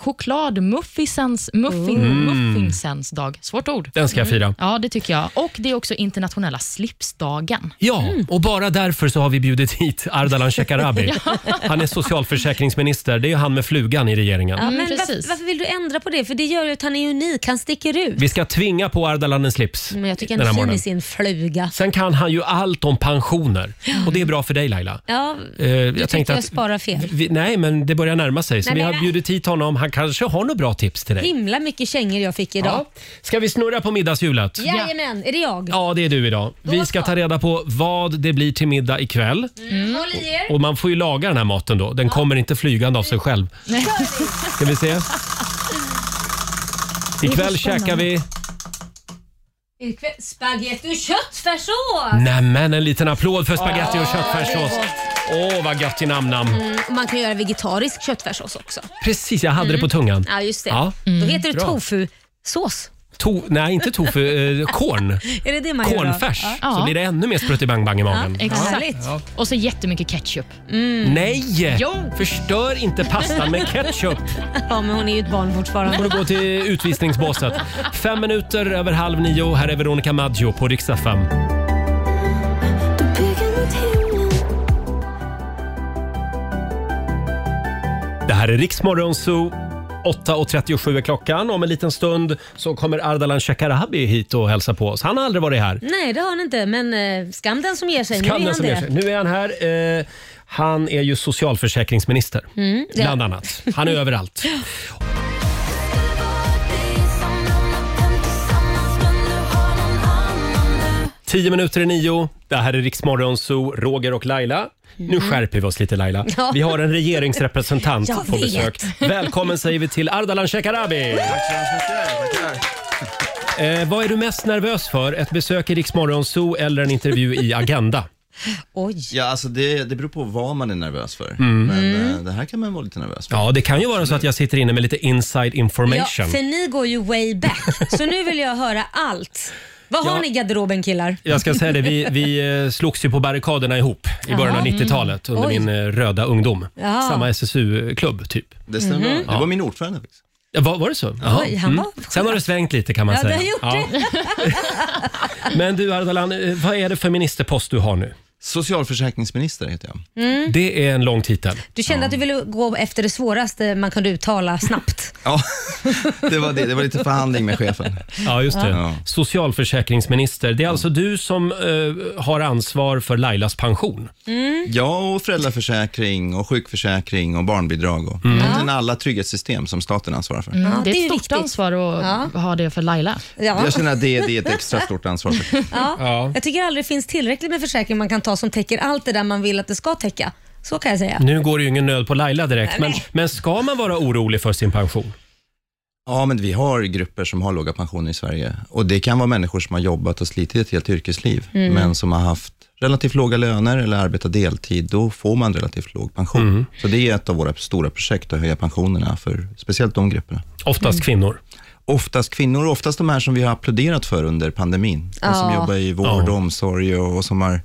[SPEAKER 3] chokladmuffinsens muffin,
[SPEAKER 1] Mm.
[SPEAKER 3] muffinsens dag. Svårt ord.
[SPEAKER 1] Den ska jag fira.
[SPEAKER 3] Ja, det tycker jag. Och Det är också internationella slipsdagen.
[SPEAKER 1] Ja,
[SPEAKER 2] Mm.
[SPEAKER 1] och bara därför så har vi bjudit hit Ardalan Shekarabi.
[SPEAKER 3] Ja.
[SPEAKER 1] Han är socialförsäkringsminister. Det är ju han med flugan i regeringen.
[SPEAKER 2] Ja, men varför, varför vill du ändra på det? För det gör ju att han är unik. Han sticker ut.
[SPEAKER 1] Vi ska tvinga på Ardalan en slips.
[SPEAKER 2] Men jag tycker
[SPEAKER 1] den
[SPEAKER 2] han är fin
[SPEAKER 1] här morgonen.
[SPEAKER 2] i sin fluga.
[SPEAKER 1] Sen kan han ju allt om pensioner och det är bra för dig Laila.
[SPEAKER 2] Ja,
[SPEAKER 1] Eh,
[SPEAKER 2] du jag tänkte jag sparar fel.
[SPEAKER 1] vi, nej, men det börjar närma sig så
[SPEAKER 2] Nej,
[SPEAKER 1] vi
[SPEAKER 2] men-
[SPEAKER 1] har bjudit hit honom. Han kanske har några bra tips till dig.
[SPEAKER 2] Himla mycket kängor jag fick idag.
[SPEAKER 1] Ja. Ska vi snurra på middagshjulet?
[SPEAKER 2] Jajamän, är det jag?
[SPEAKER 1] Ja, det är du idag. Vi ska ta reda på vad det blir till middag ikväll.
[SPEAKER 2] Mm. Håll i er.
[SPEAKER 1] Och man får ju laga den här maten då. Den kommer inte flygande av sig själv. Ska vi se.
[SPEAKER 2] Det är
[SPEAKER 1] Ikväll
[SPEAKER 2] så spännande.
[SPEAKER 1] käkar vi...
[SPEAKER 2] Ikväll- Spagetti och köttfärssås!
[SPEAKER 1] Nämen, en liten applåd för spaghetti och
[SPEAKER 2] Ja,
[SPEAKER 1] köttfärssås. Åh, vad gött i namn-namn.
[SPEAKER 2] Mm, och man kan göra vegetarisk köttfärssås också. Mm.
[SPEAKER 1] Precis, jag hade det på tungan.
[SPEAKER 2] Ja, just det.
[SPEAKER 1] Ja. Mm.
[SPEAKER 2] Då heter det
[SPEAKER 1] Bra.
[SPEAKER 2] tofusås.
[SPEAKER 1] To, nej, inte tofu. Eh, korn.
[SPEAKER 2] Är det det man gör då?
[SPEAKER 1] Kornfärs.
[SPEAKER 2] Ja.
[SPEAKER 1] Så blir det ännu mer sprutt-i-bang-bang i magen.
[SPEAKER 3] Ja, exakt. Och så jättemycket ketchup.
[SPEAKER 2] Mm.
[SPEAKER 1] Nej!
[SPEAKER 3] Jo.
[SPEAKER 1] Förstör inte pastan med ketchup.
[SPEAKER 2] Ja, men hon är ju ett barn fortfarande.
[SPEAKER 1] borde gå till utvisningsbåset. Fem minuter över halv nio. Här är Veronica Maggio på Rix FM. Det här är Riksmorgon Zoo. 8.37 är klockan. Om en liten stund så kommer Ardalan Shekarabi hit och hälsa på oss. Han har aldrig varit här.
[SPEAKER 2] Nej, det har han inte. Men eh, skam den som ger sig.
[SPEAKER 1] Skam
[SPEAKER 2] Mm, nu är han
[SPEAKER 1] den som
[SPEAKER 2] det.
[SPEAKER 1] ger sig. Nu är han här. Eh, han är ju socialförsäkringsminister,
[SPEAKER 2] Mm, ja.
[SPEAKER 1] bland annat. Han är överallt. Tio minuter i nio. Det här är Riksmorgon Zoo, Roger och Laila. Nu
[SPEAKER 2] Mm.
[SPEAKER 1] skärper vi oss lite Laila.
[SPEAKER 12] Ja.
[SPEAKER 1] Vi har en regeringsrepresentant
[SPEAKER 12] Jag
[SPEAKER 1] på
[SPEAKER 12] vet.
[SPEAKER 1] besök. Välkommen säger vi till Ardalan Shekarabi. Eh, vad är du mest nervös för? Ett besök i Riksmorgon Zoo eller en intervju i Agenda?
[SPEAKER 11] Ja, alltså det, det beror på vad man är nervös för.
[SPEAKER 1] Mm.
[SPEAKER 11] Men
[SPEAKER 2] Mm.
[SPEAKER 11] eh, det här kan man vara lite nervös för.
[SPEAKER 1] Ja, det kan ju vara så att jag sitter inne med lite inside
[SPEAKER 2] Ja,
[SPEAKER 1] information.
[SPEAKER 2] för ni går ju way back. Så nu vill jag höra allt. Vad har
[SPEAKER 1] Ja.
[SPEAKER 2] ni i garderoben killar?
[SPEAKER 1] Jag ska säga det, vi, vi eh, slogs ju på barrikaderna ihop i början av
[SPEAKER 2] Jaha. Mm.
[SPEAKER 1] 90-talet under
[SPEAKER 2] Oj.
[SPEAKER 1] min eh, röda ungdom.
[SPEAKER 2] Ja.
[SPEAKER 1] Samma SSU-klubb typ.
[SPEAKER 11] Det stämmer.
[SPEAKER 2] Mm-hmm.
[SPEAKER 1] Mhm.
[SPEAKER 11] Det var min ordförande faktiskt.
[SPEAKER 1] Ja, var, var det så? Jaha. Mm.
[SPEAKER 11] Oj, han var-
[SPEAKER 1] Sen har det svängt lite kan man
[SPEAKER 11] Ja, det
[SPEAKER 1] säga.
[SPEAKER 11] har gjort
[SPEAKER 1] Men du Ardalan, eh, vad är det för ministerpost du har nu?
[SPEAKER 11] Socialförsäkringsminister heter jag.
[SPEAKER 2] Mm.
[SPEAKER 1] Det är en lång titel.
[SPEAKER 2] Du kände att du ville gå efter det svåraste man kunde uttala snabbt.
[SPEAKER 11] Ja, det var, det. Det var lite förhandling med chefen.
[SPEAKER 1] Ja, just det.
[SPEAKER 11] Ja.
[SPEAKER 1] Socialförsäkringsminister. Det är alltså du som eh, har ansvar för Lailas pension.
[SPEAKER 11] Ja, och föräldraförsäkring och sjukförsäkring och barnbidrag och
[SPEAKER 1] Mm.
[SPEAKER 11] egentligen alla trygghetssystem som staten ansvarar för.
[SPEAKER 3] Mm, det är ett stort ansvar att ha det för Laila.
[SPEAKER 11] Jag känner att det, det är ett extra stort ansvar. faktiskt.
[SPEAKER 2] Ja. Jag tycker aldrig det finns tillräckligt med försäkring man kan ta som täcker allt det där man vill att det ska täcka. Så kan jag säga.
[SPEAKER 11] Mm.
[SPEAKER 1] Nu går det ju ingen nöd på Laila direkt,
[SPEAKER 2] Nej,
[SPEAKER 1] men, men ska man vara orolig för sin pension?
[SPEAKER 11] Ja, men vi har grupper som har låga pensioner i Sverige. Och Det kan vara människor som har jobbat och slitit ett helt yrkesliv,
[SPEAKER 1] Mm.
[SPEAKER 11] men som har haft relativt låga löner eller arbetat deltid. Då får man relativt låg pension.
[SPEAKER 1] Mm.
[SPEAKER 11] Så det är ett av våra stora projekt, att höja pensionerna för speciellt de grupperna.
[SPEAKER 1] Oftast kvinnor?
[SPEAKER 11] Oftast kvinnor och oftast de här som vi har applåderat för under pandemin. De som
[SPEAKER 2] Ja.
[SPEAKER 11] jobbar i vård och omsorg och, och som har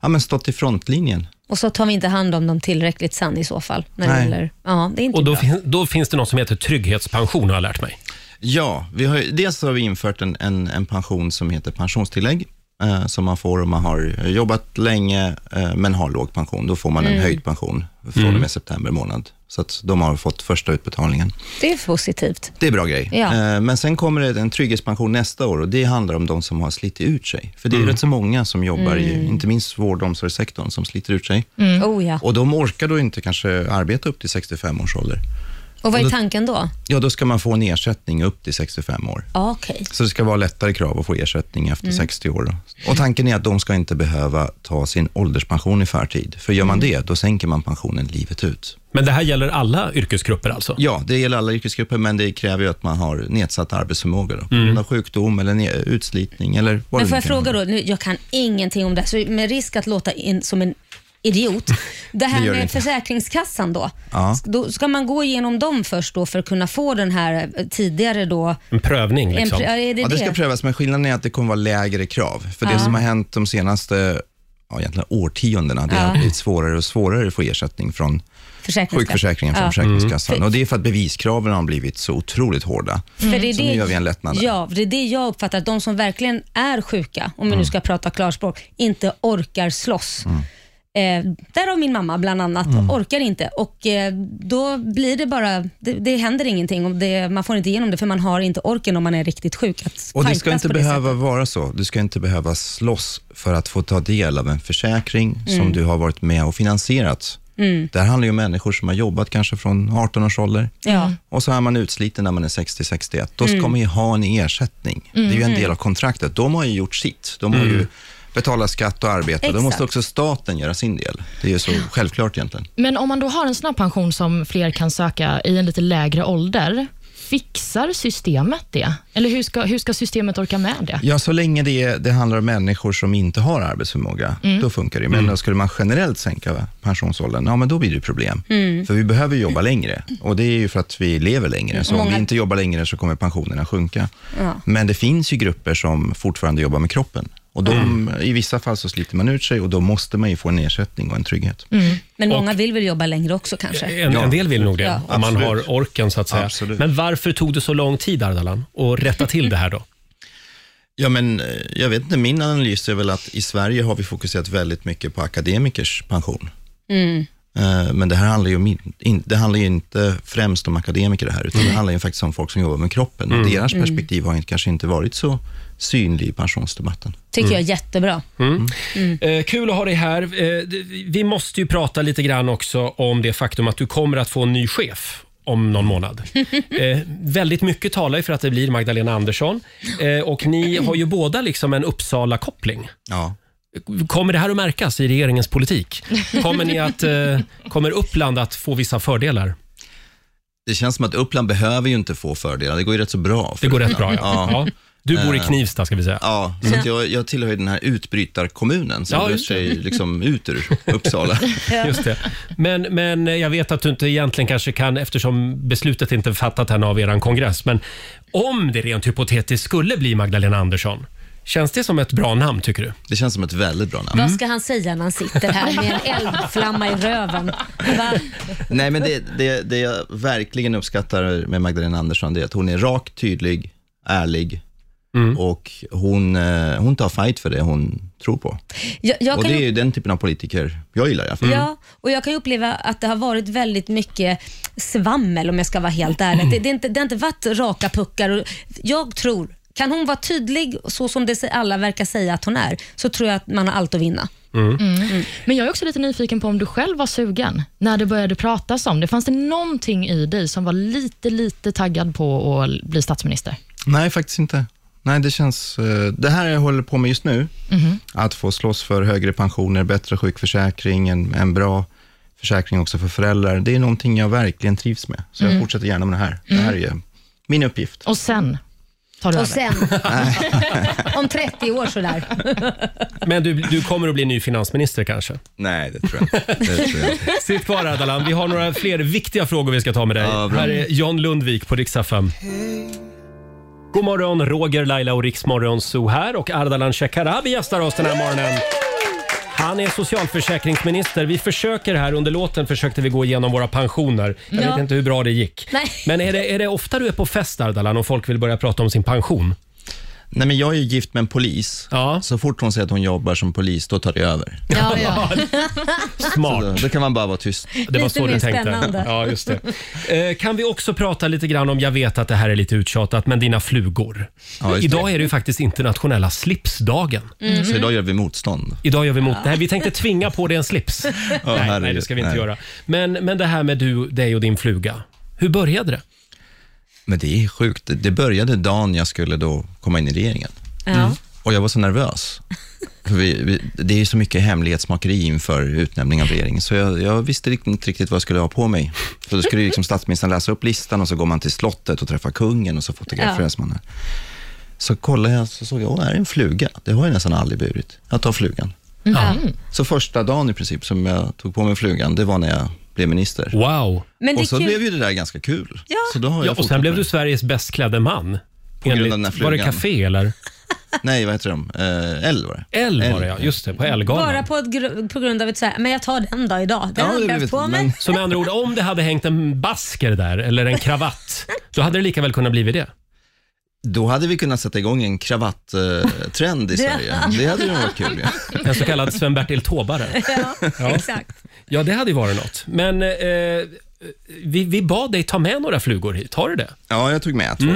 [SPEAKER 11] ja, men stått i frontlinjen.
[SPEAKER 2] Och så tar vi inte hand om dem tillräckligt sen i så fall. När det
[SPEAKER 11] Nej.
[SPEAKER 2] gäller, ja, det är inte
[SPEAKER 1] Och då,
[SPEAKER 2] bra.
[SPEAKER 1] fin- då finns det något som heter trygghetspension har jag lärt mig.
[SPEAKER 11] Ja, vi har, ju- dels har vi infört en, en, en pension som heter pensionstillägg, eh, som man får om man har jobbat länge eh, men har låg pension. Då får man en
[SPEAKER 2] Mm.
[SPEAKER 11] höjd pension från och
[SPEAKER 2] Mm.
[SPEAKER 11] med september månad. Så att de har fått första utbetalningen.
[SPEAKER 2] Det är positivt.
[SPEAKER 11] Det är bra grej.
[SPEAKER 2] Ja.
[SPEAKER 11] Eh, Men sen kommer det en trygghetspension nästa år och det handlar om de som har slitit ut sig. För det är ju rätt så många som jobbar, i,
[SPEAKER 2] Mm.
[SPEAKER 11] inte minst vård och omsorgssektorn, som sliter ut sig.
[SPEAKER 2] Mm. Oh, ja.
[SPEAKER 11] Och de orkar då inte kanske arbeta upp till 65 års ålder.
[SPEAKER 2] Och vad
[SPEAKER 11] Och
[SPEAKER 2] är
[SPEAKER 11] då-
[SPEAKER 2] tanken då?
[SPEAKER 11] Ja, då ska man få en ersättning upp till 65 år.
[SPEAKER 2] Ja, Okej.
[SPEAKER 11] Så det ska vara lättare krav att få ersättning efter
[SPEAKER 2] Mm.
[SPEAKER 11] 60 år. då. Och tanken är att de ska inte behöva ta sin ålderspension i förtid. För gör man det, då sänker man pensionen livet ut.
[SPEAKER 1] Men det här gäller alla yrkesgrupper alltså?
[SPEAKER 11] Ja, det gäller alla yrkesgrupper, men det kräver ju att man har nedsatt arbetsförmåga. Då, på grund av sjukdom eller ne- utslitning eller
[SPEAKER 2] Men
[SPEAKER 11] vad det
[SPEAKER 2] får
[SPEAKER 11] nu
[SPEAKER 2] jag
[SPEAKER 11] kan vara.
[SPEAKER 2] fråga då, nu, jag kan ingenting om det här, så med risk att låta in som en idiot. Det här
[SPEAKER 11] Det gör
[SPEAKER 2] med
[SPEAKER 11] det inte.
[SPEAKER 2] Försäkringskassan då,
[SPEAKER 11] Ja.
[SPEAKER 2] då? Ska man gå igenom dem först då för att kunna få den här eh, tidigare då?
[SPEAKER 1] En prövning
[SPEAKER 2] En liksom. prö- ja, är det
[SPEAKER 11] ja, det
[SPEAKER 2] det?
[SPEAKER 11] ska prövas, men skillnaden är att det kommer vara lägre krav. För
[SPEAKER 2] Ja.
[SPEAKER 11] det som har hänt de senaste ja, egentligen årtiondena, det
[SPEAKER 2] Ja.
[SPEAKER 11] har blivit svårare och svårare att få ersättning från
[SPEAKER 2] Försäkringskassan?
[SPEAKER 11] sjukförsäkringen från
[SPEAKER 2] Ja.
[SPEAKER 11] Försäkringskassan.
[SPEAKER 2] Mm.
[SPEAKER 11] Och det är för att beviskraven har blivit så otroligt hårda.
[SPEAKER 2] För det är
[SPEAKER 11] så
[SPEAKER 2] det,
[SPEAKER 11] nu gör vi en lättnad. där.
[SPEAKER 2] Ja, för det är det jag uppfattar, att de som verkligen är sjuka, om vi nu
[SPEAKER 11] Mm.
[SPEAKER 2] ska prata klarspråk, inte orkar slåss. Eh, därav min mamma bland annat,
[SPEAKER 11] Mm.
[SPEAKER 2] orkar inte. Och eh, Då blir det bara, det, det händer ingenting. Och det, man får inte igenom det för man har inte orken om man är riktigt sjuk. Att
[SPEAKER 11] Och det ska
[SPEAKER 2] fightas
[SPEAKER 11] inte
[SPEAKER 2] på det
[SPEAKER 11] behöva vara så. Du ska inte behöva slåss för att få ta del av en försäkring
[SPEAKER 2] Mm.
[SPEAKER 11] som du har varit med och finansierat.
[SPEAKER 2] Mm.
[SPEAKER 11] Det här handlar ju om människor som har jobbat kanske från 18 års ålder.
[SPEAKER 2] Ja.
[SPEAKER 11] Och så är man utsliten när man är 60-61. Då ska
[SPEAKER 2] Mm.
[SPEAKER 11] man ju ha en ersättning. Det är ju en
[SPEAKER 2] Mhm.
[SPEAKER 11] del av kontraktet. De har ju gjort sitt. De har
[SPEAKER 2] Mm.
[SPEAKER 11] ju betalat skatt och arbete. Då
[SPEAKER 3] Exakt.
[SPEAKER 11] måste också staten göra sin del. Det är ju så självklart egentligen.
[SPEAKER 3] Men om man då har en snabb pension som fler kan söka i en lite lägre ålder, Fixar systemet det? Eller hur ska, hur ska systemet orka med det?
[SPEAKER 11] Ja, så länge det, det handlar om människor som inte har arbetsförmåga,
[SPEAKER 3] Mm.
[SPEAKER 11] då funkar det. Men då skulle man generellt sänka pensionsåldern, ja men då blir det problem.
[SPEAKER 13] Mm.
[SPEAKER 11] För vi behöver jobba längre och det är ju för att vi lever längre. Så om vi
[SPEAKER 13] Många-
[SPEAKER 11] inte jobbar längre så kommer pensionerna sjunka.
[SPEAKER 13] Ja.
[SPEAKER 11] Men det finns ju grupper som fortfarande jobbar med kroppen. Och de,
[SPEAKER 13] Mm.
[SPEAKER 11] I vissa fall så sliter man ut sig och då måste man ju få en ersättning och en trygghet.
[SPEAKER 2] Men
[SPEAKER 11] Och- Mm.
[SPEAKER 2] många vill väl jobba längre också kanske?
[SPEAKER 1] En, en del vill nog det,
[SPEAKER 2] Ja.
[SPEAKER 1] om man
[SPEAKER 11] Absolut.
[SPEAKER 1] har orken så att säga. Men varför tog det så lång tid, Ardalan, att rätta till det här då?
[SPEAKER 11] Ja, men eh, jag vet inte, min analys är väl att i Sverige har vi fokuserat väldigt mycket på akademikers pension.
[SPEAKER 13] Mm.
[SPEAKER 11] Eh, Men det här handlar ju, om in, in, det handlar ju inte främst om akademiker det här, utan det handlar ju faktiskt om folk som jobbar med kroppen.
[SPEAKER 13] Mm.
[SPEAKER 11] Och deras
[SPEAKER 2] Mm.
[SPEAKER 11] perspektiv har inte, kanske inte varit så synlig i pensionsdebatten.
[SPEAKER 2] Tycker jag är jättebra.
[SPEAKER 1] Mm. Eh, kul att ha dig här. Eh, d- vi måste ju prata lite grann också om det faktum att du kommer att få en ny chef om någon månad. Eh, väldigt mycket talar ju för att det blir Magdalena Andersson. Eh, och ni har ju båda liksom en Uppsala-koppling.
[SPEAKER 11] Ja.
[SPEAKER 1] Kommer det här att märkas i regeringens politik? Kommer, ni att, eh, kommer Uppland att få vissa fördelar?
[SPEAKER 11] Det känns som att Uppland behöver ju inte få fördelar, det går ju rätt så bra. för
[SPEAKER 1] Det går rätt
[SPEAKER 11] Uppland.
[SPEAKER 1] bra, ja. Ja. Du bor i
[SPEAKER 11] Eh,
[SPEAKER 1] Knivsta, ska vi säga.
[SPEAKER 11] Ja, så att jag, jag tillhör ju den här utbrytarkommunen som
[SPEAKER 1] Ja,
[SPEAKER 11] bröt
[SPEAKER 1] just
[SPEAKER 11] sig
[SPEAKER 1] det.
[SPEAKER 11] liksom ut ur Uppsala.
[SPEAKER 1] Just det. Men, men jag vet att du inte egentligen kanske kan, eftersom beslutet inte är fattat än av er kongress, men om det rent hypotetiskt skulle bli Magdalena Andersson, känns det som ett bra namn tycker du?
[SPEAKER 11] Det känns som ett väldigt bra namn.
[SPEAKER 2] Vad ska han säga när han sitter här med en eldflamma i röven? Va?
[SPEAKER 11] Nej, men det, det, det jag verkligen uppskattar med Magdalena Andersson det är att hon är rak, tydlig, ärlig och hon, eh, hon tar fight för det hon tror på.
[SPEAKER 2] Jag, jag
[SPEAKER 11] och
[SPEAKER 2] kan
[SPEAKER 11] det är ju den typen av politiker jag gillar Mm. i alla fall.
[SPEAKER 2] Ja, och jag kan ju uppleva att det har varit väldigt mycket svammel om jag ska vara helt ärlig. Det, det, är inte, det har inte varit raka puckar. Och jag tror, kan hon vara tydlig så som det se- alla verkar säga att hon är, så tror jag att man har allt att vinna.
[SPEAKER 3] Mm. Men jag är också lite nyfiken på om du själv var sugen när det började pratas om det. Fanns det någonting i dig som var lite, lite taggad på att bli statsminister?
[SPEAKER 11] Nej, faktiskt inte. Nej, det känns... eh, Det här jag håller på med just nu,
[SPEAKER 3] Mhm.
[SPEAKER 11] att få slåss för högre pensioner, bättre sjukförsäkring, en, en bra försäkring också för föräldrar, det är någonting jag verkligen trivs med. Så jag
[SPEAKER 3] Mm.
[SPEAKER 11] fortsätter gärna med det här. Det här är min uppgift.
[SPEAKER 3] Och sen tar du
[SPEAKER 2] Och
[SPEAKER 3] över.
[SPEAKER 2] sen, om 30 år sådär.
[SPEAKER 1] Men du, du kommer att bli ny finansminister kanske?
[SPEAKER 11] Nej, det tror jag inte. Det tror jag inte.
[SPEAKER 1] Sitt kvar Ardalan, vi har några fler viktiga frågor vi ska ta med dig.
[SPEAKER 11] bra.
[SPEAKER 1] Här är John Lundvik på Rix FM. God morgon, Roger, Laila och Riksmorgon Zoo här och Ardalan Shekarabi gästar oss den här morgonen. Han är socialförsäkringsminister. Vi försöker här, under låten försökte vi gå igenom våra pensioner. Jag
[SPEAKER 2] Ja.
[SPEAKER 1] vet inte hur bra det gick.
[SPEAKER 2] Nej.
[SPEAKER 1] Men är det, är det ofta du är på fest Ardalan och folk vill börja prata om sin pension?
[SPEAKER 11] Nej, men jag är ju gift med en polis. Så fort hon säger att hon jobbar som polis, då tar det över.
[SPEAKER 2] Ja, ja.
[SPEAKER 11] Smart. Alltså, Då, då kan man bara vara tyst.
[SPEAKER 1] Det var så du tänkte. Ja, just det. Eh, kan vi också prata lite grann om, jag vet att det här är lite uttjatat, men dina flugor.
[SPEAKER 11] Ja, just det. Mm.
[SPEAKER 1] Idag är det ju faktiskt internationella slipsdagen.
[SPEAKER 11] Så idag gör vi motstånd.
[SPEAKER 1] Idag gör vi mot Nej, vi tänkte tvinga på dig en slips. nej, nej, det
[SPEAKER 11] herregud.
[SPEAKER 1] ska vi inte
[SPEAKER 11] Nej.
[SPEAKER 1] göra. Men, men det här med du, dig och din fluga. Hur började det?
[SPEAKER 11] Men det är sjukt. Det började dagen jag skulle då komma in i regeringen.
[SPEAKER 2] Ja.
[SPEAKER 11] Och jag var så nervös. För vi, vi, det är ju så mycket hemlighetsmakeri inför utnämning av regeringen, så jag, jag visste rikt- inte riktigt vad jag skulle ha på mig. För då skulle ju liksom statsministern läsa upp listan och så går man till slottet och träffar kungen och så fotograferas man. Så kollade jag så såg jag, åh, här är en fluga. Det har jag nästan aldrig burit. Jag tar flugan. Så första dagen i princip som jag tog på mig flugan, det var när jag blev minister.
[SPEAKER 1] Wow!
[SPEAKER 2] Men det
[SPEAKER 11] och så
[SPEAKER 2] är kul-
[SPEAKER 11] blev ju det där ganska kul. Ja. Så då har
[SPEAKER 1] Ja,
[SPEAKER 11] jag
[SPEAKER 1] och sen blev du Sveriges bäst klädde man.
[SPEAKER 11] På grund av den här
[SPEAKER 1] var det
[SPEAKER 11] flugan.
[SPEAKER 1] café eller?
[SPEAKER 11] Nej, vad heter de? Eh, L var det.
[SPEAKER 1] L var det ja, just det. På Ellegalan.
[SPEAKER 2] Bara på, ett gr- på grund av ett så här, men jag tar den dag idag. Den har jag behövt på mig.
[SPEAKER 1] Så med andra ord, om det hade hängt en basker där eller en kravatt, då hade det lika väl kunnat blivit det.
[SPEAKER 11] Då hade vi kunnat sätta igång en kravattrend
[SPEAKER 1] Det-
[SPEAKER 11] i Sverige. Det hade ju varit kul. Ja.
[SPEAKER 1] En så kallad Sven-Bertil Taubare.
[SPEAKER 2] Ja, exakt.
[SPEAKER 1] Ja, det hade ju varit något. Men eh, vi, vi bad dig ta med några flugor hit. Har du det?
[SPEAKER 11] ja, jag tog med två.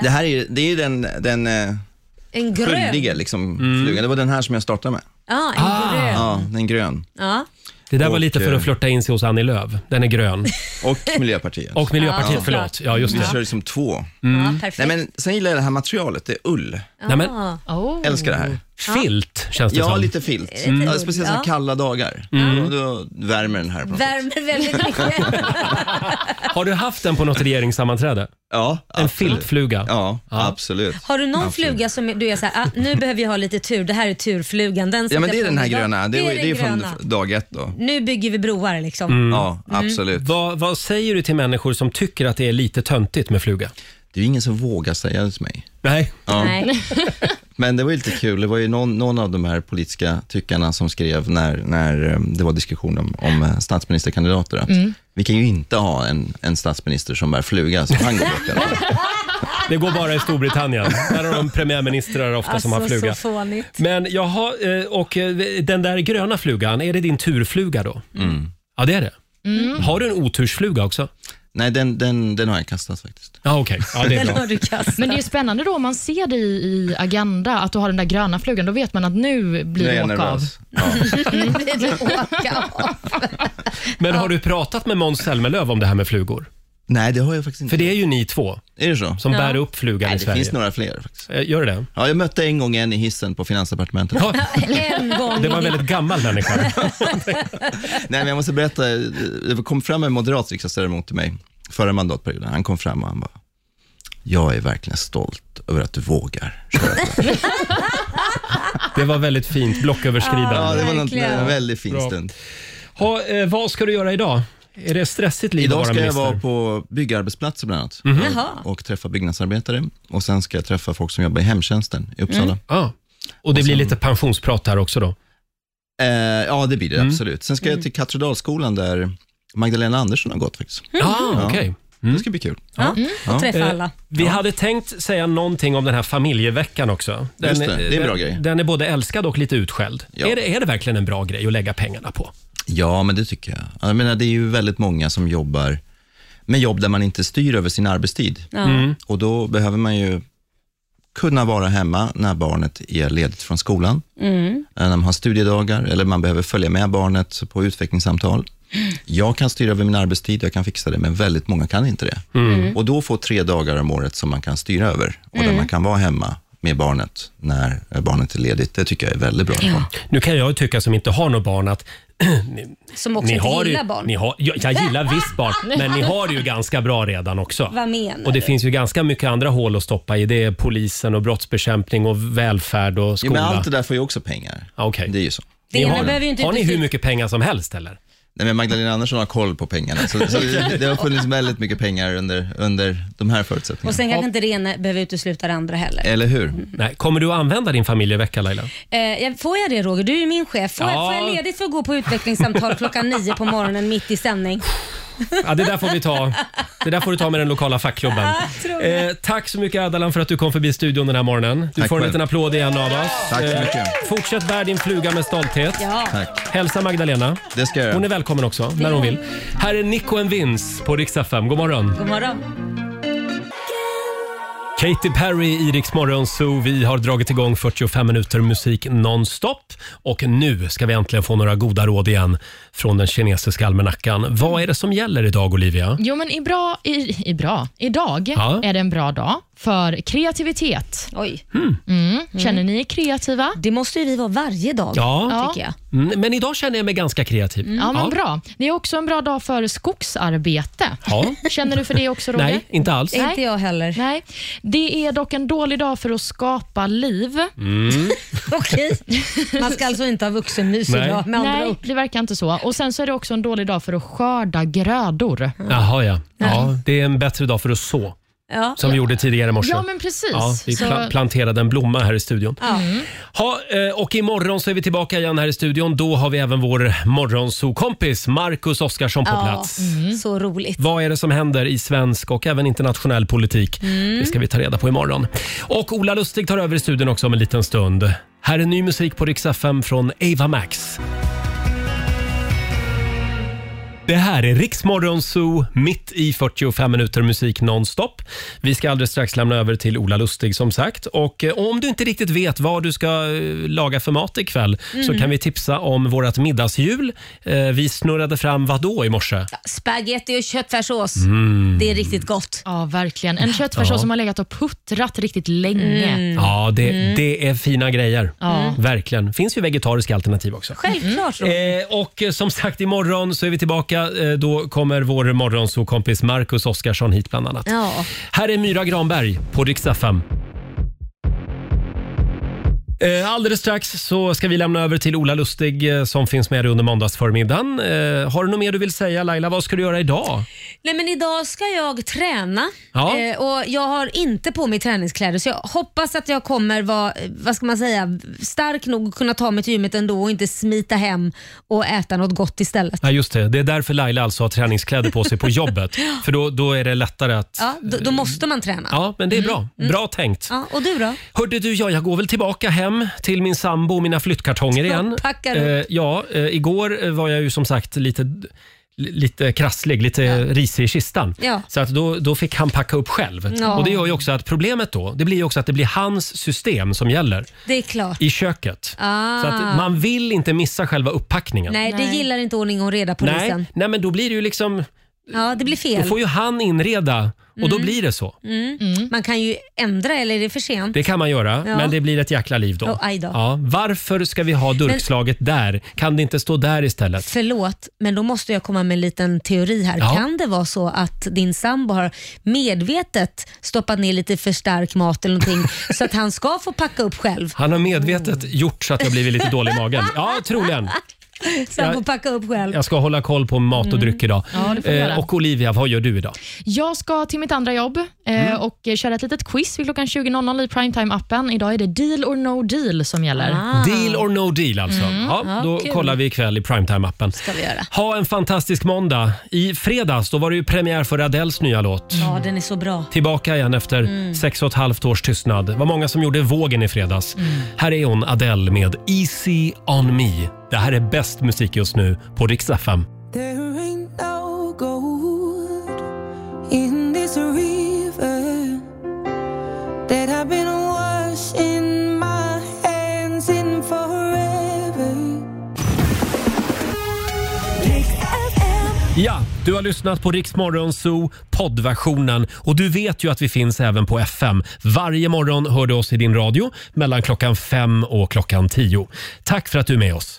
[SPEAKER 11] Det här är ju det är ju den, den eh,
[SPEAKER 2] En grön.
[SPEAKER 11] skyldige Ah. liksom, flugan. Det var den här som jag startade med.
[SPEAKER 2] Ja, en grön.
[SPEAKER 11] Ja, den grön.
[SPEAKER 2] Ja.
[SPEAKER 1] Det där var lite för
[SPEAKER 11] eh,
[SPEAKER 1] att flörta in sig hos Annie Lööf. Den är grön.
[SPEAKER 11] Och Miljöpartiet.
[SPEAKER 1] Och Miljöpartiet,
[SPEAKER 11] Ja.
[SPEAKER 1] förlåt. Ja, just
[SPEAKER 11] Vi
[SPEAKER 1] det.
[SPEAKER 11] körde som två.
[SPEAKER 2] Ja, perfekt.
[SPEAKER 11] Mm. Nej, men sen gillar jag det här materialet, det är ull.
[SPEAKER 1] Nej, men-
[SPEAKER 2] Ah.
[SPEAKER 3] Oh.
[SPEAKER 11] Älskar det här.
[SPEAKER 1] Filt, känns det
[SPEAKER 11] ja,
[SPEAKER 1] som.
[SPEAKER 11] lite filt.
[SPEAKER 2] Är det inte
[SPEAKER 11] Ja, Speciellt
[SPEAKER 2] roligt?
[SPEAKER 11] såna
[SPEAKER 2] Ja.
[SPEAKER 11] kalla dagar. Och Då värmer den här. På något sätt.
[SPEAKER 2] Värmer väldigt mycket.
[SPEAKER 1] Har du haft den på något regeringssammanträde?
[SPEAKER 11] Ja.
[SPEAKER 1] En filtfluga?
[SPEAKER 11] Ja, absolut.
[SPEAKER 2] Har du någon
[SPEAKER 11] Absolut.
[SPEAKER 2] fluga som är- du är såhär, ah, nu behöver jag ha lite tur, det här är turflugan. Den
[SPEAKER 11] Ja, men
[SPEAKER 2] sitter
[SPEAKER 11] det är
[SPEAKER 2] på
[SPEAKER 11] den här
[SPEAKER 2] mig idag.
[SPEAKER 11] gröna. Det är, det är
[SPEAKER 2] den
[SPEAKER 11] från
[SPEAKER 2] gröna.
[SPEAKER 11] dag ett då.
[SPEAKER 2] Nu bygger vi broar liksom. Mm.
[SPEAKER 1] Vad, vad säger du till människor som tycker att det är lite töntigt med fluga?
[SPEAKER 11] Det är ju ingen som vågar säga det till mig.
[SPEAKER 1] Nej.
[SPEAKER 11] Ja.
[SPEAKER 2] Nej.
[SPEAKER 11] Men det var ju lite kul. Det var ju någon, någon av de här politiska tyckarna som skrev när, när eh, det var diskussion om, om eh, statsministerkandidater att
[SPEAKER 1] Mm.
[SPEAKER 11] vi kan ju inte ha en, en statsminister som bär fluga som han går upp i alla fall.
[SPEAKER 1] Det går bara i Storbritannien. Där har de premiärministrar ofta som har
[SPEAKER 2] Alltså,
[SPEAKER 1] fluga.
[SPEAKER 2] så fånigt.
[SPEAKER 1] Men jaha, eh, och eh, den där gröna flugan, är det din turfluga då? Ja, det är det.
[SPEAKER 2] Mm.
[SPEAKER 1] Har du en otursfluga också?
[SPEAKER 11] Nej, den, den, den har jag kastat faktiskt.
[SPEAKER 1] Ja, okej. Ja, det är bra.
[SPEAKER 3] Men det är ju spännande då om man ser det i, i Agenda, att du har den där gröna flugan. Då vet man att nu blir
[SPEAKER 1] Nu är
[SPEAKER 3] det
[SPEAKER 1] jag
[SPEAKER 3] åka av.
[SPEAKER 1] nervös.
[SPEAKER 2] Nu blir det åka av.
[SPEAKER 1] Men har du pratat med Måns Zelmerlöw om det här med flugor?
[SPEAKER 11] Nej, det har jag faktiskt inte.
[SPEAKER 1] För det är ju ni två.
[SPEAKER 11] Är det så?
[SPEAKER 1] Som bär upp flugan
[SPEAKER 11] Nej,
[SPEAKER 1] i
[SPEAKER 11] det
[SPEAKER 1] Sverige. Eh,
[SPEAKER 11] finns några fler faktiskt.
[SPEAKER 1] Gör det?
[SPEAKER 11] Ja, jag mötte en gång en i hissen på finansdepartementet.
[SPEAKER 2] En gång.
[SPEAKER 1] Det var en väldigt gammal människa.
[SPEAKER 11] Nej, men jag måste berätta. Det kom fram en moderat riksdagsledamot till mig förra mandatperioden. Han kom fram och han bara, jag är verkligen stolt över att du vågar.
[SPEAKER 1] Det var väldigt fint, blocköverskridande.
[SPEAKER 11] Ja, det var något- Verkligen. en väldigt fin stund.
[SPEAKER 1] Ha, eh, vad ska du göra idag? Är det ett stressigt liv
[SPEAKER 11] Idag
[SPEAKER 1] att vara
[SPEAKER 11] ska jag
[SPEAKER 1] minister?
[SPEAKER 11] vara på byggarbetsplatser bland annat
[SPEAKER 1] Mhm.
[SPEAKER 2] Jaha.
[SPEAKER 11] och träffa byggnadsarbetare. Och Sen ska jag träffa folk som jobbar i hemtjänsten i Uppsala.
[SPEAKER 1] Mm. Ja. Och det blir lite pensionsprat här också då?
[SPEAKER 2] Mm.
[SPEAKER 11] Eh, ja, det blir det absolut. Sen ska jag till Katrodalsskolan där Magdalena Andersson har gått faktiskt.
[SPEAKER 1] Ah, okej.
[SPEAKER 11] Det ska bli kul.
[SPEAKER 2] Ja. Mm. Och träffa
[SPEAKER 1] Eh,
[SPEAKER 2] alla.
[SPEAKER 1] Vi hade tänkt säga någonting om den här familjeveckan också. Den,
[SPEAKER 11] Just det, det är en
[SPEAKER 1] den,
[SPEAKER 11] bra grej.
[SPEAKER 1] Den är både älskad och lite utskälld. Är, det, är det verkligen en bra grej att lägga pengarna på?
[SPEAKER 11] Ja, men det tycker jag. Jag menar, det är ju väldigt många som jobbar med jobb där man inte styr över sin arbetstid.
[SPEAKER 2] Ja. Mm.
[SPEAKER 11] Och då behöver man ju kunna vara hemma när barnet är ledigt från skolan,
[SPEAKER 2] Mm.
[SPEAKER 11] eh, när man har studiedagar eller man behöver följa med barnet på utvecklingssamtal. Jag kan styra över min arbetstid, jag kan fixa det, men väldigt många kan inte det.
[SPEAKER 13] Mm.
[SPEAKER 11] Och då få tre dagar om året som man kan styra över och där
[SPEAKER 1] Mm.
[SPEAKER 11] man kan vara hemma med barnet när eh, barnet är ledigt. Det tycker jag är väldigt bra.
[SPEAKER 1] Nu kan jag ju tycka som inte har något barn att ni,
[SPEAKER 2] Som också inte
[SPEAKER 1] har
[SPEAKER 2] gillar
[SPEAKER 1] ju,
[SPEAKER 2] barn.
[SPEAKER 1] Ni har, jag, jag gillar visst barn, men ni har det ju ganska bra redan också.
[SPEAKER 2] Vad menar
[SPEAKER 1] Och det
[SPEAKER 2] du?
[SPEAKER 1] finns ju ganska mycket andra hål att stoppa i. Det är polisen och brottsbekämpning och välfärd och
[SPEAKER 11] Ja,
[SPEAKER 1] skola.
[SPEAKER 11] men allt det där får ju också pengar.
[SPEAKER 1] Okej.
[SPEAKER 11] Det är ju så.
[SPEAKER 2] Det
[SPEAKER 1] Ni
[SPEAKER 2] ena
[SPEAKER 1] har-
[SPEAKER 2] behöver ju inte
[SPEAKER 1] Har ni
[SPEAKER 2] utesluta-
[SPEAKER 1] hur mycket pengar som helst eller?
[SPEAKER 11] Nej, men Magdalena Andersson har koll på pengarna. Så, så det, det har funnits väldigt mycket pengar under, under de här förutsättningarna.
[SPEAKER 2] Och sen kanske inte det ena behöver utesluta det andra heller.
[SPEAKER 11] Eller hur?
[SPEAKER 1] Nej, kommer du att använda din familjevecka Laila?
[SPEAKER 2] Eh, jag- får jag det Roger? Du är ju min chef. Får, jag,
[SPEAKER 1] Ja.
[SPEAKER 2] får jag ledigt för att gå på utvecklingssamtal klockan nio på morgonen mitt i sändning?
[SPEAKER 1] Ja, det där får vi ta. Det där får du ta med den lokala fackklubben.
[SPEAKER 2] tror jag.
[SPEAKER 1] Eh, tack så mycket Adalan för att du kom förbi studion den här morgonen. Du
[SPEAKER 11] Tack
[SPEAKER 1] får en
[SPEAKER 11] själv.
[SPEAKER 1] liten applåd igen av oss.
[SPEAKER 11] Tack så
[SPEAKER 1] Eh,
[SPEAKER 11] mycket.
[SPEAKER 1] Fortsätt bära din fluga med stolthet.
[SPEAKER 2] Ja.
[SPEAKER 11] Tack.
[SPEAKER 1] Hälsa Magdalena.
[SPEAKER 11] Det ska jag göra.
[SPEAKER 1] Hon är välkommen också, när hon vill. Här är Nico and Vince på Rix FM. God morgon.
[SPEAKER 2] God morgon.
[SPEAKER 1] Katy Perry i Rix Morgon Zoo. Vi har dragit igång 45 minuter musik nonstop. Och nu ska vi äntligen få några goda råd igen från den kinesiska almanackan. Vad är det som gäller idag, Olivia?
[SPEAKER 3] Jo, men i bra, i, i bra. idag
[SPEAKER 1] Ja.
[SPEAKER 3] är det en bra dag för kreativitet.
[SPEAKER 2] Oj.
[SPEAKER 3] Mm. Känner ni er kreativa?
[SPEAKER 2] Det måste ju vi vara varje dag, tycker jag.
[SPEAKER 1] Mm, Men idag känner jag mig ganska kreativ.
[SPEAKER 3] Mm. Ja, men bra. Det är också en bra dag för skogsarbete.
[SPEAKER 1] Ja.
[SPEAKER 3] Känner du för det också, Roger?
[SPEAKER 1] Nej, inte alls.
[SPEAKER 2] Inte jag heller.
[SPEAKER 3] Nej. Det är dock en dålig dag för att skapa liv.
[SPEAKER 1] Mm.
[SPEAKER 2] Okej. Man ska alltså inte ha vuxenmys
[SPEAKER 1] Nej.
[SPEAKER 2] idag med andra
[SPEAKER 3] Nej,
[SPEAKER 2] ord.
[SPEAKER 3] det verkar inte så. Och Sen så är det också en dålig dag för att skörda grödor.
[SPEAKER 1] Jaha, ja. ja. Det är en bättre dag för att så.
[SPEAKER 3] Ja.
[SPEAKER 1] Som vi gjorde tidigare i morse.
[SPEAKER 3] Ja, men precis.
[SPEAKER 1] Ja, vi
[SPEAKER 3] Så- Mm.
[SPEAKER 1] pla- planterade en blomma här i studion.
[SPEAKER 2] Ja.
[SPEAKER 1] Ha, eh, och imorgon så är vi tillbaka igen här i studion. Då har vi även vår morgonsokompis Marcus Oskarsson på
[SPEAKER 3] Mm.
[SPEAKER 1] plats.
[SPEAKER 2] Så roligt.
[SPEAKER 1] Vad är det som händer i svensk och även internationell politik?
[SPEAKER 2] Mm.
[SPEAKER 1] Det ska vi ta reda på imorgon. Och Ola Lustig tar över i studion också om en liten stund. Här är ny musik på Rix FM från Ava Max. Det här är Riksmorgon Zoo, mitt i 45 minuter musik nonstop. Vi ska alldeles strax lämna över till Ola Lustig som sagt. Och eh, om du inte riktigt vet vad du ska eh, laga för mat ikväll så
[SPEAKER 2] Mm.
[SPEAKER 1] kan vi tipsa om vårt middagshjul. Eh, Vi snurrade fram vad då i morse?
[SPEAKER 2] Spaghetti och köttfärssås.
[SPEAKER 1] Mm.
[SPEAKER 2] Det är riktigt gott.
[SPEAKER 3] Ja, verkligen. En köttfärssås
[SPEAKER 1] Ja.
[SPEAKER 3] som har legat och puttrat riktigt länge.
[SPEAKER 1] Ja, det,
[SPEAKER 3] Mm.
[SPEAKER 1] det är fina grejer.
[SPEAKER 3] Ja. Mm.
[SPEAKER 1] Verkligen. finns ju vegetariska alternativ också.
[SPEAKER 2] Självklart.
[SPEAKER 1] Eh, och eh, som sagt, imorgon så är vi tillbaka. Eh, då kommer vår morgonsokompis Marcus Oskarsson hit bland annat.
[SPEAKER 2] Ja.
[SPEAKER 1] Här är Myra Granberg på Rix FM. Eh, Alldeles strax så ska vi lämna över till Ola Lustig eh, som finns med under måndagsförmiddagen. Eh, Har du något mer du vill säga Laila? Vad ska du göra idag?
[SPEAKER 2] Nej, men idag ska jag träna
[SPEAKER 1] Ja.
[SPEAKER 2] eh, och jag har inte på mig träningskläder så jag hoppas att jag kommer vara, eh, vad ska man säga, stark nog att kunna ta mig till gymmet ändå och inte smita hem och äta något gott istället.
[SPEAKER 1] Ja, just det. Det är därför Laila alltså har träningskläder på sig på jobbet. För då, då är det lättare att...
[SPEAKER 2] Ja, då, då måste man träna.
[SPEAKER 1] Ja, men det är bra.
[SPEAKER 2] Mm.
[SPEAKER 1] Bra tänkt.
[SPEAKER 2] Ja, och du då?
[SPEAKER 1] Hörde du, ja, jag går väl tillbaka hem till min sambo och mina flyttkartonger igen.
[SPEAKER 2] Ja, packar upp.
[SPEAKER 1] Eh, ja, eh, igår eh, var jag ju som sagt lite, lite krasslig, lite risig i kistan.
[SPEAKER 2] Ja.
[SPEAKER 1] Så att då, då fick han packa upp själv.
[SPEAKER 2] Ja.
[SPEAKER 1] Och det gör ju också att problemet då, det blir ju också att det blir hans system som gäller
[SPEAKER 2] Det är klart.
[SPEAKER 1] i köket.
[SPEAKER 2] Ah.
[SPEAKER 1] Så att man vill inte missa själva upppackningen.
[SPEAKER 2] Nej, det gillar inte ordning och reda polisen.
[SPEAKER 1] Nej, nej, men då blir det ju liksom,
[SPEAKER 2] Ja, det blir
[SPEAKER 1] då
[SPEAKER 2] fel.
[SPEAKER 1] får ju han inreda och då
[SPEAKER 2] Mm.
[SPEAKER 1] blir det så.
[SPEAKER 2] Mm. Man kan ju ändra eller är det för sent?
[SPEAKER 1] Det kan man göra,
[SPEAKER 2] Ja.
[SPEAKER 1] men det blir ett jäkla liv då.
[SPEAKER 2] Oh, aj då.
[SPEAKER 1] Ja, varför ska vi ha durkslaget där? Kan det inte stå där istället?
[SPEAKER 2] Förlåt, men då måste jag komma med en liten teori här.
[SPEAKER 1] Ja.
[SPEAKER 2] Kan det vara så att din sambo har medvetet stoppat ner lite för stark mat eller någonting så att han ska få packa upp själv?
[SPEAKER 1] Han har medvetet
[SPEAKER 3] Mm.
[SPEAKER 1] gjort så att jag blivit lite dålig i magen. Ja, troligen.
[SPEAKER 2] Så han
[SPEAKER 1] Jag-
[SPEAKER 2] får packa upp själv.
[SPEAKER 1] Jag ska hålla koll på mat och
[SPEAKER 3] Mm.
[SPEAKER 1] dryck idag. Eh,
[SPEAKER 3] Ja, det får du göra.
[SPEAKER 1] och Olivia, vad gör du idag?
[SPEAKER 3] Jag ska till mitt andra jobb eh,
[SPEAKER 1] Mm.
[SPEAKER 3] och eh, köra ett litet quiz vid klockan 20.00 i primetime-appen. Idag är det deal or no deal som gäller.
[SPEAKER 1] Deal or no deal alltså.
[SPEAKER 3] Ah. Mm.
[SPEAKER 1] Ja,
[SPEAKER 3] Ja,
[SPEAKER 1] då
[SPEAKER 3] kul.
[SPEAKER 1] kollar vi ikväll i primetime-appen. Ha en fantastisk måndag. I fredags då var det ju premiär för Adels nya låt.
[SPEAKER 2] Ja, den är så bra.
[SPEAKER 1] Tillbaka igen efter
[SPEAKER 2] Mm.
[SPEAKER 1] sex och ett halvt års tystnad. Det var många som gjorde vågen i fredags. Här är hon, Adele, med Easy on me. Det här är bäst musik just nu på Rix FM.
[SPEAKER 12] There ain't no gold in this river that I've been washing my hands in forever.
[SPEAKER 1] Ja, du har lyssnat på Rix Morgon Zoo poddversionen och du vet ju att vi finns även på FM. Varje morgon hör du oss i din radio mellan klockan fem och klockan tio. Tack för att du är med oss.